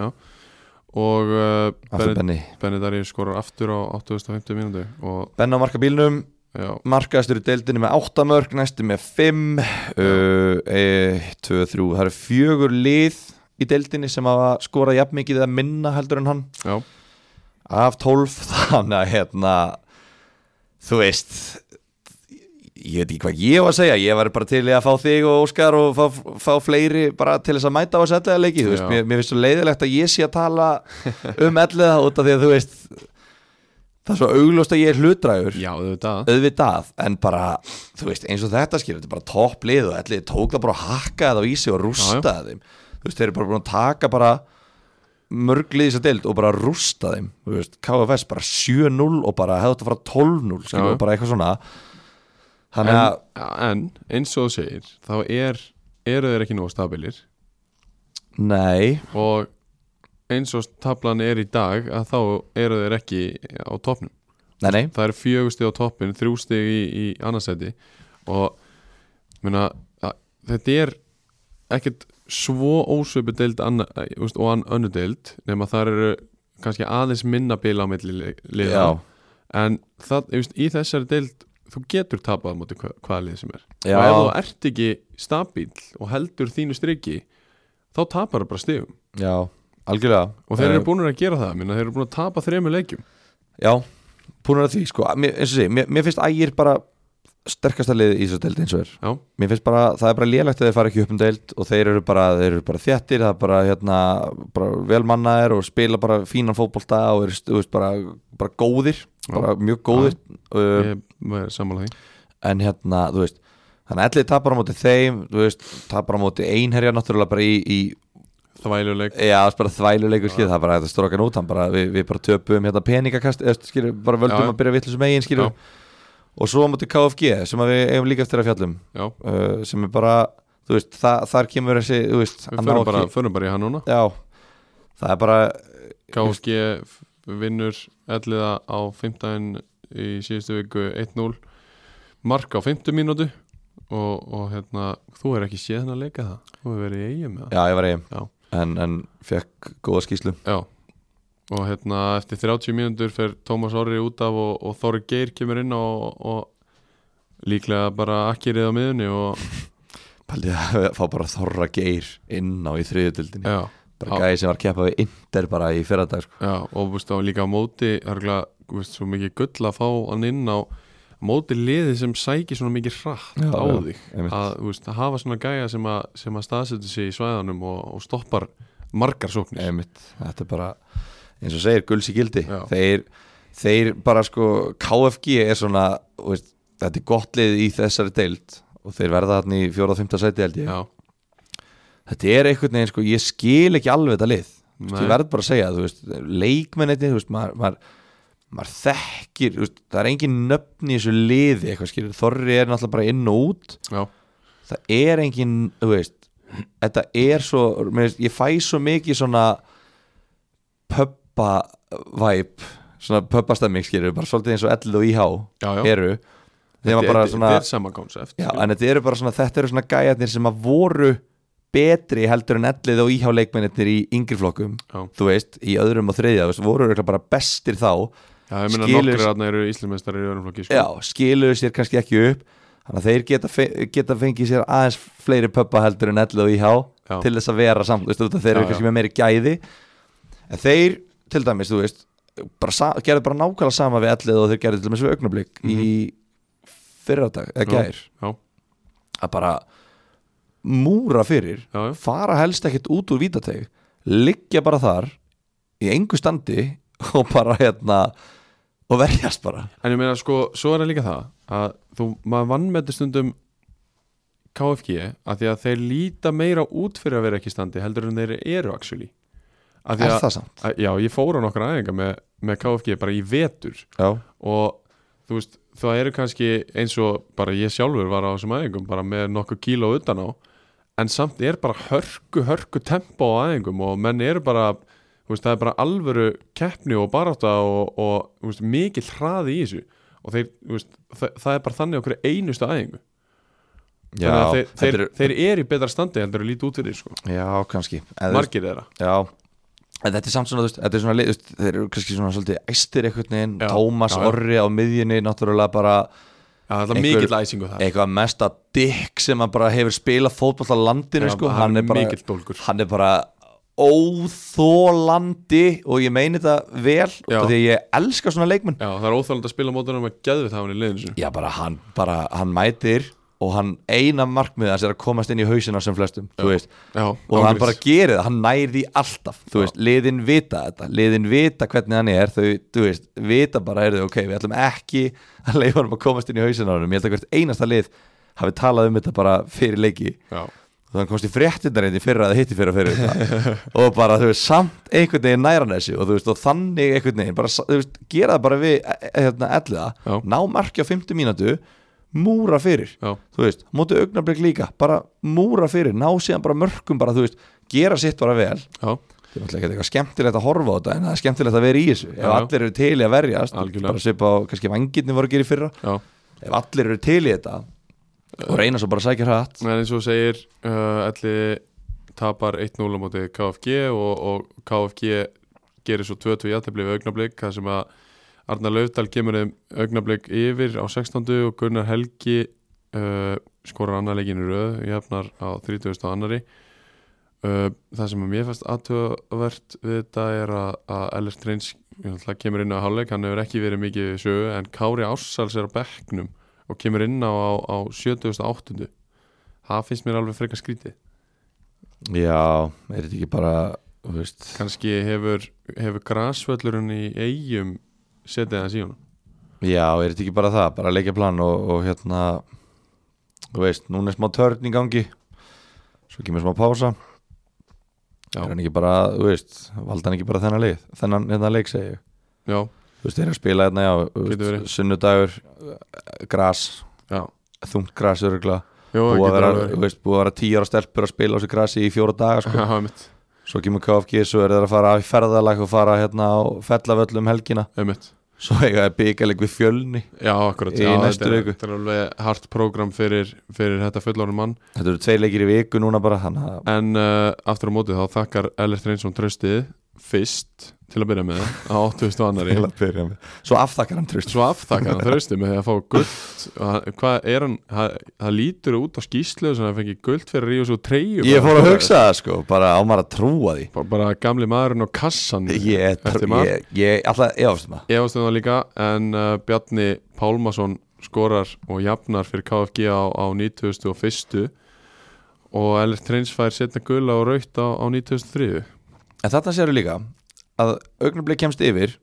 Speaker 1: og uh,
Speaker 2: aftur
Speaker 1: Benedikt
Speaker 2: Benni
Speaker 1: Benedari skorar aftur á 85. mínútu og
Speaker 2: Benni á marka bílnum,
Speaker 1: já,
Speaker 2: markaðastur í deildinni með 8 mörg, næstu með 5 uh, 2, 3 það eru fjögur lið í deildinni sem hafa skorað jafn mikið eða minna heldur en hann
Speaker 1: já,
Speaker 2: af 12 þannig að hérna þú veist ég veit ekki hvað ég var að segja ég var bara til í að fá þig og Óskar og fá, fá fleiri bara til þess að mæta á þessu ellega leiki þú veist,
Speaker 1: Já.
Speaker 2: mér, mér finnst svo leiðilegt að ég sé að tala um ellega út af því að þú veist það er svo augljóst að ég er hlutdrægur
Speaker 1: já auðvitað
Speaker 2: auðvitað, en bara þú veist, eins og þetta skilur, þetta er bara topp lið og ætli tók það bara að hakka það á ísi og rústa þeim þú veist, þeir eru bara búin að taka bara mörg liðis að deild og bara rústa þeim þú veist, KFS bara 7-0 og bara hefðu þetta að fara 12-0
Speaker 1: Já.
Speaker 2: skilur, og bara eitthvað svona þannig
Speaker 1: en,
Speaker 2: að,
Speaker 1: en eins og þú segir þá er, eru þeir ekki nóg stabilir
Speaker 2: nei
Speaker 1: og eins og tablan er í dag að þá eru þeir ekki á toppnum
Speaker 2: nei, nei,
Speaker 1: það eru fjögur stig á toppin, þrjú stig í, í annarsæti og myrna, að, þetta er ekkert svo ósöpu deild anna, eh, þú veist, og ann önnu deild nema það eru kannski aðeins minna bila á milli li- liða
Speaker 2: já,
Speaker 1: en það, þú veist, í þessari deild þú getur tapað á móti hva- hvaða lið sem er
Speaker 2: Já.
Speaker 1: og ef þú ert ekki stabíl og heldur þínu striki þá tapar það bara stigum
Speaker 2: já, algjörlega
Speaker 1: og þeir
Speaker 2: Eh,
Speaker 1: eru búin að gera það, minna, þeir eru búin að tapa þremur leikjum
Speaker 2: Já, búin að því sko mér, eins og sé, mér, mér finnst ægir bara sterkasta liðið í þessu deild eins og er
Speaker 1: já,
Speaker 2: mér finnst bara, það er bara lélegt að þeir fara ekki upp um deild og þeir eru bara, þeir eru bara þjættir það er bara, hérna, bara velmannaðir og spila bara fínan fótbolta og eru, þú veist, bara, bara góðir
Speaker 1: Já.
Speaker 2: bara mjög góðir uh,
Speaker 1: ég er sammála því
Speaker 2: en hérna, þú veist þannig að allir tapar á móti þeim, þú veist tapar á móti einherja náttúrulega bara í, í
Speaker 1: það væluleik
Speaker 2: Já, það er bara þvæluleikur skil, það er bara þetta strókan út hann bara, við, við bara töpum hérna peningakast eða skil, bara völdum
Speaker 1: Já, já.
Speaker 2: að byrja vittlisum eigin skil
Speaker 1: Já.
Speaker 2: og svo á móti KFG sem að við eigum líka eftir að fjallum
Speaker 1: já,
Speaker 2: uh, sem er bara, þú veist, það, þar kemur þessi, þú veist,
Speaker 1: við
Speaker 2: hann
Speaker 1: förum
Speaker 2: á
Speaker 1: bara,
Speaker 2: ekki-
Speaker 1: förum bara í hann núna
Speaker 2: Já, það er bara
Speaker 1: KSG vinnur elliða á 15 í síðustu viku 1-0 mark á 50 mínútu og, og hérna, þú er ekki séð hennar leika það þú hefur verið í eigum með það
Speaker 2: Já, ég var eigin,
Speaker 1: Já.
Speaker 2: en, en fekk góða skýslu
Speaker 1: Já og hérna eftir 30 mínútur fer Tómas Orri út af og, og Þorri Geir kemur inn og, og líklega bara akkirið á miðunni og
Speaker 2: Paldið að fá bara þorra geir inn á í þriðutildinni
Speaker 1: já,
Speaker 2: bara gæði sem var að keppa við Inder bara í fyrradag sko.
Speaker 1: já og veist, og líka á móti örgulega, veist, svo mikið gull að fá hann inn á á móti liði sem sækir svona mikið hratt
Speaker 2: Já,
Speaker 1: á
Speaker 2: já,
Speaker 1: þig
Speaker 2: einmitt.
Speaker 1: að þú veist, að hafa svona gæja sem að, sem að staðsetja sig í svæðanum og, og stoppar margar sóknir
Speaker 2: Einmitt, þetta er bara eins og segir gulsi gildi
Speaker 1: Já.
Speaker 2: þeir, þeir bara sko KFG er svona þú veist, þetta er gott lið í þessari deild og þeir verða hann í fjóra og fymta sæti held ég
Speaker 1: já,
Speaker 2: þetta er einhvern veginn sko, ég skil ekki alveg þetta lið Þú veist,
Speaker 1: Nei.
Speaker 2: ég verð bara að segja, þú veist, leikmenninni þú veist, maður, maður, maður þekkir þú veist, það er engin nöfn í þessu liði eitthvað skilur, Þorri er náttúrulega bara inn og út
Speaker 1: já,
Speaker 2: það er engin, þú veist þetta er svo, mér veist, ég fæ svo mikið svona pöppa væp svona pöppastemming skilur, bara svolítið eins og ell og íhá
Speaker 1: já, já.
Speaker 2: eru þegar
Speaker 1: Þetta-
Speaker 2: bara
Speaker 1: þetta-
Speaker 2: svona
Speaker 1: þetta er sama konsept sko.
Speaker 2: já, en þetta eru bara svona, þetta eru svona gæjarnir sem að voru betri heldur en ellið og íhá leikmennir í yngri flokkum
Speaker 1: Já.
Speaker 2: þú veist, í öðrum og þriðja þú veist, voru örugglega bara bestir þá
Speaker 1: já, ég meina
Speaker 2: skilur-
Speaker 1: nokkri þarna eru íslumestari í öðrum flokki sko.
Speaker 2: já, skiluðu sér kannski ekki upp þannig að þeir geta, fe- geta fengið sér aðeins fleiri pöppa heldur en ellu og íhá
Speaker 1: Já.
Speaker 2: til þess að vera samt, þú veist, út af þeir
Speaker 1: Já,
Speaker 2: eru
Speaker 1: já.
Speaker 2: kannski með meiri gæði en þeir, til dæmis, þú veist bara, sa- gerðu bara nákvæmlega sama við ellu og þeir gerðu til dæmis við augnablík í fyrradag, eða
Speaker 1: Mhm. Já,
Speaker 2: gær
Speaker 1: já.
Speaker 2: að bara múra fyrir
Speaker 1: Já, já.
Speaker 2: fara helst ekkert út úr vítateg liggja bara þar í engu standi og bara hérna og verjast bara
Speaker 1: En ég meina sko, svo er það líka það að þú, maður vannmeti stundum KFG að því að þeir líta meira út fyrir að vera ekki í standi heldur en þeir eru actually að því
Speaker 2: er
Speaker 1: að,
Speaker 2: það samt?
Speaker 1: að, já, ég fór á nokkra æfinga með, með KFG bara í vetur
Speaker 2: Já.
Speaker 1: og þú veist, það eru kannski eins og bara ég sjálfur var á þessum æfingum bara með nokkuð kíló utan á en samt er bara hörku, hörku tempo á æfingum og menn eru bara þú veist, það er bara alvöru keppni og barátta og, og þú veist, mikill hraði í þessu og þeir, þú veist, það, það er bara þannig okkur einustu æfingu
Speaker 2: Já,
Speaker 1: Þannig að þeir, þeir,
Speaker 2: þetta
Speaker 1: þeir eru í betra standi heldur að líti út fyrir sko.
Speaker 2: já kannski en, Mark...
Speaker 1: margir þeirra
Speaker 2: já, en þetta er samt svona, þú veist, þetta er svona lið, þú veist, þeir eru kannski svona svolítið æstir einhvern veginn,
Speaker 1: Já,
Speaker 2: Tómas
Speaker 1: já, já.
Speaker 2: Orri á miðjunni, náttúrulega bara
Speaker 1: ja, það er
Speaker 2: Einhver-
Speaker 1: mikill æsingu það
Speaker 2: eitthvað mesta dikk sem hann bara hefur spilað fótball á landinu,
Speaker 1: Já,
Speaker 2: sko,
Speaker 1: hann
Speaker 2: hann
Speaker 1: er
Speaker 2: er bara
Speaker 1: mikill dólgur.
Speaker 2: hann er bara óþólandi og ég meini þetta vel, út
Speaker 1: Já.
Speaker 2: af því að ég elska svona leikmenn
Speaker 1: já, það er óþáland að spila mótunum að geðvita hafa hann í liðinu sínu.
Speaker 2: Já, bara hann, bara, hann mætir og hann eina markmið hans er að komast inn í hausina sem flestum, þú veist
Speaker 1: Já,
Speaker 2: og hann bara gerir það, hann næri því alltaf þú veist, liðin vita þetta, liðin vita hvernig hann er, þau, þú veist vita bara, er þau, ok, við ætlum ekki að leifa hann að komast inn í hausina á hann, ég held að hvert einasta lið hafi talað um þetta bara fyrir leiki
Speaker 1: já,
Speaker 2: þannig komst ég fréttinnar einnig fyrir að hitti fyrir að fyrir þetta og bara þú veist samt einhvern veginn næran þessu og þú veist og þannig einhvern veginn bara sa- þú veist gera það bara við e- e- hérna elliða
Speaker 1: Já.
Speaker 2: ná marki á 50 mínútu múra fyrir
Speaker 1: Já.
Speaker 2: þú veist móti augnablik líka bara múra fyrir ná síðan bara mörkum bara þú veist gera sitt bara vel
Speaker 1: já,
Speaker 2: það er náttúrulega ekkert eitthvað skemmtilegt að horfa á þetta en það er skemmtilegt að vera í þessu ef
Speaker 1: Já, já.
Speaker 2: allir eru til í að verjast
Speaker 1: Algjörlega.
Speaker 2: bara svipa á kannski vangirni voru að gera í fyrra
Speaker 1: já
Speaker 2: ef allir eru til í þetta og reyna svo bara að sækja hratt
Speaker 1: En eins og þú segir uh, Elli tapar 1-0 á móti KFG og, og KFG gerir svo 2-2 játefli við augnablík þar sem að Arnar Laufdal kemur þeim augnablík yfir á 16. og Gunnar Helgi uh, skorar annar leikinu röð jafnar á 30. og annari uh, það sem að mér fæst aðtöðvert við þetta er að, að Ellert Reyns náttúrulega kemur inn á hálfleik hann hefur ekki verið mikið við sögu en Kári Ársals er á bekknum og kemur inn á, á, á 78. Það finnst mér alveg frekar skrítið.
Speaker 2: já, er þetta ekki bara þú veist,
Speaker 1: Kanski hefur, hefur grasvöllurinn í eigum setið hans í honum.
Speaker 2: já, er þetta ekki bara það bara að leikja plan og, og hérna þú veist, núna er smá törn í gangi svo kemur smá pása
Speaker 1: Já.
Speaker 2: er hann ekki bara, þú veist valda hann ekki bara þennan leik þennan hérna leik segi ég
Speaker 1: Já,
Speaker 2: þú veist, þeir eru að spila hérna, já, þú
Speaker 1: Getur verið.
Speaker 2: veist, sunnudagur eh, gras,
Speaker 1: já.
Speaker 2: þungt gras örugla
Speaker 1: Jó, það
Speaker 2: búið að
Speaker 1: getur
Speaker 2: vera,
Speaker 1: alveg.
Speaker 2: þú veist, búið að vera tíu ára stelpur að spila á þessu grasi í fjóra daga sko.
Speaker 1: Já, einmitt,
Speaker 2: svo kemur KFG, svo eru þeir að fara í ferðalag og fara hérna á fellavöllum helgina
Speaker 1: einmitt.
Speaker 2: svo eiga þeir byggaleg við fjölni
Speaker 1: Já, akkurat.
Speaker 2: Í
Speaker 1: já,
Speaker 2: næstu
Speaker 1: þetta er-
Speaker 2: viku.
Speaker 1: Þetta er alveg hart prógram fyrir, fyrir þetta fullorinn mann.
Speaker 2: þetta eru tveir leikir í viku núna bara þannig að
Speaker 1: En uh, aftur á mótið þá þakkar Ellert Reynsson tröstið fyrst til að byrja með á 8000 og annari.
Speaker 2: Til að byrja með. svo aftakkar hann tröst
Speaker 1: hérna. Svo aftakka hann tröstið með því að fá gullt. Og hann- Hvað er hann? Það, það lítur út á skýslu sem hann fengi gullt fyrir í og svo treyju.
Speaker 2: ég fór að hugsa það sko, bara á maður að trúa því
Speaker 1: bara, bara gamli maðurinn og kassan
Speaker 2: ég,
Speaker 1: eftir
Speaker 2: trú,
Speaker 1: maður
Speaker 2: ég, ég alltaf, ég áfst maður
Speaker 1: efast um það líka en uh, Bjarni Pálmason skorar og jafnar fyrir KFG á, á 91. og Ellert Reyns fær setna gula og raut á, á 93.
Speaker 2: en þarna séru líka að augnablik kemst yfir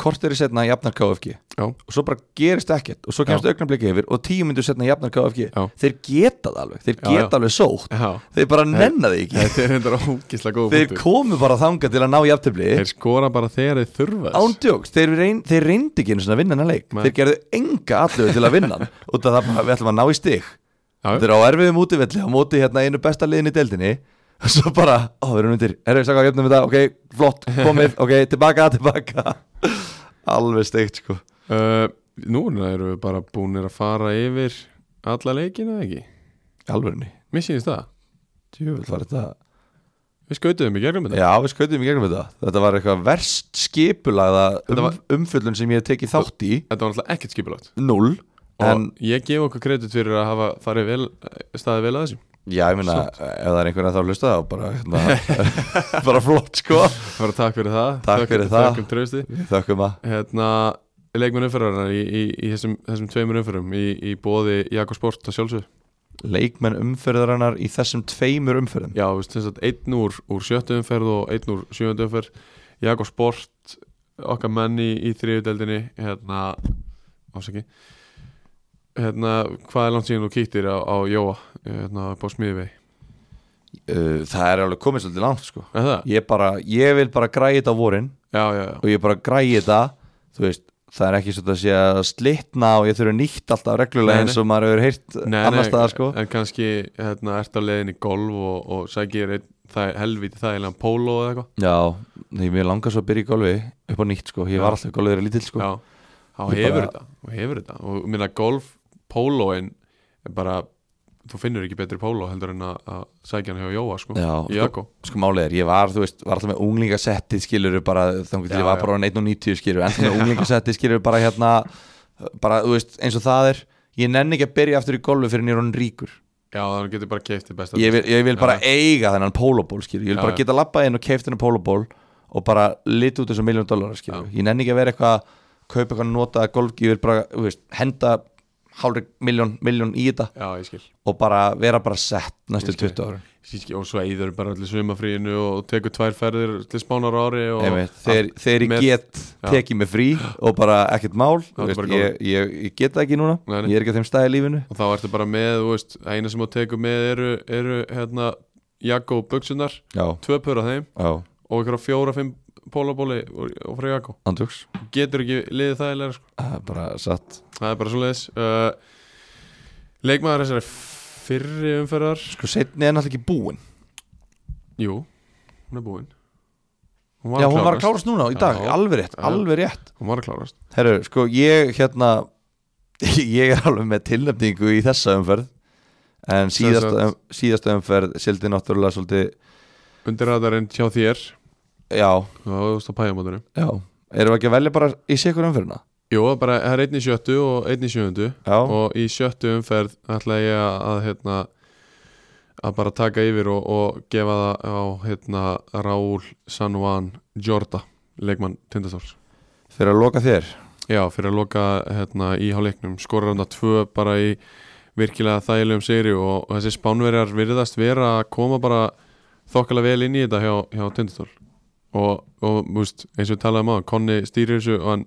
Speaker 2: kort er í setna jafnar KFG
Speaker 1: Já,
Speaker 2: og svo bara gerist ekkert og svo kemst augnablik yfir og tíu myndu setna jafnar KFG
Speaker 1: Já.
Speaker 2: þeir geta það alveg, þeir
Speaker 1: Já,
Speaker 2: geta
Speaker 1: já.
Speaker 2: alveg sótt
Speaker 1: já
Speaker 2: þeir bara nenna því ekki
Speaker 1: Þetta er hendur ógislega góð
Speaker 2: þeir
Speaker 1: punktur
Speaker 2: komu bara þanga til að ná jafntefli
Speaker 1: Þeir skora bara þegar þeir þurfa þess
Speaker 2: ándjóks, þeir, reyn, þeir reyndi ekki einu sinni að vinna hennar leik,
Speaker 1: Nei.
Speaker 2: þeir gerðu enga allu til að vinna hann, út af það bara, við ætlum að ná í stig
Speaker 1: Já.
Speaker 2: þeir eru á erfiðum útivelli á móti hérna einu besta liðin í deildinni og svo bara, ó, við erum undir erum við sakað að jöfnum þetta, ok, flott, komið ok, tilbaka, tilbaka alveg steikt, sko
Speaker 1: uh, Núna eru við bara búinir að fara yfir alla leikina ekki
Speaker 2: alveg ný,
Speaker 1: Mér sýnist það
Speaker 2: djúvel var þetta
Speaker 1: Við skautum í gegnum þetta
Speaker 2: já, við skautum í gegnum þetta, þetta var eitthvað verst skipulagða um,
Speaker 1: var-
Speaker 2: umfjöllun sem ég hef tekið þátt í,
Speaker 1: Þetta var alltaf ekkert skipulagt
Speaker 2: null en
Speaker 1: og ég gef okkur kredit fyrir að hafa farið vel, staðið vel að þessu
Speaker 2: Já, ég meina, ef það er einhvern að þá hlusta þá bara, hérna, bara flott sko
Speaker 1: bara takk fyrir það
Speaker 2: Takk
Speaker 1: Þökk-
Speaker 2: fyrir það.
Speaker 1: þökkum trausti
Speaker 2: Við Þökkum að
Speaker 1: hérna, leikmenn umfyrirarnar í, í, í þessum, þessum tveimur umfyrum í, í bóði Jakob Sport að sjálfsög
Speaker 2: leikmenn umferðarinnar í þessum tveimur umferðum
Speaker 1: já, veist, þess að einn úr, úr sjöttu umferð og einn úr sjöundu umferð Jakob Sport, okkar menn í, í þriðudeldinni hérna, ásaki hérna, hvað er langt síðan þú kýttir á, á Jóa, hérna, upp á Smíðvei
Speaker 2: Uh, Það er alveg komið svolítið langt sko
Speaker 1: er það?
Speaker 2: Ég bara, ég vil bara græja þetta á vorin
Speaker 1: já, já, já,
Speaker 2: og ég bara græja þetta þú veist, það er ekki svolítið að sé að slitna og ég þurfi nýtt alltaf reglulega
Speaker 1: Nei,
Speaker 2: eins og maður hefur heyrt annars staðar sko
Speaker 1: en kannski hérna, ert á leiðin í golf og, og sækir einn það, helviti það eða póló eða eitthvað
Speaker 2: Já, því mér langar svo að byrja í golfi upp á nýtt sko, ég
Speaker 1: Já.
Speaker 2: var alltaf í golfið þegar lítill sko
Speaker 1: já, þá
Speaker 2: Ég
Speaker 1: hefur
Speaker 2: bara-
Speaker 1: þetta og hefur þetta og minna golf pólóin er bara þú finnur ekki betri póló heldur en að, að sækja hann hjá Jóa sko
Speaker 2: Já.
Speaker 1: í Jakko
Speaker 2: sko málið er, ég var, þú veist, var alltaf með unglingasetti skilur bara, þannig til
Speaker 1: Já,
Speaker 2: ég var
Speaker 1: já.
Speaker 2: bara 1.90 skilur, en með unglingasetti skilur bara hérna, bara, þú veist, eins og það er ég nenni ekki að byrja aftur í golfu fyrir nýrun ríkur,
Speaker 1: já þannig getur bara keift í besta
Speaker 2: ég vil, ég vil
Speaker 1: Já.
Speaker 2: bara eiga þennan pólóból skilur, ég vil
Speaker 1: Já,
Speaker 2: bara
Speaker 1: já.
Speaker 2: geta labbað inn og keift þennan pólóból og bara lit út þessu miljón dólarar skilur, ég nenni ekki að vera eitthvað kaupa eitthvað notaða golf, ég vil bara, þú veist, henda hálfri miljón, miljón í þetta
Speaker 1: já, ég skil
Speaker 2: og bara vera bara sett næstu
Speaker 1: Ég skil.
Speaker 2: 20 ára
Speaker 1: Sýski, og svo eður bara allir sumafríinu og tekur tvær ferðir til spánar á ári og
Speaker 2: Einmitt, þegar,
Speaker 1: Sko, Allt
Speaker 2: þegar ég
Speaker 1: með-
Speaker 2: get tekið mig frí og bara ekkert mál þú
Speaker 1: þetta er
Speaker 2: veist,
Speaker 1: bara
Speaker 2: ég, ég, ég get það ekki núna
Speaker 1: Nei, nei.
Speaker 2: ég er ekki á þeim stæði í lífinu
Speaker 1: og þá ertu bara með, þú veist, eina sem þú tekur með eru, eru hérna Jakko buksunar,
Speaker 2: já,
Speaker 1: tvö pör af þeim
Speaker 2: já,
Speaker 1: og ykkur á fjóra, fimm pólabóli og, og frá Jakko,
Speaker 2: andjóks
Speaker 1: getur ekki liðið það eða sko,
Speaker 2: Það er bara satt
Speaker 1: það er bara svo leiðis uh, leikmaður þessari fyrri umferðar
Speaker 2: sko setni er náttúrulega ekki búin
Speaker 1: jú, hún er búin hún
Speaker 2: já, hún var að klárast núna í dag,
Speaker 1: Já.
Speaker 2: alveg rétt
Speaker 1: Já.
Speaker 2: alveg rétt
Speaker 1: hún var að klárast
Speaker 2: Herru, sko ég hérna ég er alveg með tilnefningu í þessa umferð en
Speaker 1: Sem
Speaker 2: síðasta,
Speaker 1: sagt-
Speaker 2: um, síðasta umferð sildi náttúrulega svolítið
Speaker 1: undir radarinn hjá þér
Speaker 2: já,
Speaker 1: og þú veist á pæjamótinu
Speaker 2: já, erum við ekki að velja bara í sikur umferðina
Speaker 1: jú, bara, það er einn í sjöttu og einn í sjöundu
Speaker 2: já,
Speaker 1: og í sjöttu umferð ætla ég að, að hérna að bara taka yfir og, og gefa það á hérna Raúl San Juan Jorda leikmann Tindastóls
Speaker 2: fyrir að loka þér
Speaker 1: já, fyrir að loka hérna í hálfleiknum skorar hann að tvö bara í virkilega þægilegum sigri og, og þessi spánverjar virðast vera að koma bara þokkala vel inn í þetta hjá, hjá Tindastól og, og múst, eins og við talaðum á, Konni stýrir þessu og hann,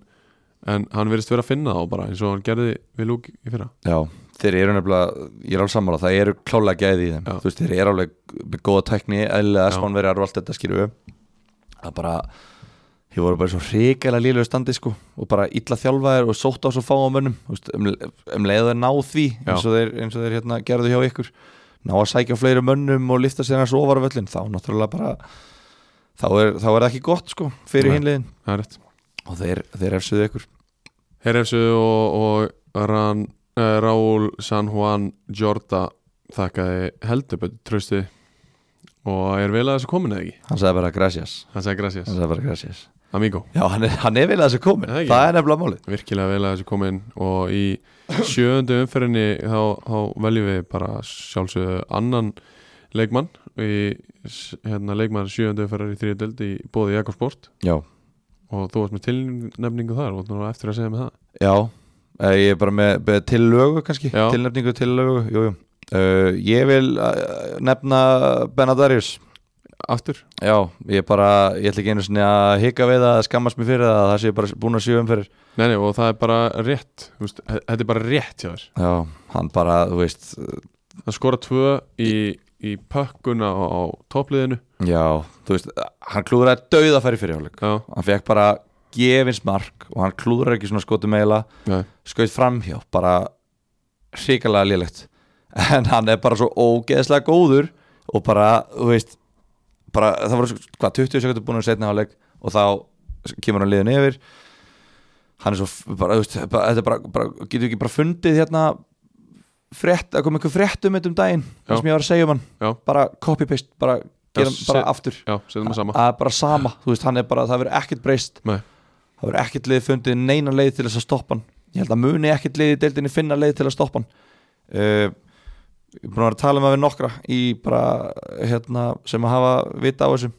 Speaker 1: en hann virðist vera að finna það og bara eins og hann gerði við lúk í fyrra
Speaker 2: já, þeir eru nefnilega, ég er alveg sammála það eru klálega gæði í þeim,
Speaker 1: Já.
Speaker 2: þú veist þeir eru alveg með góða tækni, eðlilega
Speaker 1: Já.
Speaker 2: spánverjar og allt þetta skýrðu það bara, þeir voru bara í svo hrikalega lílega standi sko og bara illa þjálfaðir og sótt á svo fá á mönnum þú veist, um, um leiðu þeir ná því
Speaker 1: Já.
Speaker 2: eins og þeir, eins og þeir hérna, gerðu hjá ykkur ná að sækja á fleiri mönnum og lifta sér hans ofar á völlin, þá náttúrulega bara þá er, þá er það ekki gott sko fyrir
Speaker 1: Nei.
Speaker 2: hinliðin
Speaker 1: það er rétt
Speaker 2: og þeir, þeir erfsuðu ykkur
Speaker 1: Herrefsu og, og Ran, uh, Raúl San Juan Jorda þakkaði heldur betur trösti og er vel að þessu komin eða ekki
Speaker 2: hann sagði bara gracias,
Speaker 1: hann sagði gracias,
Speaker 2: hann sagði bara gracias
Speaker 1: amigo
Speaker 2: Já, hann er, hann er vel að þessu komin,
Speaker 1: Það er ekki.
Speaker 2: það er nefnilega málið
Speaker 1: virkilega vel að þessu komin og í sjöundu umferðinni þá, þá veljum við bara sjálfsögðu annan leikmann í s- hérna, leikmann sjöundu umferðar í þriðu döld í bóði Jakobs Sport
Speaker 2: Já,
Speaker 1: og þú varst með tilnefningu þar og þú var eftir að segja með það
Speaker 2: já, Eh, ég er bara með, með tillögu kannski,
Speaker 1: Já.
Speaker 2: tilnefningu tillögu, jú, jú uh, Ég vil uh, nefna Benadarius
Speaker 1: aftur,
Speaker 2: Já, ég bara, ég ætla ekki einu sinni að hika við að skammast mér fyrir það að það sé bara búin að sjöum fyrir
Speaker 1: nei, nei, og það er bara rétt þú veist, þe- þetta er bara rétt hjá þér
Speaker 2: Já, hann bara, þú veist,
Speaker 1: Það skora tvö í, í pökkuna á, á toppliðinu
Speaker 2: já, þú veist, hann klúður að dauða færi fyrir hálfleik
Speaker 1: Já,
Speaker 2: Hann fekk bara gefins mark og hann klúður ekki svona skotum eiginlega
Speaker 1: nei,
Speaker 2: skaut framhjá bara hrikalega lélegt en hann er bara svo ógeðslega góður og bara, þú veist bara, það voru svo- hvað, 20 sekundur búin að setna hálfleik og þá kemur hann liðin yfir hann er svo, f- bara, þú veist bara, þetta er bara, bara, getur ekki bara fundið hérna frétt, að koma einhver frétt um þetta um daginn,
Speaker 1: Já.
Speaker 2: það sem ég var að segja um hann
Speaker 1: Já.
Speaker 2: bara copy-paste, bara gera
Speaker 1: Já,
Speaker 2: bara
Speaker 1: set-
Speaker 2: aftur
Speaker 1: já, setjum við sama
Speaker 2: að bara sama, þú veist, hann er bara, það verður ekkert breyst
Speaker 1: Nei.
Speaker 2: það verður ekkert leið fundið neina leið til þess að stoppa hann ég held að muni ekkert leið í deildinni finna leið til að stoppa hann uh, ég er búin að vera að tala með við nokkra í bara, hérna, sem að hafa vita á þessu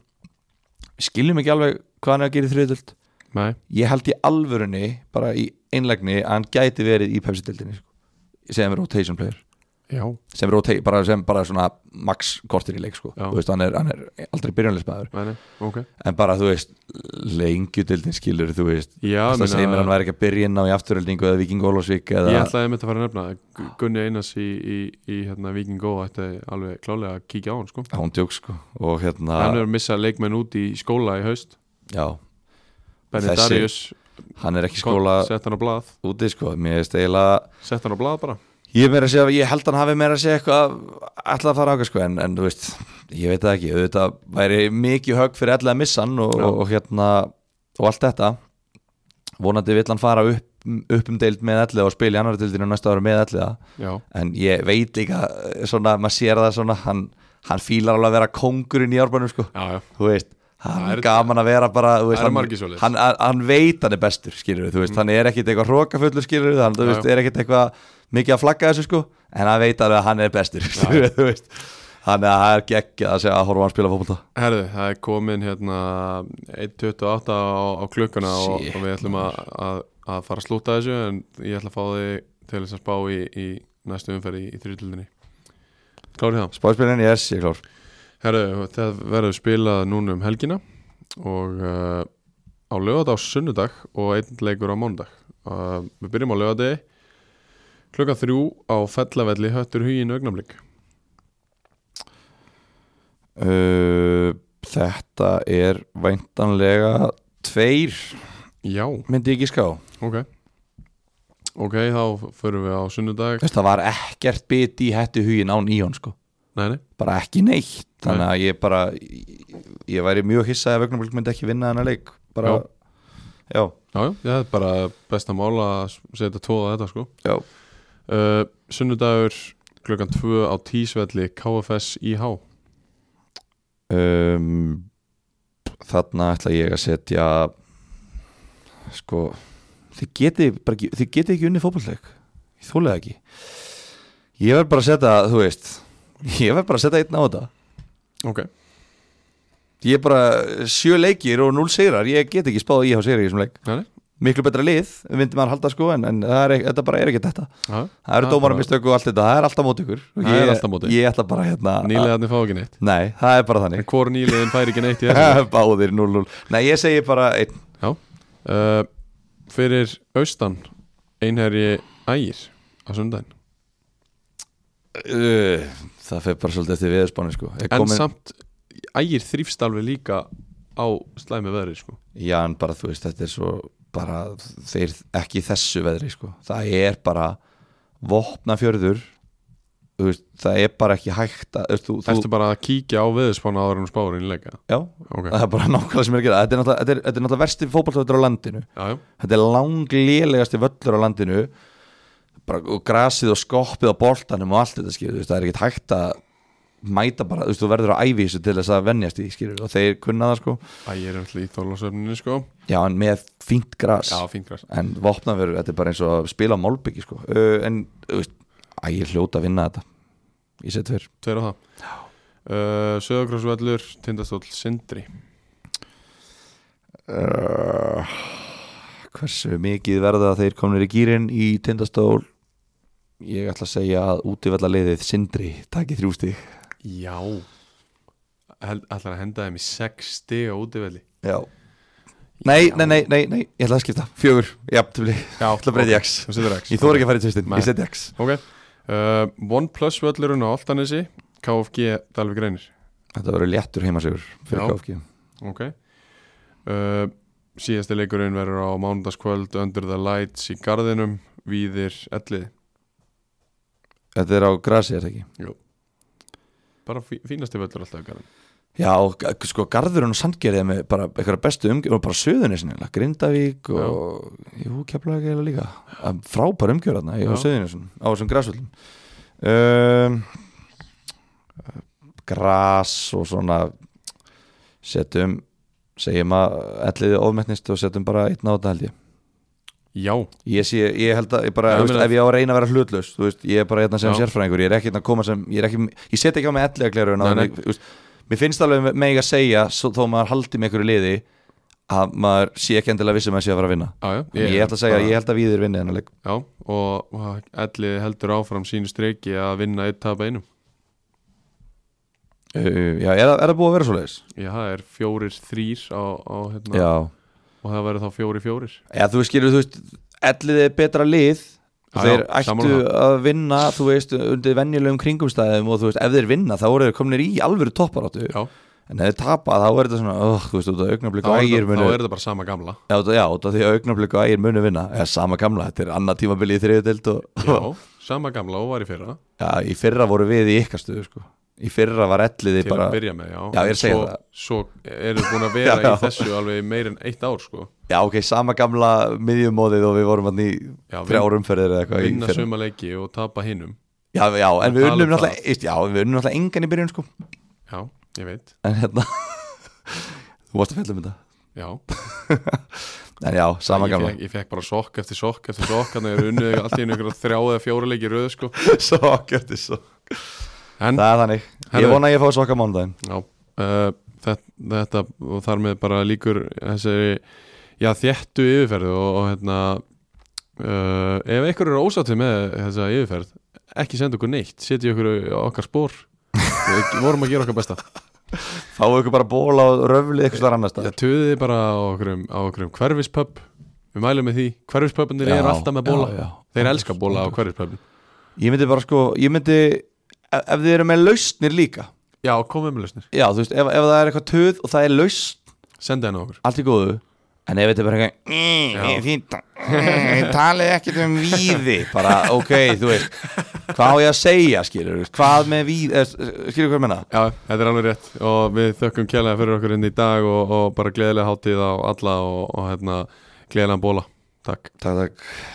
Speaker 2: Við skiljum ekki alveg hvað hann er að gera í þriðdöld
Speaker 1: Nei,
Speaker 2: ég held í alvörunni, bara í einlegni að hann gæti verið í Pepsi-deildinni sko. sem rotation player
Speaker 1: já,
Speaker 2: sem, rota bara, sem bara svona max kortir í leik sko.
Speaker 1: Já.
Speaker 2: Þú veist, hann, er, hann er aldrei byrjunleismæður
Speaker 1: nei, nei, ok
Speaker 2: en bara þú veist lengjudildin skilur þú veist
Speaker 1: Já,
Speaker 2: það segir mér hann
Speaker 1: meina,
Speaker 2: væri ekki að byrja inn á í afturöldingu eða Viking Ólafsvík eða
Speaker 1: ég ætlaði einmitt að fara að nefna það. Gu- Gunni Einars í, í, í hérna, Viking Go ætti alveg klálega að kíkja á hann sko.
Speaker 2: hún djók sko og hérna
Speaker 1: Hann er að missa leikmenn út í skóla í haust
Speaker 2: já,
Speaker 1: Benny
Speaker 2: Þessi-
Speaker 1: Darius
Speaker 2: hann er ekki í skóla
Speaker 1: Sett hann á blað,
Speaker 2: úti sko mér veist eiginlega
Speaker 1: sett hann á blað bara
Speaker 2: ég, er meira að segja, ég held hann hafi meira að segja eitthvað ætla að fara ákveð sko en, en þú veist ég veit það ekki auðvitað væri mikið högg fyrir alla að missa hann og,
Speaker 1: Já.
Speaker 2: og, hérna og allt þetta vonandi vill hann fara upp, upp um deild með alliða og spila í annar deildinu næsta ára með alliða
Speaker 1: Já,
Speaker 2: en ég veit líka eh, svona, maður sér það svona hann, hann fílar alveg að vera kongurinn í árbænum sko,
Speaker 1: já, já,
Speaker 2: þú veist hann
Speaker 1: Það
Speaker 2: er
Speaker 1: eru-
Speaker 2: gaman að vera bara þú veist,
Speaker 1: það eru margir
Speaker 2: hann,
Speaker 1: svoleiðis. Mm.
Speaker 2: hann, hann, hann veit hann er bestur skilur þú veist, hann er ekkit eitthvað hrókafullur skilur hann þú
Speaker 1: Já,
Speaker 2: veist, er ekkit eitthvað mikið að flagga þessu sko, en hann veit alveg að hann er bestur skilur þú veist þannig að það er geggjað að segja að horfa hann spila fótbolta
Speaker 1: Herðu, það er komin hérna 1.28 á, á klukkuna og,
Speaker 2: Shit,
Speaker 1: og við ætlum að, að, að fara að slúta þessu en ég ætla að fá þig til þess að spá í, í næstu umferði í þrjutildinni Klárið það
Speaker 2: Spáspilin, yes, ég er klár
Speaker 1: Herru, það verður spilað núna um helgina og uh, á lögadag á sunnudag og einn leikur á mánudag uh, Við byrjum á lögadegi klukka þrjú á fellavelli höttur hugin augnamlik
Speaker 2: uh, Þetta er væntanlega tveir
Speaker 1: Já,
Speaker 2: myndi ég ekki ská
Speaker 1: ok Ok, þá förum við á sunnudag
Speaker 2: Það var ekkert biti í hættu hugin án í hann sko
Speaker 1: Nei, nei,
Speaker 2: bara ekki neitt þannig að ég bara ég, ég væri mjög hissað ef augnablik myndi ekki vinna þennan leik bara, já,
Speaker 1: já, já, það er bara besta mál að setja tóða þetta sko
Speaker 2: já,
Speaker 1: uh, Sunnudagur klukkan 2 á tísvelli KFS IH
Speaker 2: Um, þarna ætla ég að setja sko þið geti, bara, ekki- þið geti ekki unni fótballleik ég þóla það ekki ég verð bara að setja, þú veist ég verð bara að setja einn á þetta
Speaker 1: Ok,
Speaker 2: ég er bara sjö leikir og núl sigrar ég get ekki spáð í á sigrar í þessum leik
Speaker 1: Nei, nei.
Speaker 2: miklu betra lið, myndi maður halda sko en, en það er, ek- þetta bara er ekki þetta
Speaker 1: já,
Speaker 2: það eru
Speaker 1: Það er bara-
Speaker 2: dómarum mistök og allt þetta, það er alltaf mót ykkur Og
Speaker 1: Það er
Speaker 2: ég,
Speaker 1: alltaf móti.
Speaker 2: ég ætla bara hérna
Speaker 1: nýlegaðni fá ekki neitt
Speaker 2: nei, það er bara þannig
Speaker 1: En hvor nýlegaðin fær ekki neitt í þessu
Speaker 2: Báðir 0-0 Nei, ég segi bara einn
Speaker 1: uh, Fyrir austan einherji ægir á sundaginn
Speaker 2: uh, Það fer bara svolítið eftir viðspáni sko. Ég
Speaker 1: En
Speaker 2: komin-
Speaker 1: samt ægir þrýfst alveg líka á slæmi veðri sko
Speaker 2: Já, en bara þú veist, þetta er svo bara, þeir ekki í þessu veðri sko. Það er bara vopna fjörður þú veist, það er bara ekki hægt að, þú, þú,
Speaker 1: Ertu bara að kíkja á veðurspána áður en spáður inn leika
Speaker 2: já,
Speaker 1: Ok,
Speaker 2: það er bara nákvæmlega sem er að gera þetta er náttúrulega, þetta er, þetta er náttúrulega versti fótballtöður á landinu
Speaker 1: já, já,
Speaker 2: þetta er langlélegasti völlur á landinu bara, og grasið og skoppið á boltanum og allt þetta skilur, veist, það er ekkert hægt að mæta bara, þú, veist, þú verður að æfi þessu til þess að vennjast í því skilur og þeir kunna það sko
Speaker 1: ægir er alltaf í þólasöfninu sko
Speaker 2: já en með fínt gras
Speaker 1: Já, fínt græs
Speaker 2: en vopnaverur, þetta er bara eins og að spila á málbyggi sko, uh, en þú veist, að ég hljóta að vinna þetta ég set fyrr,
Speaker 1: Tveir á það uh, Söðagrósvellur, tindastóll, sindri
Speaker 2: uh, hversu mikið verða þeir komnir í gýrin í tindastól ég ætla að segja að útivallaliðið Sindri takið þrjústig
Speaker 1: Já Ætlar að henda þeim í 6 stig á útivelli
Speaker 2: Já Nei,
Speaker 1: Já.
Speaker 2: nei, nei, nei, nei, ég ætla að skipta Fjögur, jafntefli, ég
Speaker 1: Já,
Speaker 2: ætla að breyta í X
Speaker 1: Þú setur X
Speaker 2: Ég þóra ekki að fara í tvistin,
Speaker 1: Nei.
Speaker 2: ég seti X
Speaker 1: Ok uh, OnePlus völlurinn á Altanesi KFG Dalvik Reynir
Speaker 2: Þetta verður léttur heimasigur fyrir
Speaker 1: Já.
Speaker 2: KFG
Speaker 1: Ok uh, Síðasti leikurinn verður á mánudagskvöld Under the Lights í Garðinum Víðir Ellið
Speaker 2: Þetta er á grasi, er þetta ekki?
Speaker 1: Bara fí- fínasti völlur alltaf í Garðin
Speaker 2: Já, og g- sko, Garðurinn og Sandgerði er með bara eitthvað bestu umgjörð og bara Söðunisinn, Grindavík og jú, keflaði ekki eiginlega líka Það er frábær umgjörð þarna á
Speaker 1: Já.
Speaker 2: Söðunisinn, á þessum grasvöldum um, eh, Gras og svona setjum segjum að elliði ofmettnist og setjum bara einn á þetta held ég
Speaker 1: Já,
Speaker 2: Ég, sé, ég held að, ég bara,
Speaker 1: Já, ég
Speaker 2: þú veist,
Speaker 1: meina-
Speaker 2: ef ég á að reyna að vera hlutlaus þú veist, ég er bara hérna sem
Speaker 1: Já.
Speaker 2: sérfræðingur ég er ekki hérna að koma sem, ég er ekki ég set ekki á mig ellega glerun á
Speaker 1: Nei, nei.
Speaker 2: mig, þú veist, mér finnst alveg með ég að segja svo, þó maður haldi með einhverju liði að maður sé ekki endilega vissi að maður sé að fara að vinna
Speaker 1: já, já
Speaker 2: ég, ég ætla að segja,
Speaker 1: bara-
Speaker 2: ég held að við erum vinni þennan leik
Speaker 1: Já, og, og Ellið heldur áfram sínu streiki að vinna eitt tapa einum
Speaker 2: uh, já, er, það- er það búið að vera svo leiðis?
Speaker 1: Já, það er fjórir þrýr á, á hérna
Speaker 2: Já,
Speaker 1: Og það verður þá fjórir fjórir
Speaker 2: eða þú veist, skilur, þú veist ellið er betra lið
Speaker 1: Já,
Speaker 2: og
Speaker 1: já,
Speaker 2: þeir ættu
Speaker 1: sammála.
Speaker 2: að vinna, þú veist, undir venjulegum kringumstæðum og þú veist, ef þeir vinna, þá voru þeir komnir í alvöru topparáttu
Speaker 1: Já,
Speaker 2: en ef þið tapa þá er þetta svona oh, þú veist, út af augnablik
Speaker 1: þá
Speaker 2: og
Speaker 1: er,
Speaker 2: ægir
Speaker 1: þetta,
Speaker 2: munu
Speaker 1: þá er þetta bara sama gamla
Speaker 2: já, út af- já, út af því að augnablik og ægir munu vinna eða sama gamla, þetta er annað tímabili í þriðutild og
Speaker 1: Já, sama gamla og var í fyrra
Speaker 2: já, í fyrra voru við í ykkar stöðu sko. í fyrra var elliði
Speaker 1: til
Speaker 2: bara
Speaker 1: að byrja með, já,
Speaker 2: Já, ég er að segja
Speaker 1: svo,
Speaker 2: það.
Speaker 1: Svo eru búin að vera
Speaker 2: Já.
Speaker 1: í þessu alveg í meir en eitt ár sko.
Speaker 2: já, ok, sama gamla miðjumóðið og við vorum hann í
Speaker 1: Já, vin-
Speaker 2: þrjár umferðir eða eitthvað í
Speaker 1: vinna
Speaker 2: fyrra.
Speaker 1: suma leiki og tapa hinnum
Speaker 2: já, já, en við
Speaker 1: Tala um
Speaker 2: unnum
Speaker 1: það.
Speaker 2: náttúrulega veist, já, við unnum náttúrulega engan í byrjun sko.
Speaker 1: Já, ég veit,
Speaker 2: en hérna þú varst að fjalla um þetta
Speaker 1: já
Speaker 2: en já, sama
Speaker 1: ég,
Speaker 2: gamla
Speaker 1: fekk, ég fekk bara sokk eftir sokk eftir sokk þannig að unnið allt í einu ykkur þrjá eða fjóra leiki í röð sko.
Speaker 2: svo, gjörði svo
Speaker 1: En,
Speaker 2: það er þannig,
Speaker 1: Herðu.
Speaker 2: ég vona að ég fá sokka mánudaginn
Speaker 1: já uh, þetta, þetta og þar með bara líkur þessari, já, þéttu yfirferðu og, og hérna uh, ef einhver eru ósáttið með þessa yfirferð ekki senda okkur neitt, setja okkur á okkar spór við vorum að gera okkar besta
Speaker 2: Fáðu ykkur bara ból á röfli eitthvað annars
Speaker 1: Já,
Speaker 2: staðar.
Speaker 1: töðiði bara á okkur, á okkur hverfispöpp við mælum með því, hverfispöppinir
Speaker 2: Já,
Speaker 1: eru alltaf með
Speaker 2: já,
Speaker 1: bóla
Speaker 2: já.
Speaker 1: þeir elska bóla á hverfispöppin
Speaker 2: Ég myndi bara sko, ég myndi ef, ef þið eru með lausnir líka
Speaker 1: já, komum með lausnir,
Speaker 2: Já, þú veist, ef, ef það er eitthvað töð og það er lausn
Speaker 1: senda henni okkur
Speaker 2: allt í góðu, en ef þetta er bara
Speaker 1: Já.
Speaker 2: eitthvað fínt, mm, talið ekkert um víði, bara ok þú veist, hvað á ég að segja skilur, hvað með víði eh, skilur hvað ég menna,
Speaker 1: já, þetta er alveg rétt og við þökkum kjærlega fyrir okkur inn í dag og, og bara gleðilega hátíð á alla og, og hérna, gleðilegan bóla, hérna, takk
Speaker 2: takk takk